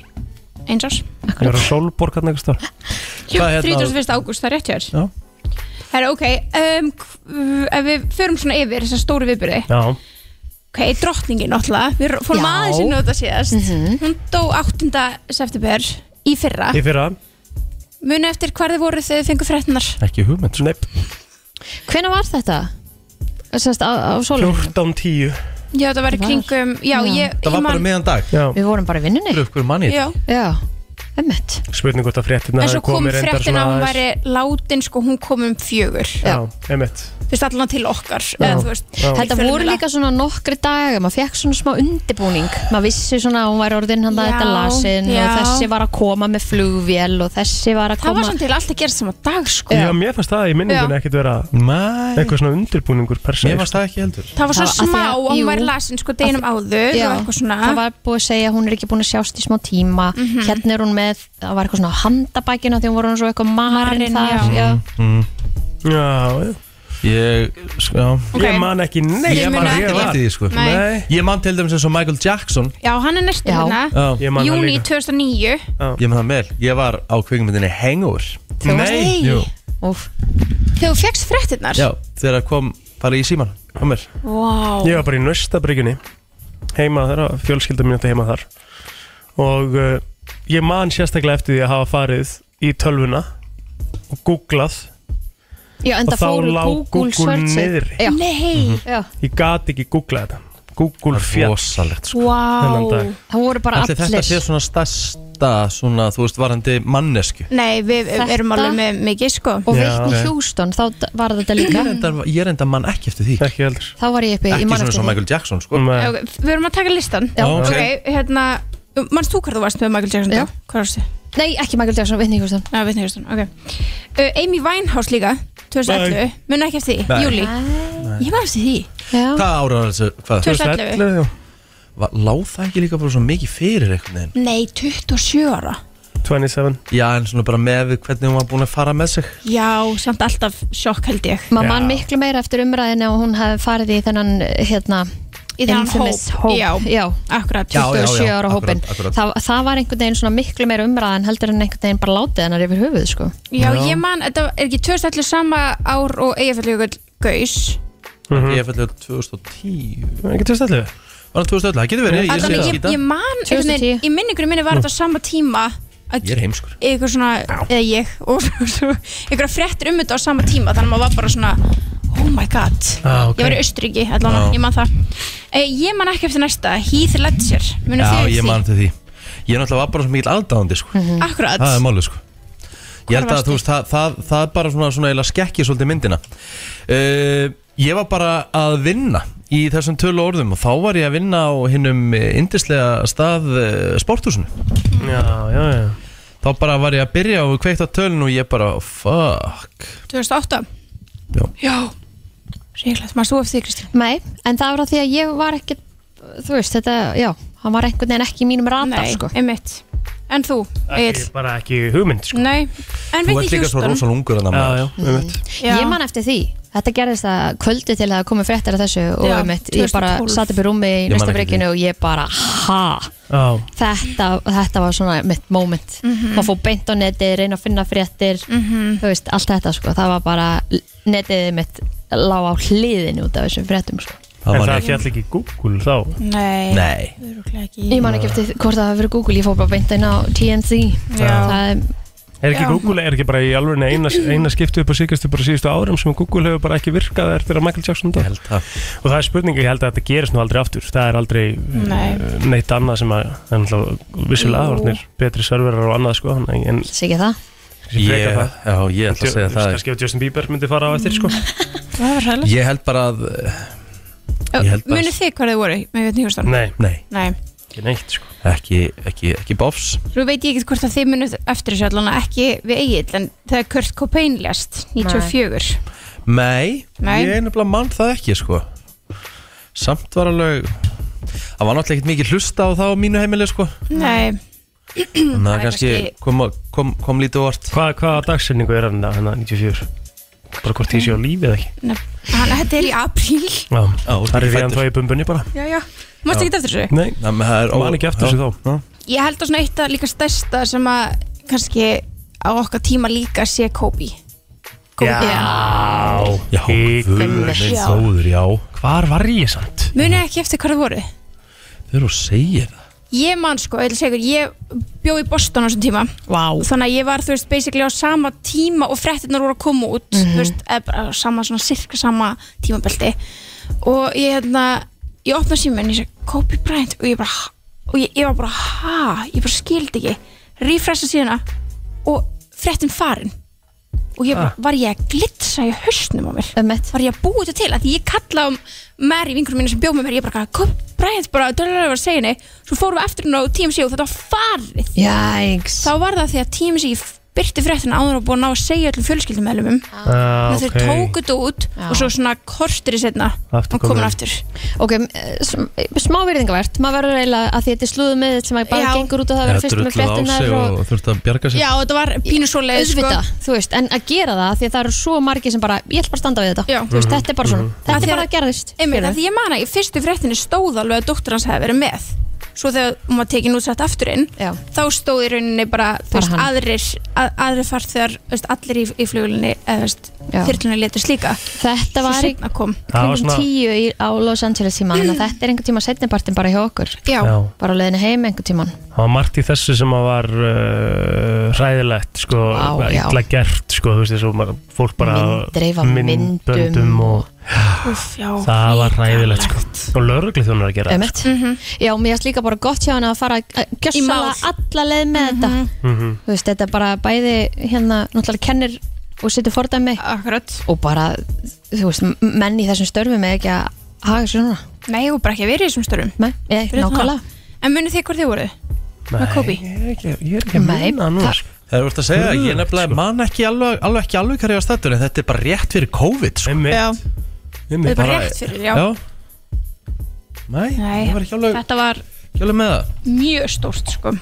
S9: eins árs
S3: ég var á Solborg hann eitthvað
S9: Jú,
S1: Hvað hérna-
S9: 31. ágúst, það er rétt hjá
S1: Já.
S9: þér Herra, ok, um, k- ef við förum svona yfir þessa stóru viðbyrði
S3: já
S9: Ok, drottningin náttúrulega, við fórum
S2: Já.
S9: aðeins inn á þetta síðast Hún dó 8. september í fyrra
S3: í fyrra
S9: Muni eftir hvar þið voru þegar þið fengu fréttinar
S1: Ekki hugmynd sko.
S3: Nei,
S2: hvenar var þetta? Sest, á, á sólum
S3: 14-10
S9: Já, það var í
S2: Var.
S9: kringum, já,
S2: Já.
S9: ég,
S1: Það
S9: ég
S1: var bara meðan dag
S3: já
S2: við vorum bara í vinnunni
S1: Rukkur manni
S9: Já,
S2: já, emmett
S3: spurning hvort að fréttina
S9: en svo
S3: hafi
S9: kom
S3: komið reyndar
S9: fréttin
S3: svona
S9: að hún
S3: aðeins-
S9: væri látin, sko, hún kom um fjögur
S3: já, einmitt
S9: Þú veist, allan til okkar, eða þú veist
S3: Já.
S2: Þetta
S9: Fjölmiðla.
S2: voru líka svona nokkri dagar, maður fekk svona smá undirbúning, maður vissi svona að hún var orðin hann að
S9: Já,
S2: þetta lasin
S9: já.
S2: og þessi var að koma með flugvél og þessi var að
S9: Það var
S2: koma
S9: samt til allt að gera saman dag, sko
S3: já, mér fannst það í minningunni
S9: Já.
S3: ekkit vera
S1: Mæ
S3: eitthvað svona undirbúningur per se
S1: Mér varst það ekki heldur
S9: Það var
S2: Það var- af því
S9: svo smá
S2: að-
S9: að hún
S2: jú.
S9: væri lasin, sko, deginum áður
S2: Já,
S9: og eitthvað svona Mhm.
S2: það var búið að segja að hún er ekki búin að sjást í smá tíma hérna er hún með, það var eitthvað svona á handabækina því hún voru svo eitthvað
S9: Marin,
S2: marinn þar
S9: já.
S3: Mhm.
S2: já.
S3: já, já.
S1: Ég, sko já.
S9: Ok.
S3: ég man ekki neitt
S9: Ég
S3: ég
S9: man
S3: man
S9: ekki
S3: ég var
S1: eftir því, sko.
S9: Nei.
S3: Nei.
S1: Ég man til dæmis eins og Michael Jackson
S9: Já, hann er næstu
S2: Já.
S9: hérna
S1: Já.
S3: Ég man það
S9: Júni
S3: líka.
S9: 2009
S1: Ég man það vel Ég var á kvikmyndinni Hangover
S2: Þú varst-
S3: Nei.
S1: Jú.
S2: Úff.
S9: Þegar þú fegst fréttinnar
S1: Já, þegar kom bara í síman á mér
S9: Vá
S3: Ég var bara í Nöstabryggjunni heima þar, fjölskylda mín átti heima þar og uh, ég man sérstaklega eftir því að hafa farið í tölvuna og googlað
S2: já, en
S3: Og
S2: það
S3: þá
S2: fóru
S3: lá
S2: Google
S3: Google
S2: searchið
S3: niðri.
S2: já,
S9: Nei
S2: já.
S3: ég gat ekki googlað þetta Google fjall
S1: Rosalegt sko
S3: Þennan
S9: Vá
S3: dag.
S2: það voru bara
S1: Allir þetta sé
S2: allir
S1: svona stærsta svona, þú veist, varandi mannesku
S9: Nei, við
S2: Þetta-
S9: erum alveg með mikið sko
S2: og
S3: Já,
S2: Whitney
S3: ok.
S2: Houston, þá d- var þetta
S9: (clears throat)
S2: líka
S1: Ég reyndar, ég reyndar mann ekki eftir því
S3: ekki heldur
S2: þá var ég uppi, ég
S1: Ekki
S2: man
S1: svona
S2: eftir
S1: svo
S2: því
S1: Michael Jackson sko
S3: Nei.
S9: Ok, Við erum að taka listan
S2: Já.
S1: Ok.
S9: Ok, hérna Manst þú hvað þú varst með Michael Jackson?
S2: Já.
S9: þá? Hvað varstu?
S2: nei, ekki Michael Jackson, Whitney Houston
S9: Já, Whitney Houston, ok uh, Amy Winehouse líka 2011 Muna ekki eftir því,
S1: Nei.
S9: júli Ég var eftir því
S2: já.
S1: Hvað ára þessu, hvað?
S9: 2011
S3: 2011, já.
S1: va- lá það ekki líka bara svo mikið fyrir einhvern veginn?
S9: Nei, 27 ára
S3: 27
S1: Já, en svona bara með við hvernig hún var búin að fara með sig
S9: Já, samt alltaf sjokk held ég
S2: maður mann miklu meira eftir umræðinu og hún hefði farið í þennan hérna
S9: Í þennan
S2: infamous
S9: hóp, já.
S2: já,
S9: Akkurat,
S1: Já, já, já,
S2: 27 ára
S1: akkurat,
S2: hópin
S1: akkurat.
S2: það, það var einhvern veginn svona miklu meira umræðan heldur en einhvern veginn bara látið hennar yfir höfuð sko.
S9: Já, ég man, þetta er ekki 2011 sama ár og eigafelljökull gaus
S1: Ég er fællið 2010
S3: Það er ekki tveist allir
S1: Var það 2011, það getur verið, ég sé
S9: Allan,
S1: það
S9: ég, ég man, einhvern veginn,
S2: 2010.
S9: í minningunum minni var þetta sama tíma að
S1: Ég er heimskur
S9: ykkur svona, eða ég og (laughs) svo, svo, ykkur fréttir um þetta á sama tíma þannig að maður var bara svona oh my god,
S3: Ah, ok.
S9: ég var í Östuríki allan,
S1: Já.
S9: ég man það e, ég man ekki eftir næsta, Heath Ledger
S1: Já,
S9: munið þið eftir
S1: ég
S9: því? Mm.
S1: man til því Ég er náttúrulega var bara svo mikil aðdáðandi sko.
S9: akkurat,
S1: Það er málið sko Ég held að
S9: Mhm. varstu?
S1: þú veist, það, það, það bara svona, svona eiginlega skekkir svolítið myndina uh, Ég var bara að vinna í þessum tölu orðum og þá var ég að vinna á hinnum indislega stað uh, sporthúsinu
S3: Já, já, já
S1: Þá bara var ég að byrja og kveikt á tölun og ég bara, fuck
S9: 2008
S1: Já.
S9: já Ríklað, maður þú eftir því Kristján
S2: nei, en það var að því að ég var ekki þú veist, þetta, já hann var einhvern veginn ekki í mínum radar
S9: Nei,
S2: sko.
S9: einmitt En þú, Egil?
S3: Ekki, bara ekki hugmynd sko.
S9: Nei,
S1: Þú
S9: en við
S1: ert líka svo
S9: Hjúston
S1: rosalega ungur en að
S3: Já, já,
S1: maður
S3: hugmynd
S9: Já.
S2: ég man eftir því Þetta gerðist að kvöldi til að komi fréttir af þessu og
S9: Já,
S2: um eitt, ég bara
S9: 2012.
S2: satt upp í rúmi í
S1: Ég man
S2: næsta
S1: eftir
S2: breykinu og ég bara, ha,
S3: Já,
S2: þetta, þetta var svona mitt moment maður fór beint á netið, reyna að finna fréttir þú veist, allt þetta sko það var bara, netið mitt lág á hliðinu út af þessum fréttum sko.
S1: Það
S3: en
S1: man ég
S3: það ekki allir ekki Google þá
S9: Nei,
S1: Nei,
S9: örugglega
S2: ég
S9: ekki
S2: man ekki eftir hvort það hafi verið Google ég fór bara beint inn á TMZ
S9: Já,
S2: það er
S3: Er ekki
S9: Já.
S3: Google, er ekki bara í alveg eina, eina skiptu upp á síkastu bara síðustu árum sem Google hefur bara ekki virkað eftir að Michael Jackson dó
S1: ég held það
S3: og það er spurninga, ég held að þetta gerist nú aldrei aftur það er aldrei
S9: Nei.
S3: eh, neitt annað sem að það er náttúrulega vissulega orðnir betri serverar og annað sko en, en
S2: sé ekki það
S3: sem
S1: Ég,
S3: frekar það
S1: já, ég ætla að segja það
S3: kannski ef Justin Bieber myndi fara á eftir sko
S9: það var hræðilegt
S1: Ég held bara að, ég held bara-
S9: Munið þið hvar þið voru með Björn Hjúston?
S3: (laughs) nei,
S1: nei,
S9: Nei,
S3: ekki neitt sko
S1: ekki, ekki, ekki bofs
S9: svo veit ég ekkert hvort að þið munið eftir þessu allan ekki við Egil en þegar Kurt Cobain lest 94
S1: Nei,
S9: Nei.
S1: ég er nefnilega mann það ekki sko Samt var alveg Það var náttúrulega ekkert mikið hlusta á það á mínu heimili sko
S9: Nei,
S1: Þannig að
S9: Hmm. er
S1: kannski
S9: kannski-
S1: kom, kom, kom lítið vart
S3: Hva, hvaða dagsetningu er hann hérna 94? bara hvort ég sé á lífi eða ekki
S9: nefn, hann, þetta er í apríl
S3: já,
S1: þú
S3: það
S1: ert
S3: er
S1: ekki
S3: fyrir hann
S1: fæddur.
S3: tóið bumbunni bara
S9: Já, já Mást ekki eftir þessu?
S3: nei,
S1: Þannig að það er ó-
S3: man ekki eftir
S1: já.
S3: þessu þá
S9: Ég held að svona eitt að líka stærsta sem að kannski á okkar tíma líka sé Kobe
S3: Já,
S1: Já, guð
S3: Hik-
S1: minn
S2: Já.
S1: þóður, já
S3: Hvar var ég samt?
S9: Munið ekki eftir hvar þið voru?
S1: Þau eru að segja það
S9: Ég man sko, ég, segur, ég bjó í Boston á þessum tíma
S2: wow.
S9: þannig að ég var, þú veist, basically á sama tíma og frettinnar voru að koma út þú veist, eða bara á sama, svona sirka sama tímabelti og ég hérna, ég opna síminn, ég segi Kobe Bryant og ég bara, ha- og ég, ég var bara ha, ég bara skildi ekki refresha síðuna og frettin farin og ég bara, var ég að glitsa í hausnum á mér
S2: um eitt
S9: var ég að búa þetta til að því ég kallaði um Mary, vingurum mínu sem bjóð með mér ég bara, Kobe Bryant, bara, dörrlega var að segja henni svo fórum við aftur hún á TMC og þetta var farið
S2: jæks
S9: þá var það því að tími sem ég byrti fréttina áður og búið að ná að segja öllum fjölskyldumælumum ah,
S3: Ah,
S9: okay. þeir tóku þetta út
S2: Já.
S9: og svo svona kortir í setna
S3: Aftur
S9: og komin
S3: komin.
S9: aftur
S2: ok, eh, sm- smá virðingavert maður verður eiginlega að því þetta er slúðu með sem að bara
S9: Já.
S2: gengur út og það verður fyrst með
S1: drulluð á sig
S2: fréttinar
S1: og, og þurfti að bjarga sig
S9: já og þetta var pínu svo leið sko.
S2: auðvitað, þú veist, en að gera það af því að það eru svo margir sem bara, ég ætla bara að standa við þetta
S9: Já.
S2: þú veist, þetta er bara
S3: Mhm.
S2: svona,
S9: Af
S2: þetta
S9: því
S2: er
S9: að-
S2: bara að gerðist
S9: Einmitt,
S2: skilurðu?
S9: að því ég man að í fyrstu fréttinni stóð alveg að dóttur hans hefði verið með svo þegar hún var tekin útsett aftur inn
S2: Já.
S9: þá stóð í rauninni bara, þú
S2: Bara
S9: veist,
S2: hann.
S9: aðrir að, aðrir fart þegar þú veist, allir í, í flugulinni eða þú veist,
S2: Já.
S9: þyrlunni letist líka
S2: þetta
S9: svo
S2: var í
S9: setna kom
S3: Það var
S2: kringum
S3: svona-
S2: tíu í, á Los Angeles tíma þannig að þetta er einhver tíma setnipartin bara hjá okkur
S9: já,
S3: Já,
S2: bara á leiðinu heim einhver tíman
S3: það var margt í þessu sem að var uh, hræðilegt, sko,
S2: Vá, já.
S3: illa gert, sko, þú veist, þessu maður- fólk bara
S2: Mynddreif af myndum
S3: og
S9: úf, já
S3: það var hræðilegt, sko, og lögregli þjónar að gera það,
S2: Einmitt. já, mér erst líka bara gott hjá hann að fara að gjössala
S9: Mhm. mál. Mhm.
S2: alla leið með þetta
S3: Mhm.
S2: þú veist, þetta bara bæði hérna, náttúrulega kennir og setur fordæmi
S9: akkurat,
S2: og bara, þú veist, m- menn í þessum störfum er ekki að haga sér svona
S9: nei og bara ekki að vera í þessum störum
S2: Nei, ég,
S9: Fyrir utan
S2: nákvæmlega
S9: það. En munið þið hvort þið voru?
S3: sko.
S9: Með Kobe?
S3: Nei, ég er ekki, ég er ekki að
S2: Nei,
S3: muna núna,
S2: það-
S3: sko,
S1: Það er verið að segja, ég
S3: Guðlegt,
S1: nefnilega
S3: sko.
S1: man ekki alveg, alveg ekki alveg hverja stættur en þetta er bara rétt fyrir COVID sko.
S3: einmitt,
S9: Já,
S3: einmitt,
S9: bara rétt fyrir, já.
S1: já Nei,
S9: Nei,
S1: það var ekki alveg,
S9: þetta var
S1: ekki alveg með það
S9: mjög stórt sko um,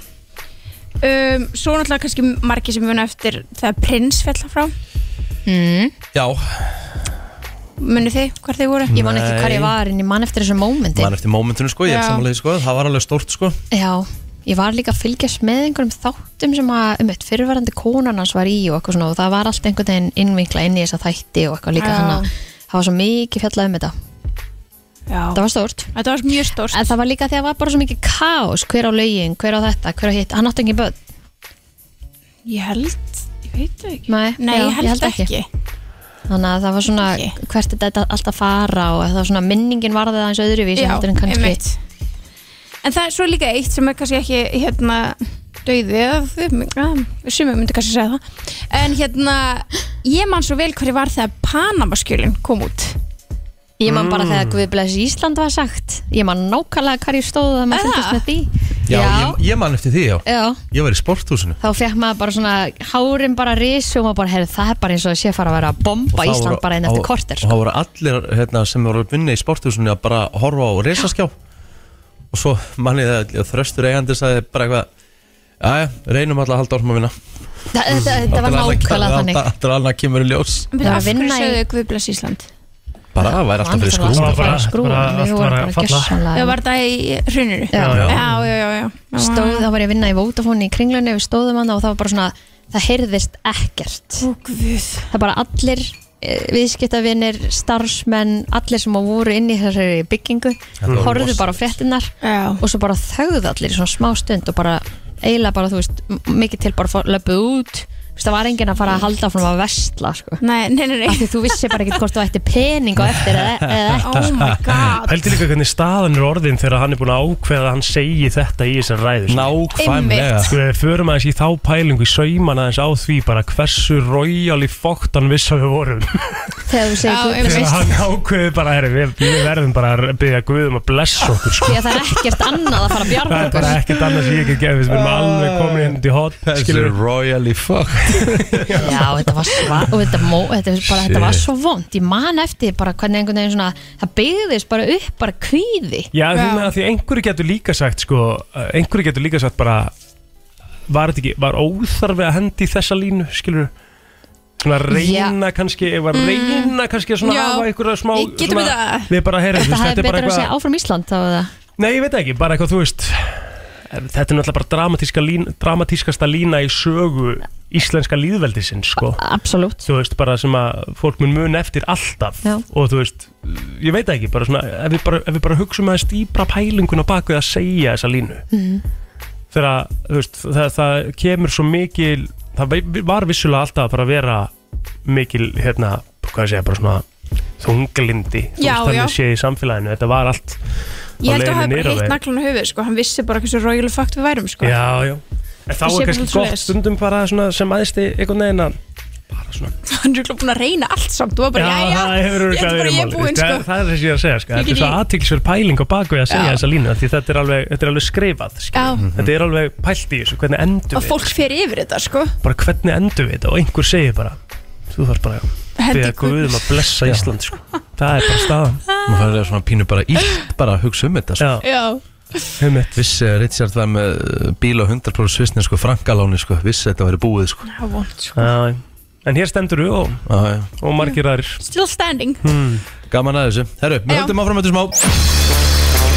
S9: Svo náttúrulega kannski margir sem muna eftir þegar prins fell frá
S2: mm.
S1: Já,
S9: Munu þið hvar þið voru?
S2: Ég man ekki hvað
S1: Nei.
S2: ég var en ég man eftir þessu mómenti
S1: mann eftir mómentunum sko, ég er
S9: Já.
S1: samanlega sko, það var alveg stórt sko
S2: Já, ég var líka að fylgjast með einhverjum þáttum sem að um eitt fyrirverandi konan hans var í og eitthvað svona og það var allt einhvern veginn innvinkla inn í þessa þætti og eitthvað líka
S9: Já.
S2: þannig að það var svo mikið fjallað um þetta það
S9: Já,
S2: var stórt
S9: þetta var mjög stórt
S2: en það var líka því að það var bara svo mikið kaos hver á lögin, hver á þetta, hver á hitt hann átti engin börn
S9: Ég held, ég veit það ekki
S2: Nei,
S9: Nei,
S2: já,
S9: ég, held ekki,
S2: þannig að það var svona
S9: Ekki.
S2: hvert er þetta alltaf fara og það var svona minningin varðið aðeins öðruvísi heldur en kannski
S9: einmitt. En það er svo líka eitt sem er kannski ekki hérna döiðið sumum myndi kannski segja það en hérna, ég man svo vel hverju var þegar Panamaskjölin kom út
S2: Ég man bara
S1: Mm.
S2: þegar Guð bless Ísland var sagt Ég man nákvæmlega hvar ég stóð þegar maður
S9: Er það?
S2: fylgist með því
S1: Já, Ég, ég mann eftir því, já
S2: já.
S1: Ég var í sporthúsinu
S2: Þá fekk maður bara svona hárin bara risu og maður bara, heyrðu, það er bara eins og það sé fara að vera að
S1: Og
S2: bomba
S1: það
S2: Ísland
S1: voru-
S2: bara einn
S1: og-
S2: eftir korter
S1: Og
S2: sko.
S1: það voru allir hérna, sem voru að vinna í sporthúsinu að bara horfa á resaskjá Og svo manni það að þröstur eigandi sagði bara eitthvað Jæja, reynum alltaf að halda orðum að vinna
S2: Þa- Þetta þetta
S1: Þar
S2: var
S1: til annað-
S2: nákvæmlega
S1: þar-
S2: þannig
S1: þar- Þar alveg kemur í ljós
S9: En
S2: Já,
S9: byrja, af hverju
S2: vinna í-
S9: sögðu Guðblas Ísland?
S1: Bara, það væri alltaf fyrir
S2: Það
S1: skrúna
S2: var bara
S3: Bara-
S2: skrúna Við
S3: bara- allt var
S2: vorum
S3: að
S2: bara
S3: falla.
S9: Það
S2: gjössanlega
S9: var það í hruninu
S2: Já.
S9: já, já, já, já.
S2: Stóð, þá var ég að vinna í Vodafone í kringlunni Við stóðum hann og það var bara svona Það heyrðist ekkert
S9: Ó, Guð.
S2: það bara allir eh, viðskiptavinir, starfsmenn allir sem að voru inn í þessari byggingu
S1: var
S2: horfðu
S1: rosalegt.
S2: bara á fréttinnar
S9: Já.
S2: og svo bara þögðu allir í svona smá stund og bara eiginlega bara, þú veist, m- mikið til bara fór- löpuð út, þú veist, það var enginn að fara að halda frá að vestla, sko
S9: Nei, nei, nei,
S2: af
S9: nei.
S2: því þú vissi bara ekkert hvort þú ætti pening og eftir eða, eða ekki
S9: Oh (laughs) my god
S3: Pældi líka hvernig staðan er orðin þegar hann er búin að ákveða að hann segi þetta í þessar ræður sko.
S1: Nákvæmlega
S9: Einmitt.
S3: Sko, ef við förum aðeins í þá pælingu í sauman aðeins á því bara hversu royal í fóktan viss að við
S2: (laughs)
S3: vorum
S2: þegar þú
S9: Já,
S2: segir
S9: einmitt.
S2: guð
S3: Þegar hann ákveði bara, herri, við, við verðum bara að byggja Guðum að blessa okkur
S2: (laughs)
S3: sko.
S2: því að það er ekkert annað að fara að bjarga
S3: Það er
S2: okkur
S3: bara ekkert annars ég ekki gefið sem erum
S2: Ah.
S3: alveg komin inn í hot
S1: Þessi
S3: skilur
S1: er
S3: við.
S1: royally fuck
S2: Já, þetta var sva og þetta, mó, þetta, var bara, þetta var svo vond ég man eftir bara hvernig einhvern veginn svona það byggðist bara upp bara kvíði
S3: Já, þú
S9: Já.
S3: með að því einhverju getur líka sagt sko, eh, einhverju getur líka sagt bara var þetta ekki, var óþarfi að hendi þessa línu, skilur svona reyna kannski var
S2: Mm.
S3: reyna kannski að svona
S9: Já.
S3: hafa einhverja smá
S9: Ég getum
S3: svona-
S9: þetta.
S3: við bara heyrðum,
S2: Þetta
S3: þetta
S2: hefði
S3: er bara
S2: betra að segja
S3: eitthvað
S2: áfram Ísland þá eða
S3: nei, ég veit ekki, bara eitthvað, þú veist þetta er náttúrulega bara dramatíska lín, dramatískasta lína í sögu íslenska líðveldisins, sko
S2: Absolutt
S3: þú veist, bara sem að fólk mun mun eftir alltaf
S2: Já.
S3: og þú veist, ég veit það ekki bara svona, ef við bara, ef við bara hugsum aðeins dýbra pælingun á baku að segja þessa línu mm. þegar að, þú veist, það, það kemur svo mikil það ve- var vissulega alltaf að bara vera mikil, hérna, hvað sé ég, bara svona þunglindi, þú
S9: Já,
S3: veist,
S9: já.
S3: þannig sé í samfélaginu þetta var allt
S9: Ég held að
S3: leiðinni
S9: það
S3: niður á
S9: hefði bara
S3: veg.
S9: heitt naglan á höfuð sko. Hann vissi bara hversu royal fucked við værum sko.
S3: já, já En þá
S9: Það sé
S3: er
S9: bara
S3: kannski
S9: svolítið
S3: gott
S9: svoleiðis.
S3: stundum bara svona sem aðeins einhvern veginn að bara svona
S9: Hann er örugglega búinn að reyna allt samt og var bara, já, já,
S3: það hefur
S9: ég
S3: auðvitað
S9: held bara
S3: verið
S9: ég er
S3: málið,
S9: búinn
S3: það,
S9: sko.
S3: það er það sem ég er að segja sko.
S9: Ég
S3: Þetta
S9: get
S3: er svo
S9: í-
S3: aðtilsverð pæling á baku að segja
S9: Já.
S3: þessa línu því þetta er alveg, þetta er alveg skrifað
S9: Já. Mhm.
S3: skilur. þetta er alveg pælt í þessu hvernig endur
S9: Og
S3: við
S9: fólk fer yfir þetta sko.
S3: bara hvernig endur við þetta og einhver segir bara þú þarf bara að
S9: Hendi
S3: beða guðum að blessa Ísland sko. það er bara staðan
S1: Nú færði það svona pínu bara ílt bara að hugsa um þetta sko.
S3: Já,
S9: Já,
S3: einmitt.
S1: Vissi að eh, Richard var með uh, bíl á 100% svisni sko, frankaláni sko, vissi að þetta væri búið sko.
S9: það er vond sko.
S3: Já, já. en hér stendur við og,
S1: ah, ja.
S3: og margir aðrir
S9: Still standing
S1: Gaman að þessu Herru, við
S9: Já.
S1: höldum áfram þetta smá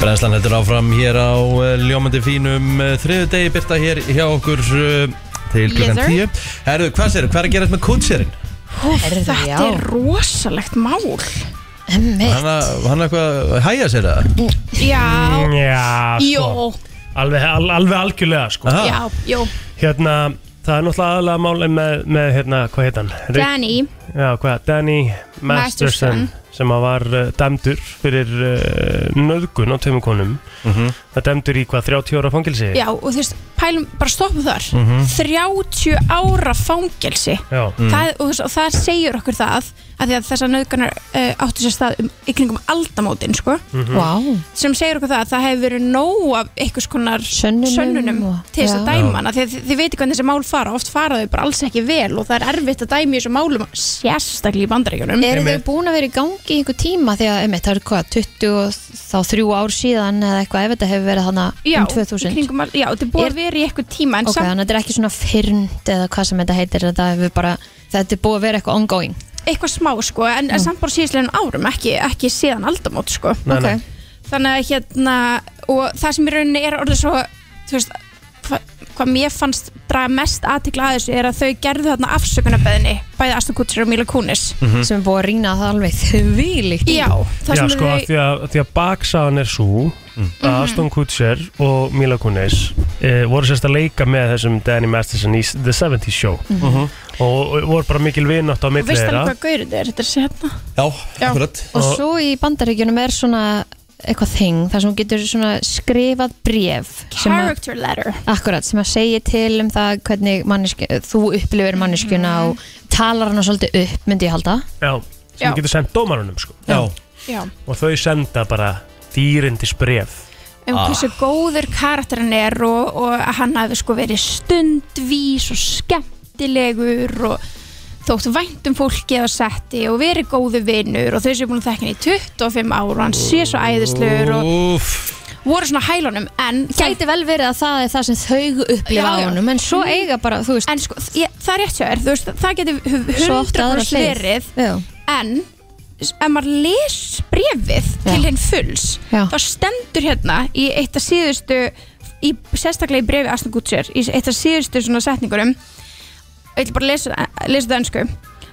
S1: Brennslan heldur áfram hér á uh, ljómandi fínum uh, þriðu degi byrta hér hjá okkur uh, til klukkan
S9: Yes,
S1: 10 Herru, hvað sér, hvað er að gerast með kútsérinn?
S2: Herðu, já.
S9: Þetta er rosalegt mál Eh.
S2: Einmitt.
S1: Hann að- hann eitthvað að hæja sér það?
S9: Já,
S3: Já, sko.
S9: jó,
S3: alveg, al, alveg algjörlega sko.
S1: Aha.
S9: já, jó
S3: hérna, það er náttúrulega aðalega málið með, með hérna, hvað heit hann? Rick-
S9: Danny,
S3: Já, hvað, Danny Masterson
S9: Masterson.
S3: sem að var uh, dæmdur fyrir uh, nöðgun á tveimur konum
S1: Mhm.
S3: það dæmdur í hvað, 30 ára fangilsi
S9: já, og þú veist pælum, bara stoppum þar
S3: Mhm.
S9: 30 ára fangelsi
S3: Já.
S9: það, og, og það segir okkur það að því að þessar nöðganar uh, áttu sér stað um, í kringum aldamótin sko.
S3: Mhm. Vá.
S9: sem segir okkur það að það hefur verið nóg af einhvers konar sönnunum,
S2: og-
S9: til þess að
S2: Já.
S9: dæma hana því að þið, þið veitir hvernig þessi mál fara, oft fara þau bara alls ekki vel og það er erfitt að dæmi þessu málum sérstaklega í bandaríkjunum
S2: Eru þau búin að vera í gangi í einhver tíma því að, einmitt, það eru hvað, 20 og þá þrjú ár síðan eða eitthvað, ef þetta hefur verið þannig
S9: Já,
S2: um 2000
S9: í kringum al- já, þetta er búið
S2: Er-
S9: að vera í eitthvað tíma en
S2: Ok,
S9: samt
S2: þannig að þetta er ekki svona fyrnd eða hvað sem þetta heitir, þetta hefur bara þetta er búið að vera eitthvað ongoing
S9: eitthvað smá sko, en, en samt bara síðislegin árum ekki, ekki síðan aldamót sko.
S2: Nei, nei. Ok.
S9: þannig að hérna og það sem í rauninni er orðið svo þú veist, hvað hva mér fannst draga mest aðtikla að þessu er að þau gerðu þarna afsökunarbeðinni bæði Aston Kutcher og Mila Kunis
S3: Mhm.
S2: sem er búið að rýna það alveg þvílíkt í.
S9: Já, það
S3: Já,
S9: sem Mhm.
S3: sko,
S9: þau-
S3: af því að, af því að baksagan er svo að Aston Kutcher og Mila Kunis e, voru sérst að leika með þessum Danny Masterson í The 70's Show
S9: Mhm.
S3: og, og voru bara mikil vinátt á
S9: og
S3: milli
S9: veist alveg
S3: þeirra
S9: hvað gaurið er þetta er hérna
S1: Já,
S9: Já.
S2: og svo í bandaríkjunum er svona eitthvað þing, þar sem hún getur svona skrifað bref sem að-
S9: Character letter.
S2: Akkurat, sem að segja til um það hvernig manneski, þú upplifir manneskjuna
S9: Mhm.
S2: og talar hana svolítið upp, myndi ég halda
S3: Já, sem
S9: Já.
S3: getur sendt dómarunum sko.
S9: Já.
S3: og þau senda bara dýrindis bref
S9: um hversu góður karakterin er og, og að hann hafi sko verið stundvís og skemmtilegur og þótt vænt um fólkið og setti og verið góðu vinnur og þau séu búin að þekka hann í 25 ár og hann sé svo æðislegur og voru svona hælunum en
S2: Gæti vel verið að það er það sem þau upplifa á honum en
S9: Mhm.
S2: svo eiga bara, þú veist
S9: en sko, ég, það er rétt hjá þér, þú veist, það geti
S2: Svo oft aðra
S9: 100%
S2: hlið.
S9: verið
S2: Já.
S9: en s- ef maður les brefið til hinn fulls
S2: Já.
S9: þá stendur hérna í eitt af síðustu í, sérstaklega í brefi Aston Kutcher í eitt af síðustu svona setningurum ég ætla bara að lesa, lesa það önsku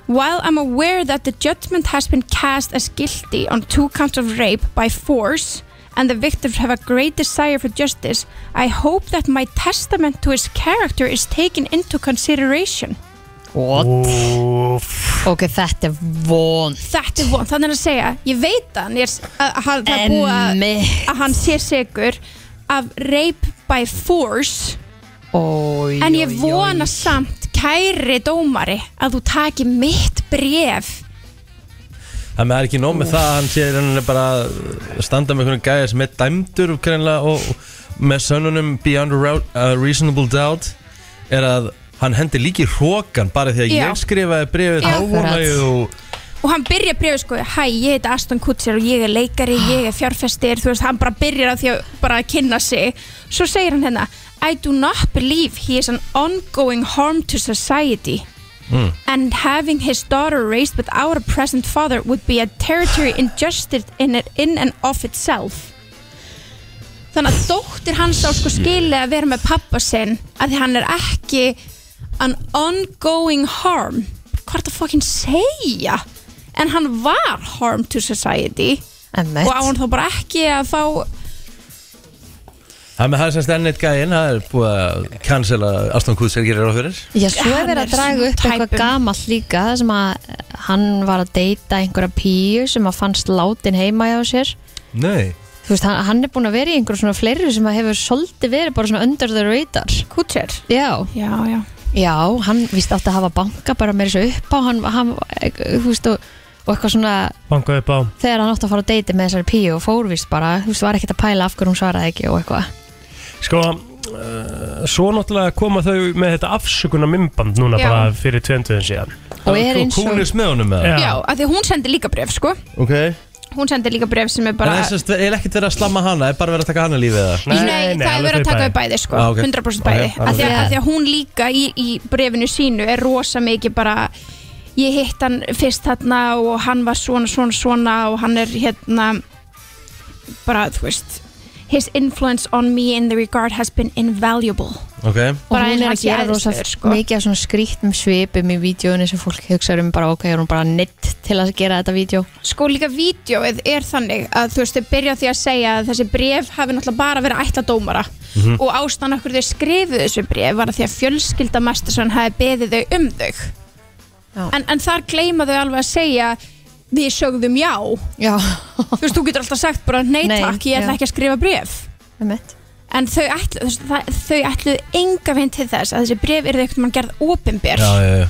S9: While I'm aware that the judgment has been cast as guilty on two counts of rape by force and the victims have a great desire for justice, I hope that my testament to his character is taken into consideration.
S2: What? Ok, þetta er von
S9: Þetta er von, þannig er að segja, ég veit að hann er, að, að, að, að, búa, að hann sé segur af rape by force
S2: Ói,
S9: En ég vona samt, kæri dómari, að þú taki mitt bref
S1: Það með það er ekki nóg með það Hann sé rauninni bara að standa með einhvern gæja sem er dæmdur greinlega og og með sönnunum Beyond a Rou- a Reasonable Doubt er að hann hendi líki hrókan bara því að
S9: Já.
S1: ég skrifaði brefið
S9: Já.
S1: þá vona ég og
S9: Og hann byrja brefið sko, hæ, ég heiti Aston Kutcher og ég er leikari, ég er fjárfestir, þú veist, hann bara byrjar á því að bara að kynna sig. Svo segir hann hérna, I do not believe he is an ongoing harm to society. And having his daughter raised without a present father would be a territory injustice in, it, in and of itself. Þannig að dóttir hans á sko skilið að vera með pappa sinn að því hann er ekki an ongoing harm. Hvað er það fokkin segja? En hann var harm to society
S2: Emmett.
S9: og á hann þá bara ekki að fá
S1: Það með það er semst enn eitt gæjinn það er búið að cancela Aston Kutcher gerir á fyrir
S2: Já, svo er
S9: Hann
S2: verið að
S9: er
S2: draga
S9: svona
S2: upp eitthvað
S9: tæpur.
S2: gamalt líka þar sem að eh, hann var að deyta einhverja píu sem að fannst látin heima hjá sér
S1: Nei
S2: Þú veist, hann, hann er búin að vera í einhverjum svona fleiri sem að hefur svolítið verið bara svona under the radar
S9: Kutcher.
S2: Já,
S9: Já, já.
S2: já hann víst átti að hafa banka bara meira svo upp á hann, hann eh, þú veist, og, og eitthvað svona
S3: banka upp á
S2: þegar hann átti að fara að deyta með þessari píu og fór víst bara, þú veist, var ekkert að pæla af hverju hún svaraði ekki og eitthvað
S3: Sko, uh, svo náttúrulega koma þau með þetta afsökunar minnband núna
S9: Já.
S3: bara fyrir tventuðin síðan
S2: Og er eins og-
S1: Kúnis með honum með
S3: Já.
S1: það
S9: Já, að því hún sendi líka bref sko.
S1: Ok
S9: Hún sendi líka bref sem er bara...
S1: En það er semst- er ekkert verið að slamma hana er bara verið að taka hana lífið eða?
S9: Nei, það er verið að taka við bæði sko,
S1: Ah, ok.
S9: 100%
S1: Ok,
S9: bæði okay, af, því að,
S1: alveg.
S9: af því að hún líka í, í brefinu sínu er rosa mikið bara ég hitt hann fyrst þarna og hann var svona, svona, svona og hann er hérna bara, þú veist his influence on me in the regard has been invaluable
S1: Ok
S2: og
S9: Bara
S2: hún
S9: eins
S2: er að
S9: og hann sé
S2: gera rosa
S9: æðislegur, sko.
S2: mikið af svona skrýttum svipum í vídjóinu sem fólk hugsa um bara ok, er hún bara neitt til að gera þetta vídjó
S9: sko líka vídjóið er þannig að þú veist þau byrja á því að segja að þessi bref hafi náttúrulega bara verið ætla dómara
S2: Mhm.
S9: og ástæðan okkur þau skrifuðu þessu bref var að því að fjölskylda mestarsson hafi beðið þau um þau en, en þar gleyma þau alveg að segja við sögðum já,
S2: já.
S9: þú veist þú getur alltaf sagt bara nei,
S2: Nei,
S9: takk, ég ætla
S2: já.
S9: ekki að skrifa bref
S2: Einmitt.
S9: en þau ætlu, þú veist, það, þau ætlu enga veginn til þess að þessi bref eru einhvern mann gerð opinber
S1: já, já.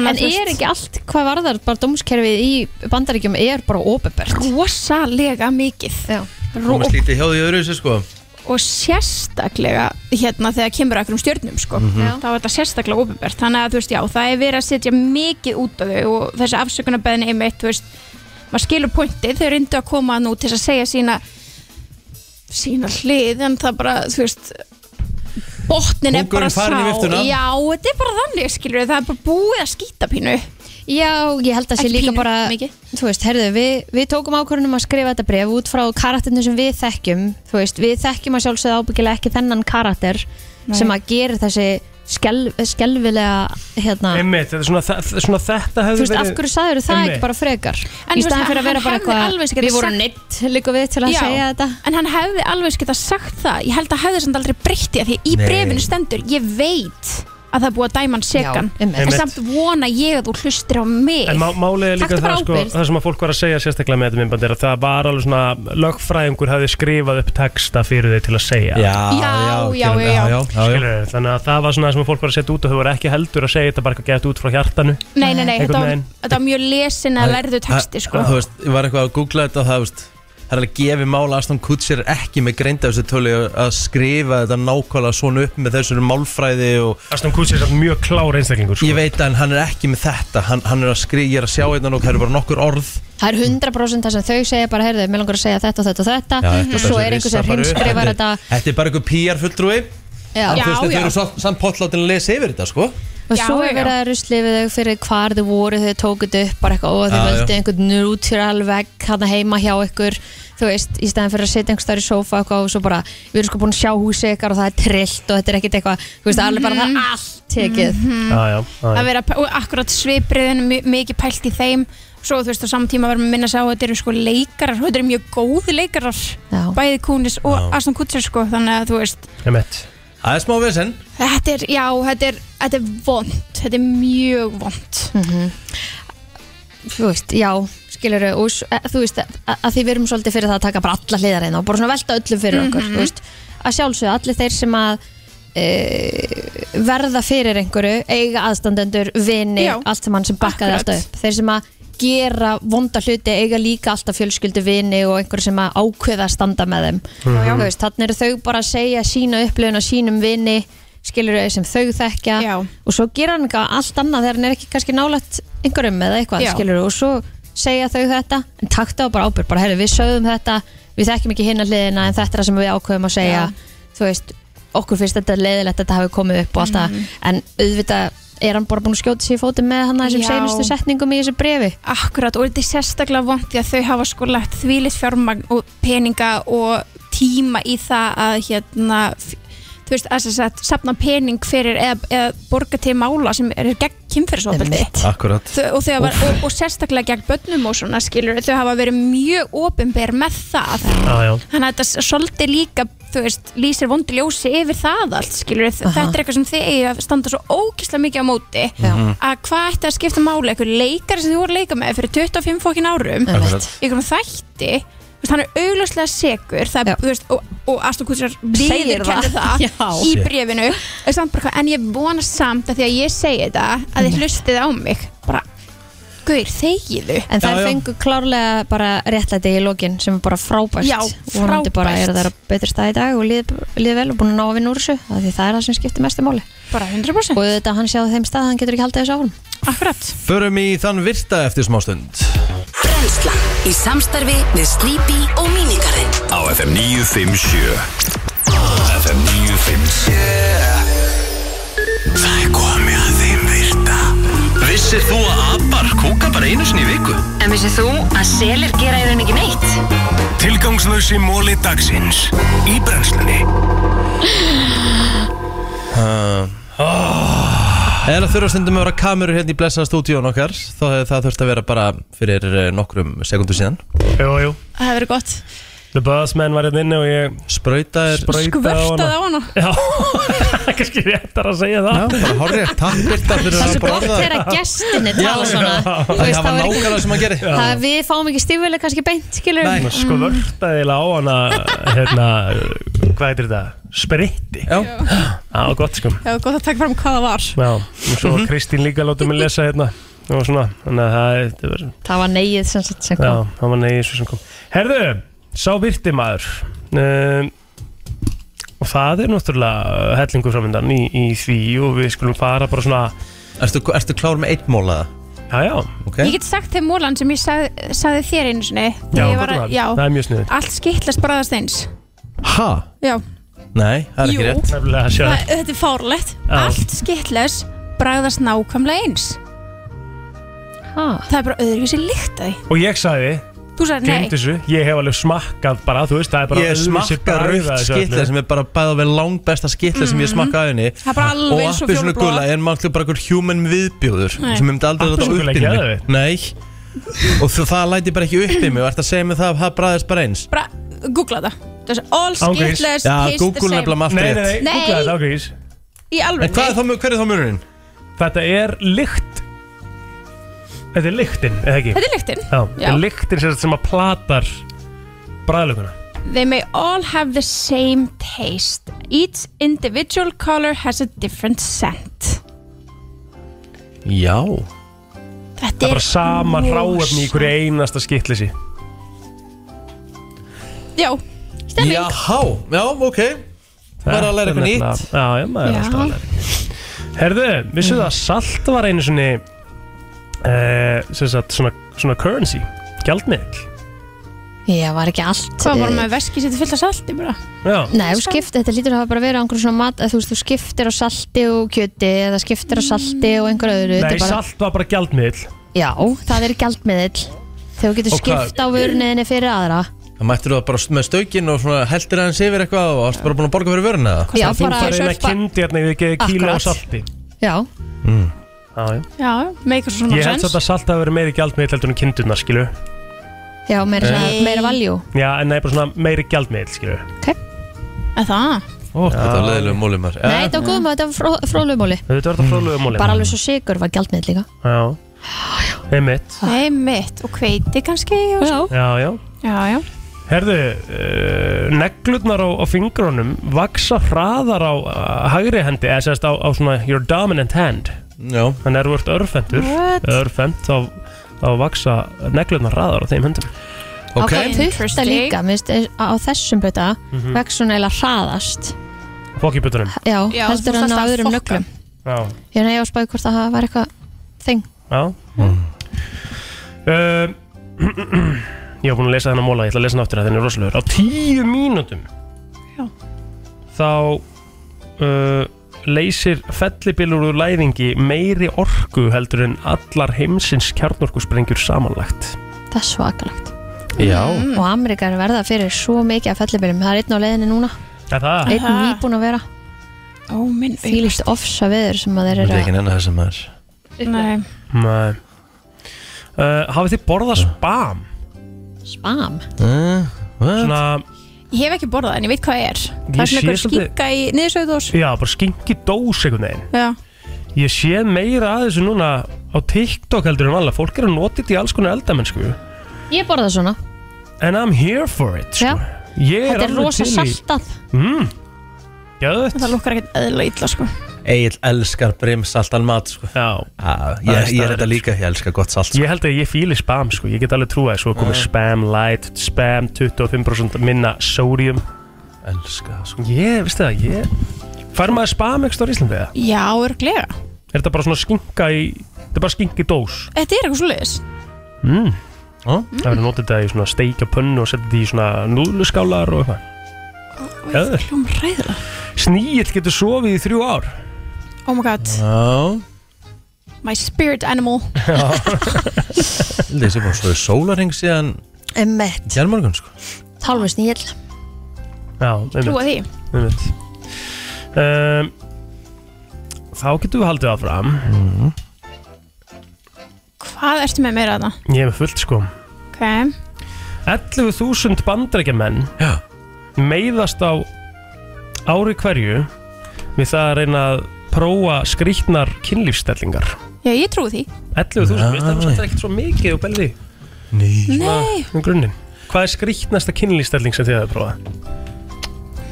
S2: En er ekki allt hvað varðar bara dómskerfið í bandaríkjum er bara óbebert?
S9: rosalega mikið
S2: Já.
S1: Komið slítið hjá því öðru þessu sko
S9: og sérstaklega hérna þegar kemur að einhverjum stjörnum sko,
S1: Mhm. Já.
S9: þá er þetta sérstaklega ofinbært þannig að þú veist já, það er verið að setja mikið út af þau og þessi afsökunarbeðin einmitt, þú veist, maður skilur pointið þau reyndu að koma nú til þess að segja sína sína hlið en það bara, þú veist botnin er
S2: Kóngurinn
S9: bara
S2: farinn í
S9: sá
S2: viftuna.
S9: já, þetta er bara þannig skilur það er bara búið að skýta pínu
S2: Já, ég held að sé
S9: Ekki
S2: líka
S9: pínu,
S2: bara
S9: mikið.
S2: Þú veist, herðu, við, við tókum ákvörðunum að skrifa þetta bref út frá karakterinu sem við þekkjum Þú veist, við þekkjum að sjálfsögða ábyggilega ekki þennan karakter
S9: Nei.
S2: sem að gera þessi skel, skelvilega hérna
S3: Einmitt, þetta er svona, það, svona þetta
S2: Þú
S3: hefði
S2: veist, af hverju sagður það
S3: Einmitt.
S2: ekki bara frekar?
S9: En
S2: í
S9: þú veist,
S2: staðan fyrir að
S9: hann
S2: vera bara
S9: hefði alveg eins
S2: eitthvað
S9: getað
S2: Við vorum
S9: sagt-
S2: neitt líka við til að
S9: Já,
S2: segja þetta
S9: en hann hefði alveg geta sagt það ég held að hefði samt aldrei breytt því að því í
S2: Nei.
S9: brefinu stendur ég veit að það er búið að dæma hann sekan
S3: einmitt.
S9: en
S3: Einmitt.
S9: samt vona ég að þú hlustir á mig
S3: En má, málið er líka
S9: Taktu
S3: það,
S9: bara
S3: sko,
S9: ábyrgð.
S3: það sem að fólk var að segja sérstaklega með þetta myndband er að það var alveg svona lögfræðingur hafði skrifað upp texta fyrir þau til að segja Já,
S9: Já, já, já, já, já. já,
S3: Skilur, Þannig að það var svona það sem að fólk var að setja út og þau voru ekki heldur að segja þetta bara eitthvað gett út frá hjartanu
S9: nei, nei, nei,
S3: Einhvern
S9: þetta var,
S3: veginn.
S9: þetta var mjög lesin að lærðu texti sko.
S1: Þú veist, ég var eitthvað að googla þetta og það, þú veist Það er að gefi mála Aston Kutcher er ekki með greinda þessu tölu að skrifa þetta nákvæmlega svona upp með þessu málfræði og
S3: Aston Kutcher er mjög klár einstaklingur sko.
S1: Ég veit að hann er ekki með þetta hann, hann er að skrifa, ég er að sjá hérna og það eru bara nokkur orð
S2: Það er 100% það sem þau segja bara, heyrðu, mér langar að segja þetta og þetta og þetta
S1: Já, þetta
S2: og svo er einhver
S1: rissa
S2: sem
S1: bara upp.
S2: hrýmskrifar
S1: Þetta
S2: þetta
S1: er- Þetta er bara einhver PR fulltrúi
S2: Já.
S1: En þú
S2: Já,
S1: veist, Þetta
S2: já.
S1: eru samt- samt pottlátin að lesa yfir þetta sko
S2: og
S9: Já,
S2: svo er
S9: já.
S2: verið að rusli við þau fyrir hvar þau voru þau tókuð upp bara eitthvað og þau
S1: Já,
S2: völdu
S1: já.
S2: einhvern neutral vegg hann heima hjá ykkur þú veist, í stæðan fyrir að setja einhvers þar í sófa eitthvað, og svo bara, við erum sko búin að sjá húsi ykkar og það er trillt og þetta er ekkert eitthvað þú veist, alveg bara það er allt tekið
S3: Já, já, já, já.
S9: að vera og akkurat svipriðin mikið pælt í þeim svo þú veist á samtíma varum að minna sá að þetta eru sko leikarar, þetta eru mjög góð leikarar Já. bæði Kúnis og
S1: Já.
S9: Aston Kutcher sko, þannig að þú veist
S3: Einmitt.
S1: Það er smá vesen
S9: Þetta er, já, þetta er, þetta er vond, þetta er mjög vond.
S2: þú veist, já, skilur og s- e, þú veist, að, að því við erum svolítið fyrir það að taka bara alla hliðar hérna og bara svona velta öllum fyrir okkur,
S9: Mhm.
S2: þú veist, að sjálfsögðu allir þeir sem að e, verða fyrir einhverju eiga aðstandendur, vini
S9: Já,
S2: allt sem hann sem bakkaði
S9: akkurat.
S2: alltaf upp þeir sem að gera vonda hluti eiga líka alltaf fjölskyldu vini og einhverju sem að ákveða að standa með þeim
S9: Já, já.
S2: Þú veist, þannig eru þau bara að segja sína upplöfun og sínum vini skilur þau sem þau þekkja
S9: Já.
S2: og svo gera hann eitthvað allt annað þegar hann er ekki kannski nálægt einhverjum eða eitthvað
S9: Já.
S2: skilur og svo segja þau þetta en takta á bara ábyrg, bara herri við sögðum þetta við þekkjum ekki hinna hliðina en þetta er það sem við ákveðum að segja þú veist, okkur finnst þetta leiðilegt að þetta hafi komið upp og allt það
S9: Mhm.
S2: en auðvitað er hann bara búin að skjóta sér í fótum með hann að þessum
S9: Já.
S2: seinustu setningum í þessu brefi
S9: Akkurat, og þetta er sérstaklega vond því að þau hafa sko lagt þvílið fjármagn og peninga og tíma í það að hérna, f- þú veist, að þess að sapna pening fyrir eða, eða borga til mála sem er gegn kynferðisofbeldi.
S1: Akkurat
S9: Þau- og, þau hafa- og, og sérstaklega gegn börnum og svona skilur þau hafa verið mjög opinber með það
S3: Já, já.
S9: þannig að þetta s- svolítið líka þú veist, lýsir vondi ljósi yfir það allt skilur þau,
S2: Aha.
S9: þetta er eitthvað sem þið eigi að standa svo ókíslega mikið á móti
S2: Já.
S9: að hvað ætti að skipta máli eitthvað leikari sem þú voru að leika með fyrir 25 fokkin árum
S2: Akkurat.
S9: eitthvað þætti þú veist, hann er augljóslega segur það, er, þú veist, og, og Aston Kutcher
S2: Segir það.
S9: viðurkenndi
S2: (laughs)
S9: það,
S2: Já.
S9: í
S2: Shit.
S9: brefinu en samt bara, eitthvað, en ég vona samt að því að ég segi þetta að þið hlustið á mig bara, guður, þegiðu
S2: en þær fengu klárlega bara réttlæti í lokin sem er bara frábært
S9: Já,
S2: vonandi bara
S9: frábært.
S2: er það betri stað í dag og líð, líð vel og búin að ná að vinna úr þessu af því það er það sem skiptir mestu máli
S9: bara 100%
S2: og þetta hann sjáði þeim stað, hann getur ekki haldið þessu áfram
S9: akkurat
S1: Förum í þann virta eftir smástund
S7: Brennslan í samstarfi við Sleepy og Minigarinn
S8: Á FM 957 FM 957 Það er komið að þeim virta Vissir þú að abar kúka bara einu sinni í viku?
S7: En vissið þú að selir gera í raun ekki neitt?
S8: Tilgangslösi móli dagsins Í brennslunni
S1: uh, En að þurfa stundum að vera kameru hérna í blessaða stúdíón okkar Þá hefði það þurft að vera bara fyrir eh, nokkrum sekundum síðan
S3: Jú, jú
S9: það hefur verið gott
S3: The Buzzman var hérna inni og ég
S1: Sprautaðir
S9: Skvörtað á hana
S3: Já, (laughs) kannski réttar að segja það
S1: Já, bara horrið, takk Birta fyrir
S2: Það er svo
S1: að
S2: gott
S1: borða
S2: þegar að gestinni tala
S1: Já,
S2: svona
S1: já.
S2: Þú
S1: Það
S2: veist,
S1: var
S2: er ekki-
S1: nákvæmlega sem að gerir
S2: það, Við fáum ekki stífileg kannski beint skilur
S1: Nei.
S3: Svona skvörtaði eiginlega á hana hérna, hvað heitir þetta? Spritti
S1: Já.
S3: Já, gott sko
S9: Já, gott að taka fram hvað það var
S3: Já, og svo Kristín líka látið mig lesa hérna og svona, þannig að það er- þetta var
S2: Það var neyið sem sagt sem
S3: Já,
S2: kom
S3: það var negið svo sem kom Herðu, sá virti maður um, Og það er náttúrulega hellingu framöndan í, í því og við skulum fara bara svona
S1: Ertu, ertu klár með eitt mólaða?
S3: Já, já,
S1: Okay.
S9: Ég get sagt þeim mólan sem ég sag, sagði þér einu sinni
S3: já,
S9: þegar ég var, að-
S3: já. það er mjög sniður
S9: já Allt skittlast bræðast eins
S1: Ha?
S9: Já,
S1: Nei, það er
S9: Jú.
S1: ekki rétt
S3: Nefnilega að sjá
S9: það, þetta er fárlegt
S3: Já.
S9: Allt skittlast bræðast nákvæmlega eins
S2: Ha,
S9: Það er bara öðruvísi líkt að því
S3: Og ég sagði,
S9: Þú sagði nei
S3: glemt þessu, ég hef alveg smakkað bara, þú veist, það er bara
S1: Ég
S3: öðruvísi
S1: smakka
S3: bragð að
S1: raukt
S3: þessu
S1: skitla
S3: öllu.
S1: sem er bara bæða við langbesta skitla sem
S2: Mhm.
S1: ég smakka af henni
S9: Það er bara alveg
S1: Og
S9: eins og
S1: appisunu gula
S9: fjólubláa.
S1: er mannlega bara einhver human viðbjóður
S9: Nei.
S1: sem ég myndi aldrei láta
S3: Appelsínugula
S1: upp í
S3: geðveikt.
S1: mig Nei Og þú- það læti bara ekki upp í mig og ert að segja mig það að það bræðist bara eins
S9: Bara, googla það Þessi, All
S3: Ángríns.
S9: skittlast,
S1: Já,
S9: taste the
S1: Google nefnilega
S9: same
S1: maður
S3: Nei,
S1: allt
S3: nei,
S1: rétt
S3: nei,
S9: Nei.
S3: googlaði þetta ágrís
S9: Í
S1: En hvað er
S9: alveg
S1: þá, hver er þá munurinn?
S3: Þetta er lykt Þetta er lyktin, eða ekki?
S9: Þetta er líktinn
S3: Já, þetta
S9: Já.
S3: er lyktin sem, sem að platar bræðlökunna
S9: They may all have the same taste. Each individual color has a different scent.
S1: Já
S9: Þetta
S3: Það er bara sama ráefni í hverju einasta skittlisi
S9: Já,
S2: Stemming.
S1: Já, já, ok Bara að læra eitthvað nýtt.
S3: Já, já, maður er
S2: Já.
S3: alltaf að læra eitthvað nýtt Herðu, vissu það að salt var einu svona uh, sem sagt, svona, svona currency gjaldmiðl
S2: Ég var ekki allt
S9: hvað var
S2: eh,
S9: með veski sem þetta fyllt af salti bara?
S3: Já,
S2: Nei, þú skiptir, þetta lítur að hafa bara verið á einhverjum svona mat að þú veist, þú skiptir á salti og kjöti eða skiptir á salti og einhverju öðru Þetta
S3: Nei
S2: er bara,
S3: salt var bara gjaldmiðl
S2: Já, það er gjaldmiðill þegar þú getur
S1: Og hvað-
S2: skipt á vörniðinni fyrir aðra
S1: Það mættir þú það bara með stökin og svona heldur aðeins yfir eitthvað og varst bara búin að borga fyrir vöruna eða?
S2: Já,
S3: Þú
S2: bara
S3: fær eina
S2: sörpa-
S3: kynnti hérna við geði kíla á
S2: Akkurat.
S3: salti
S2: Já,
S3: Já, já
S9: Já, make a svona
S3: Ég held samt
S9: sens.
S3: að salt hafi verið meiri gjaldmiðl heldur en kindurnar, skilu
S2: já, meira, svona, meira valjú
S3: Já, en nei, bara svona meiri gjaldmiðl, skilu
S9: Að það?
S1: Ó, Þetta var leiðilegu múlið maður
S2: Nei, þetta var góðum að þetta var fró, fróðlumóli
S3: Þetta var þetta fróðlega múli
S2: Bara alveg svo sigur var gjaldmiðill líka
S3: Já, einmitt
S9: Nei, mitt og hveiti kannski. Og já.
S3: Já, já
S9: já, já.
S3: Herðu, uh, neglutnar á, á fingrunum vaksa hraðar á uh, hægri hendi, eða sérst á, á svona your dominant hand,
S1: Já,
S3: þannig er vort örfendur
S9: What?
S3: örfend, þá, þá vaksa neglutnar hraðar á þeim höndum
S1: ok
S2: Á hvað putta
S9: Interesting.
S2: líka, minnst, á þessum putta mm
S1: Mhm.
S2: -hmm. vex svona eila hraðast
S3: fokkibutunum
S2: Já,
S9: Já, þú
S2: heldur hann
S9: þarft
S2: á
S9: að
S2: öðrum
S9: fokka.
S2: nöglum
S3: Já,
S2: Ég nefnir að spáði hvort að það var eitthvað þing
S3: já mm. (clears throat) Ég var búin að lesa þennan móla, ég ætla að lesa hann aftur að þenni er rosalegur á tíu mínútum
S9: Já.
S3: þá uh, leysir fellibillur úr læðingi meiri orku heldur en allar heimsins kjarnorkusprengjur samanlagt
S2: Það er svakalagt
S1: Já
S2: Og Amerikar verða fyrir svo mikið af fellibilum Það er einn á leiðinni núna
S3: Er það?
S2: Einn nýbúin að vera
S9: Ó, minn fíl.
S2: Fýlist ofsa viður sem að þeir
S1: Þetta
S2: eru
S1: er
S2: að
S1: ekki nennan þessum maður
S9: Nei.
S3: Nei uh, Hafið þið borðað spam?
S2: Spam
S1: Eh, what?
S3: Svona,
S9: Ég hef ekki borðað en ég veit hvað það er. Það
S3: Ég
S9: er svona
S3: sé
S9: eitthvað
S3: svolítið-
S9: skinka í niðursauðdós.
S3: já, bara skingi dós einhvern veginn
S9: Já.
S3: Ég sé meira að þessu núna á TikTok heldur en alla Fólk er að nota þetta í alls konar eldamennsku
S2: Ég borða það svona
S3: And I'm here for it sko.
S2: Já.
S3: Ég er
S2: Þetta er
S3: alveg
S2: rosa
S3: til í-
S2: saltað
S3: mm, Gjöðt
S9: Það lukkar ekkert eðla illa, sko.
S1: Egil elskar brimsaltan mat sko.
S3: Já,
S1: ah, ég,
S3: Það er
S1: ég er
S3: staðreynd,
S1: þetta líka, ég elska gott salt sko.
S3: Ég held að ég fíli spam sko, ég get alveg trúa að svo komið spam light, spam 25% minna sodium
S1: Elska það, sko.
S3: Ég, veistu það, ég Fær maður spam ekki stór í Íslandi eða?
S9: Já, örglega.
S3: Er þetta bara svona skinka í, þetta er bara skinka í dós
S9: Þetta er eitthvað svolítið.
S3: mm.
S1: Ó.
S3: Það verður notið þetta í svona steikja pönnu og setja þetta í svona núðluskálar og eitthvað Gjöður.
S9: Hljóm ræðilega.
S3: Snýill getur sofið í þrjú ár
S9: Oh my god.
S3: Ah.
S1: Já,
S9: My spirit animal.
S1: held ég sé bara svo í sólaring síðan
S2: Emmett
S1: Hjálmargun sko
S2: Hálfur sníl
S3: Já, einmitt,
S9: Trúa því.
S3: einmitt um, Þá getum við haldið áfram
S9: Hvað ertu með meira þarna?
S3: Ég hef fullt sko
S9: Ok.
S3: 11.000 bandrækjamenn meiðast á ári hverju við það að reyna að prófa skrýtnar kynlífstellingar
S9: Já, ég trúi því
S3: 11.000, veist það er samt ekkert svo mikið og belði
S9: Nei,
S3: um grunninn Hvað er skrýtnasta kynlífstelling sem þið hefur prófað?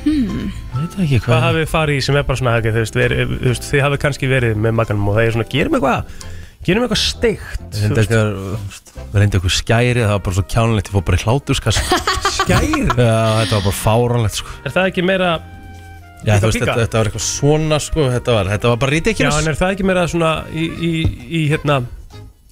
S9: hmm.
S1: Veit ekki
S3: Hvað hafið þið farið í sem er bara svona okay, þú veist, veri, þú veist, Þið hafið kannski verið með makanum og það er svona, gerum eitthvað Gerum eitthvað steikt þú
S1: Reynda
S3: veist.
S1: eitthvað, við reyndi eitthvað skæri það var bara svo kjánlegt, ég fór bara í
S3: (laughs)
S1: hláturskast Skæri? Já, þetta var bara fáranlegt sko.
S3: Er það ekki meira
S1: Já,
S3: Eitthvað
S1: þú veist,
S3: píka?
S1: þetta, þetta var eitthvað svona sko, þetta var, þetta var bara
S3: Já,
S1: rítikjus
S3: en er það ekki meira svona í, í, í hérna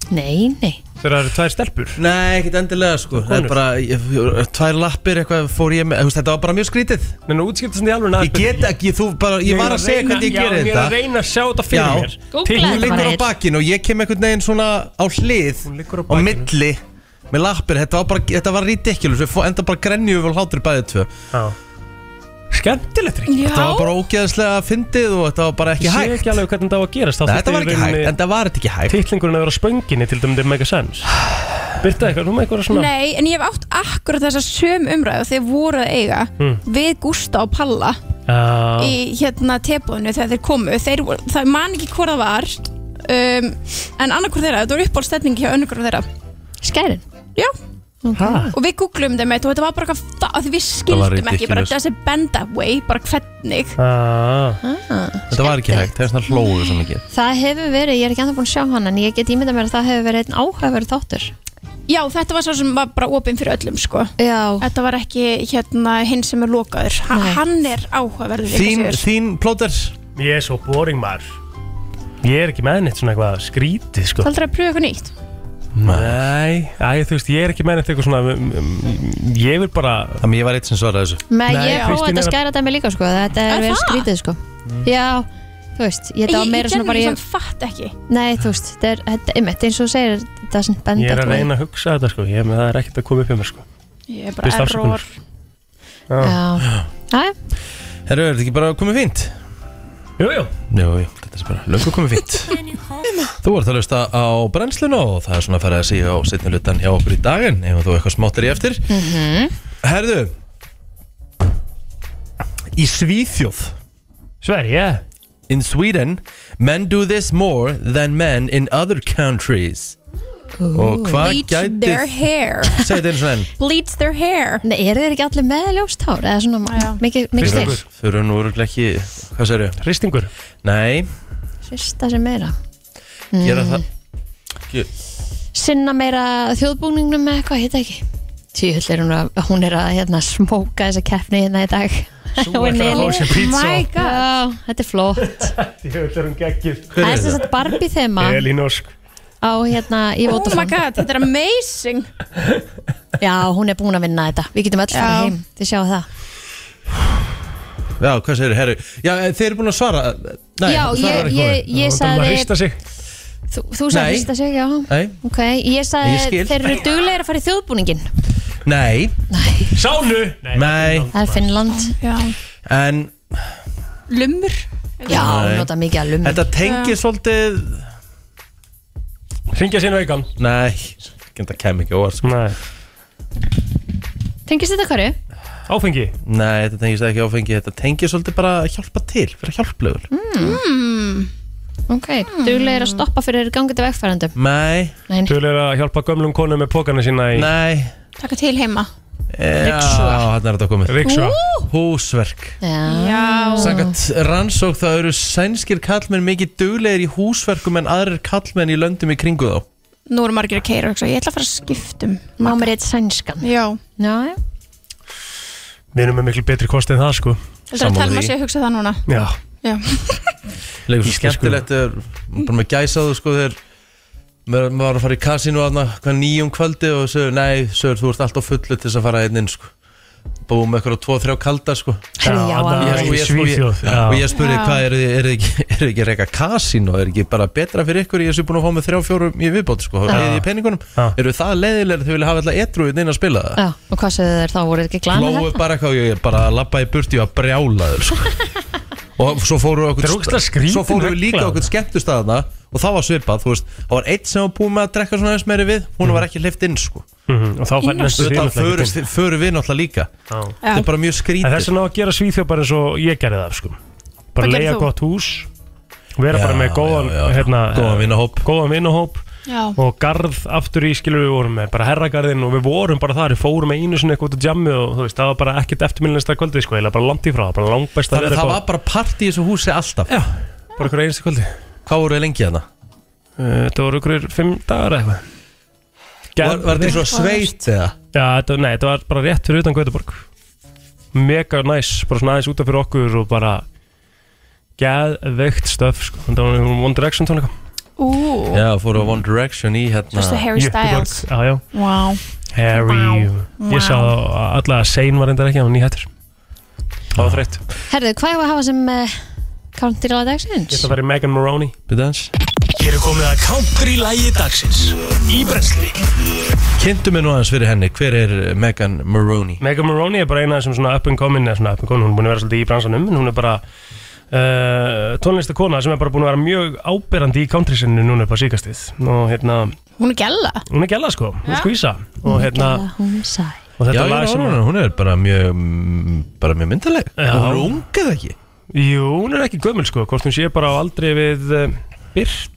S2: Nei, nei
S3: þegar það eru tvær stelpur
S1: Nei, ekkert endilega sko Það er
S3: Konur.
S1: bara, ég, ég- tvær lappir eitthvað fór ég með, þú veist, þetta var bara mjög skrítið
S3: Menn útskiptast í alveg
S1: Ég get ekki, þú bara, ég var að segja hvernig ég gerði
S3: Já, ég er
S1: þetta
S3: að reyna að sjá þetta fyrir
S1: Já.
S3: mér
S2: Googlaðu
S3: Til-
S1: Hún
S2: þetta bara,
S1: liggur á
S2: Egill.
S1: bakinu og ég kem einhvern veginn svona á hlið
S3: Hún liggur á
S1: á
S3: bakinu.
S1: milli með lappir, þetta var bara, þetta var ridiculous við fó- enda bara grenjum og hlátur bæðið tvö
S3: Já. Skemmtilegt Ríkki.
S9: Já,
S1: þetta var bara ógeðslega fyndið og þetta var bara ekki
S3: Ég sé
S1: hægt
S3: ekki alveg hvernig það var að gerast
S1: Nei, þetta var ekki hægt, en það var þetta ekki hægt
S3: Tittlingurinn að vera á spönginni til dæmis, það make a sense Byrta eitthvað, nú með eitthvað svona
S9: Nei, en ég hef átt akkurat þessa söm umræðu þegar voru að eiga
S3: Mm.
S9: við Gústa og Palla
S3: Já,
S9: í hérna tebúðinu þegar þeir komu þeir, voru- það man ekki hvort það var um, en annarkur þeirra, þetta var uppbólstetning hjá önnurkur þeirra
S2: Skærin?
S9: Já.
S2: okay.
S3: Ha?
S9: og við googlum þeim eitt og þetta var bara eitthvað fa- að við
S1: var
S9: skildum ekki bara
S1: ridiculous.
S9: þessi bend away, bara hvernig
S3: já
S1: þetta var ekki hægt, það er svona hlóðu svo mikið
S2: Það hefur verið, ég er ekki anþá búin að sjá hann en ég get ímynda mér að það hefur verið einn áhugaverð þáttur
S9: Já, þetta var svo sem var bara opinn fyrir öllum sko
S2: Já,
S9: Þetta var ekki hérna hinn sem er lokaður ha,
S2: Nei.
S9: Hann er áhugaverður Ríkka
S1: þín,
S9: Sigurðs.
S1: þín plóter
S3: Ég er svo boring maður Ég er ekki með neitt svona eitthvað skrítið sko
S9: Það er aldrei að pröfa eitthvað nýtt
S3: Nei, æ, þú veist, ég er ekki með neitt eitthvað svona um, um, Ég vil bara
S1: þannig ég var eitt sem svaraði þessu
S2: með
S3: Nei,
S2: ég prófa
S3: Kristín
S2: þetta
S3: er að-
S2: skæra dæmi líka sko, þetta
S9: Er
S2: er verið
S9: það?
S2: skrítið sko Já, þú veist, ég þetta var meira svona bara
S9: Ég
S2: ég,
S9: genið fatt ekki
S2: Nei, þú veist, þetta er, þetta, einmitt, eins og þú segir þetta er sem
S3: Ég
S2: benda
S3: er að reyna að hugsa þetta sko Ég er með það er ekkert að koma upp hjá mér sko
S9: Ég er bara
S3: Byrst
S9: error
S3: afsökunar Já.
S2: Já, Æ,
S1: herru, er þetta ekki bara komið fínt?
S3: Jú, jú
S1: jú, jú, þetta er bara löngu komið fínt Þú ert að lösta á brennsluna og það er svona að fara að síga á setni lutan hjá okkur í daginn ef þú eitthvað smáttir í eftir Herðu Í Svíþjóð
S3: Sverige
S1: eh? In Sweden Men do this more than men in other countries Og hvað
S9: Bleach
S1: gæti
S9: their hair
S1: Segðu þetta eins og enn
S9: Bleach their hair
S2: nei, eru þeir ekki allir með ljóstár eða svona
S9: Já.
S2: ma- mikið mikið styr
S1: Þau eru nú örugglega ekki Hvað segir þau?
S3: Ristingur
S1: Nei,
S2: Sista sem meira
S1: gera
S2: Mm.
S1: það
S2: Sinna meira þjóðbúningnum með eitthvað, hitt ekki Tjúll er hún að, hún er að hérna, smóka þessa keppni hérna í dag
S3: Þú
S2: Hún
S3: ætlar að
S2: Elín.
S3: fá sér pizza
S9: My god
S2: Já, þetta er flott
S3: Ég vil er hún geggir
S2: Það
S1: Hver
S2: er
S1: er
S2: sem
S1: það?
S2: sagt Barbie þema
S3: Elín Ósk
S2: á hérna í
S9: Oh my
S2: Vodafone
S9: god, þetta er amazing
S2: Já, hún er búin að vinna þetta Við getum öll
S9: Já.
S2: farið heim, þið sjáu það
S1: Já, hvað segir þau? Herru, já, þeir eru búin að svara Eh, Nei,
S2: Já,
S1: svarar
S2: ég,
S1: ekki
S2: ég,
S1: hún.
S2: ég
S3: Það var að
S2: sagði
S3: rista sig
S2: Þú, þú sagði
S1: Nei.
S2: fyrst að segja, já
S1: Nei,
S2: Ok, ég
S1: Ég
S2: sagði
S1: skil.
S2: þeir eru duglegir að fara í þjóðbúningin
S1: nei,
S3: Sánu Nei,
S1: nei
S2: Það er Finnland
S9: Já.
S1: En
S9: Lumur
S2: Já,
S1: Nei.
S2: nota mikið að lumi
S1: Þetta tengir svolítið
S3: Ringja sín veikan
S1: Nei, þetta kem ekki óvart sko.
S3: Nei
S2: Tengist þetta hverju?
S3: Áfengi
S1: Nei, þetta tengist ekki áfengi Þetta tengir svolítið bara að hjálpa til Fyrir hjálplegur
S2: Mm. Ok, duglegir að stoppa fyrir gangandi vegfærandum
S1: Nei,
S2: Nei,
S3: Þú vil að hjálpa gömlum konu með pókana sína í
S1: nei
S9: Takka til heima
S1: Já, þarna er þetta komið
S3: Riksha
S1: Húsverk
S2: já,
S9: Já
S1: Sangat rannsók það eru sænskir kallmenn mikið duglegir í húsverkum en aðrir kallmenn í löndum í kringu þá
S9: Nú eru margir að keira Ég ætla að fara að skiptum
S2: má mér eitt sænskan
S9: Já
S2: Já, já,
S3: Við erum með miklu betri kosti en það sko
S9: Þetta er að
S1: Sammála
S9: telma
S1: því.
S9: sig að hugsa það núna
S3: Já
S9: Já
S1: Legur svo
S3: Íslensku.
S1: skemmtilegt er, bara með gæsaðu sko þegar maður maður var að fara í kasinu aðna hvað nýjum kvöldi og sögur nei, sögur þú ert alltaf fullu til þess að fara einn inn sko búum með eitthvað tvo, þrjá kalda sko
S2: Heyrðu, já, alveg.
S3: þarna
S1: Ég-
S3: í
S1: og ég-
S3: Svíþjóð
S1: og ég- og
S3: já.
S1: ég spurði
S9: Já.
S1: hvað er þið er þið ekki, (laughs) er þið ekki að reyka kasín og er ekki bara betra fyrir ykkur ég sé búin að fá með þrjá fjórum í viðbót sko, þá leiði ég peningunum
S3: Já.
S1: eru það leiðilega þau vilja hafa alltaf etru inn að spila það
S2: já Og hvað segðu þeir þá, voru þeir ekki glæna
S1: Lóðu bara eitthvað og ég bara lappa í burti og brjálaður (laughs) sko. og svo fóru okkur
S3: Þetta er ógeðslega skrítin
S1: svo fóru við
S3: regla.
S1: líka okkur Mhm. skemmtustæðana og það var svipað, þú veist, það var eitt sem var búin með að drekka svona aðeins meiri við, hún var ekki hlift inn sko.
S3: Mhm, og þá fær næstu því
S1: Þá
S3: náttúrulega ekki
S1: förum- förum við náttúrulega líka Þetta er bara mjög
S3: En þess
S1: skrítið
S3: vegna á að gera Svíþjóð bara eins og ég gerði það sko. bara
S9: Hvað gerðir
S3: leiða
S9: þú?
S3: gott hús vera
S1: Já,
S3: bara með góðan
S1: já, já, já.
S3: Hérna,
S1: Góðan vinahóp.
S3: góðan vinahóp
S9: Já.
S3: og garð aftur í skilur við vorum með bara herragarðin og við vorum bara þar við fórum einu sinni eitthvað út að jammi og þú veist það var bara ekkert eftirminnlista kvöldi sko eða bara langt í frá bara langbest að
S1: Þannig að
S3: vera
S1: það var bara part í þessu húsi alltaf
S3: Já, bara ykkur einstu kvöldi
S1: Hvað voru við lengi hérna? þarna?
S3: Uh, þetta voru ykkur fimm dagar eða eitthvað
S1: Var, var þetta eins og sveit eða?
S3: Já, þetta, nei, þetta var bara rétt fyrir utan Göteborg Mega næs, bara svona aðeins út af fyrir okkur og bara geðveikt stöf sko. Þetta var einhverjum One Direction tónleika
S9: Ú,
S1: Já, fóru á One Direction í hérna
S9: fyrstu Harry Styles
S3: Jökuborg, Já, já,
S9: Vá,
S3: Harry
S9: Vá.
S3: Ég sá það alla að Sein var endar ekki, hann var nýhættur Það var þreytt Ég
S2: Herðu, hvað er að hafa sem uh, Country Law Dagsins?
S3: ætla að fara í Megan Maroney
S1: Bidans
S8: Hér er komið að counter í lægi dagsins Í brensli
S1: Kynntu mig nú aðeins fyrir henni Hver er eh, Megan Maroney?
S3: Megan Maroney er bara eina sem svona up and coming eða svona up and coming, hún er búin að vera svolítið í bransanum en hún er bara uh, tónlistakona sem er bara búin að vera mjög áberandi í country sinni núna upp á síkastið og hérna,
S9: hún er gælla
S3: hún er gæla sko, hún
S9: Já.
S3: er skvísa og hérna,
S2: Gæla, hún er sæ
S1: Já,
S3: og þetta
S1: ég
S3: lag
S1: er
S3: sem
S1: orðan, hún er bara mjög mm, bara mjög myndaleg
S3: Já.
S1: Hún er ung eða ekki?
S3: jú, hún er ekki gömul sko, hvort hún sé bara á aldrei við uh, Byrtu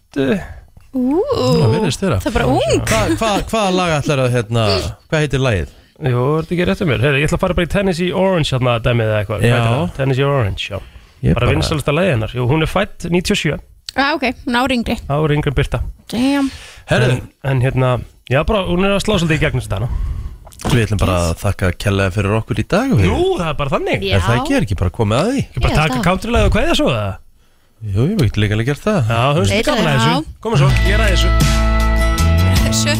S9: Ú,
S1: Það verðist þeirra
S9: það er bara ung
S1: Hva- hva- Hvaða lag ætlar að hérna Hvað heitir lagið?
S3: jú, er þetta ekki rétt um mér, Heyri, ég ætla að fara bara í Tennessee Orange hérna að dæmið eða eitthvað,
S1: Já.
S3: Hvað heitir það? Tennessee Orange, já
S1: Ég
S3: bara vinsalasta leið hennar, jú, hún er fætt 97
S9: Já, Ah, ok, hún á ringri
S3: ári yngri en Byrta
S9: Damn
S1: Herðu,
S3: en, en hérna, já bara, hún er að slá svolítið í gegnum þetta hana
S1: við ætlum bara að þakka kellaði fyrir okkur í dag og við-
S3: Jú, það er bara þannig
S1: Er það ekki, er ekki bara komið að því?
S3: Ekki bara
S2: Ég held
S3: taka
S2: að.
S3: kátturlega og kveðja svo það
S1: Jú, ég veit líka alveg gert það
S3: Já, þú veist,
S9: Nei,
S3: þetta gaman að
S9: já.
S3: þessu Komum svo, gera þessu
S9: Þessu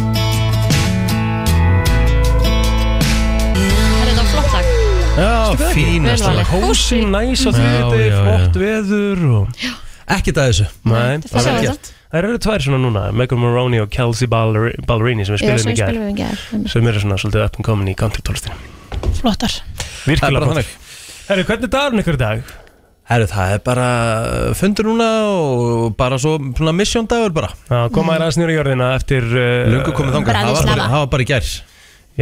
S2: Það er þetta flott lag
S1: Já, fínast
S2: Vel valið.
S1: lag
S3: Hósi, næs og
S1: Já,
S3: þriði,
S1: já, já.
S3: flott veður og...
S1: Ekkert að þessu
S3: Nei,
S2: Það
S1: vel
S2: er
S1: gert.
S2: þetta
S3: það eru tvær svona núna Megan Maroney og Kelsey Balleri- Ballerini sem við
S2: Ég
S3: spilum
S2: sem
S3: í gær
S2: spilum við í gær einmitt.
S3: sem eru svona svolítið up and coming í country tólestinu
S9: Flottar
S1: Það er
S3: Virkilega
S1: bara
S3: flott
S1: þannig
S3: Herru, hvernig dagur ykkur í dag?
S1: Herru, það er bara fundur núna og bara svo svona mission dagur bara
S3: Já, koma þér aðeins nýra í jörðina eftir uh,
S1: Lungu komið þangað, það
S9: Bragðið
S1: var bara,
S9: slava.
S1: það var bara í gær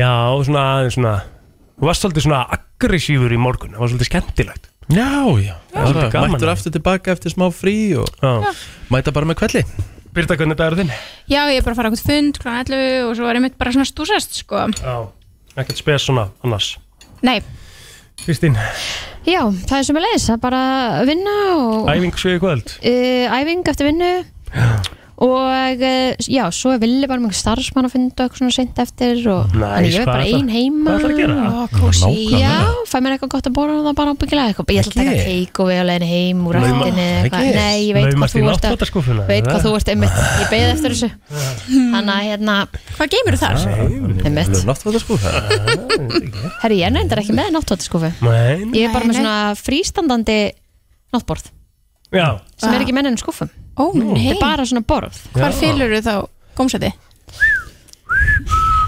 S3: Já, svona aðeins svona Þú varst svolítið svona aggressífur í morgun Það var svolítið skemmtilegt
S1: Já, já,
S3: það er
S1: bara
S3: gaman.
S1: Mættur aftur tilbaka eftir smá frí og
S3: Já.
S1: mæta bara með kvelli
S3: Birta, hvernig dagur þinn?
S9: Já, ég er bara að fara á eitthvað fund klána 11 og svo er ég mitt bara svona stúsast, sko
S3: Já, ekkert spes svona annars
S9: Nei,
S3: Kristín,
S2: Já, það er sem að leiðis, það er bara að vinna og
S3: æfing svo í kvöld
S2: uh, æfing eftir vinnu og uh, já, svo er villi bara með einhver starfsmann að finna eitthvað svona seint eftir og
S3: Næs,
S2: þannig ég er
S3: hvað
S2: bara
S3: ætlar-
S2: ein heima
S3: hvað ætlarðu að gera?
S2: og kósi
S1: Nákvæmlega.
S2: já, fæ mér eitthvað gott að borða og það bara ábyggilega eitthvað ég ætla að taka
S1: Ekki?
S2: keik og við á leiðinu heim úr
S1: Lauma-
S2: rættinni
S1: Ekki?
S2: nei, ég veit
S3: Laumast
S2: hvað
S3: í
S2: þú ert að
S3: náttfötaskúffuna,
S2: veit
S3: eða?
S2: hvað þú ert einmitt, ég
S3: (laughs)
S2: beði eftir þessu þannig að hérna,
S9: hvað geymir þar?
S2: Einmitt.
S1: Náttúrulega (laughs) sko
S2: herri, ég er nefndar ekki með náttúrskúfu
S3: Mæn
S2: ég er bara
S9: Nei,
S2: með
S9: nei.
S2: svona frístandandi náttborð
S3: Já,
S2: sem
S9: Ah.
S2: er ekki með ennum skúfum
S9: Ó, nei
S2: þetta er bara svona borð,
S9: Hvar fylgur þú þá gómsæti?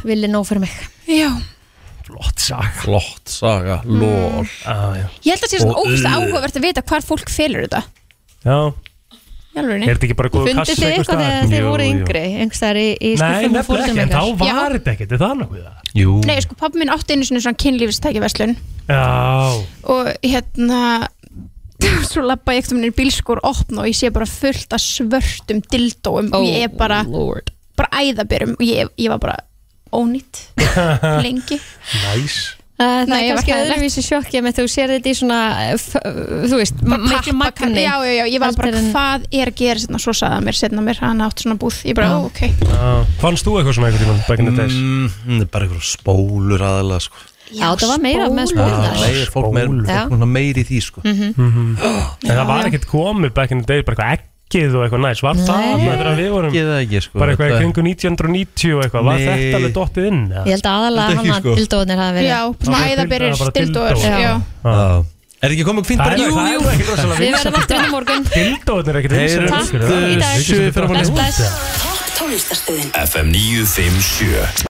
S2: villi nóg fyrir mig
S9: Já
S3: flott sag
S1: Flott saga, lol
S3: Já, já,
S9: Ég held að sé
S1: Og
S9: svona ógust
S1: auð.
S3: uh,
S9: áhugavert að vita hvar fólk fylgur þetta
S3: já
S9: Jálfurinni
S3: Er þetta ekki bara góðu
S2: Fundið
S3: kassi
S2: þið eitthvað þegar þið voru yngri einhverstaðar í, í
S3: Nei,
S2: skúffum og
S3: nefnilega
S2: fórum
S3: ekki, en þá
S2: ykkar?
S9: Já.
S3: var þetta ekkert, er það nokkuð það?
S1: Jú,
S9: Nei, sko, pappi minn átti einu sinni svona kynlífstæki verslun
S3: Já,
S9: og hérna (laughs) svo lappa ég eitthvað minn í bílskur opn og ég sé bara fullt af svörtum dildóum og ég er bara,
S2: Oh, Lord.
S9: bara æðabyrjum og ég, ég var bara ónýtt
S3: (laughs)
S9: lengi
S3: næs
S2: Uh, það
S9: Nei,
S2: er
S9: ég var
S2: kannski
S9: hræðilegt.
S2: öðruvísi sjokkja með þú sér þetta í svona eh, f- þú veist, m- miklu magni
S9: já, já, já, ég var bara
S2: Heldur en-
S9: hvað er að gera sérna, svo sagði hann mér, sérna mér hann átt svona búð, ég bara, ó, ok
S3: Já. Fannst þú eitthvað svona einhvern tímann back in the days?
S1: Mm, það er bara einhverjum spólur aðalega sko
S2: Já, það var meira með
S1: Já,
S2: spólunar
S1: meir- Fólk meir-
S3: Spólur.
S2: Já.
S1: fólk núna meir í því sko
S3: En það var ekkert komið back in the days, bara eitthvað ekkið og eitthvað næs Var það
S2: Nei.
S3: þarna þegar við vorum
S1: Ekki það ekki sko
S3: bara eitthvað í
S1: Þetta-
S3: kringu 1990 og eitthvað Var
S1: Nei.
S3: þetta alveg dottið inn?
S2: Ég
S3: eða?
S2: held að
S1: Þetta
S2: aðalega
S1: ekki,
S2: hann
S1: sko.
S2: að dildóðnir hafa verið
S9: já,
S3: Það
S9: svona
S3: var bara
S9: æðabyrjur,
S3: dildóar.
S9: dildóar
S2: Já.
S9: já,
S1: Já. Er ekki komið fínt
S3: Það
S1: bara
S3: er
S1: í dag?
S3: það er ekkert rosalega
S2: Við
S3: vinsælt
S2: verðum aftur inn í morgun
S3: Dildóðin er ekkert vinsælt
S1: Heyrumst,
S2: Takk, í dag.
S1: sjö fyrir morguninn.
S2: Bless, bless
S7: Tónlistarstöðin
S8: FM 957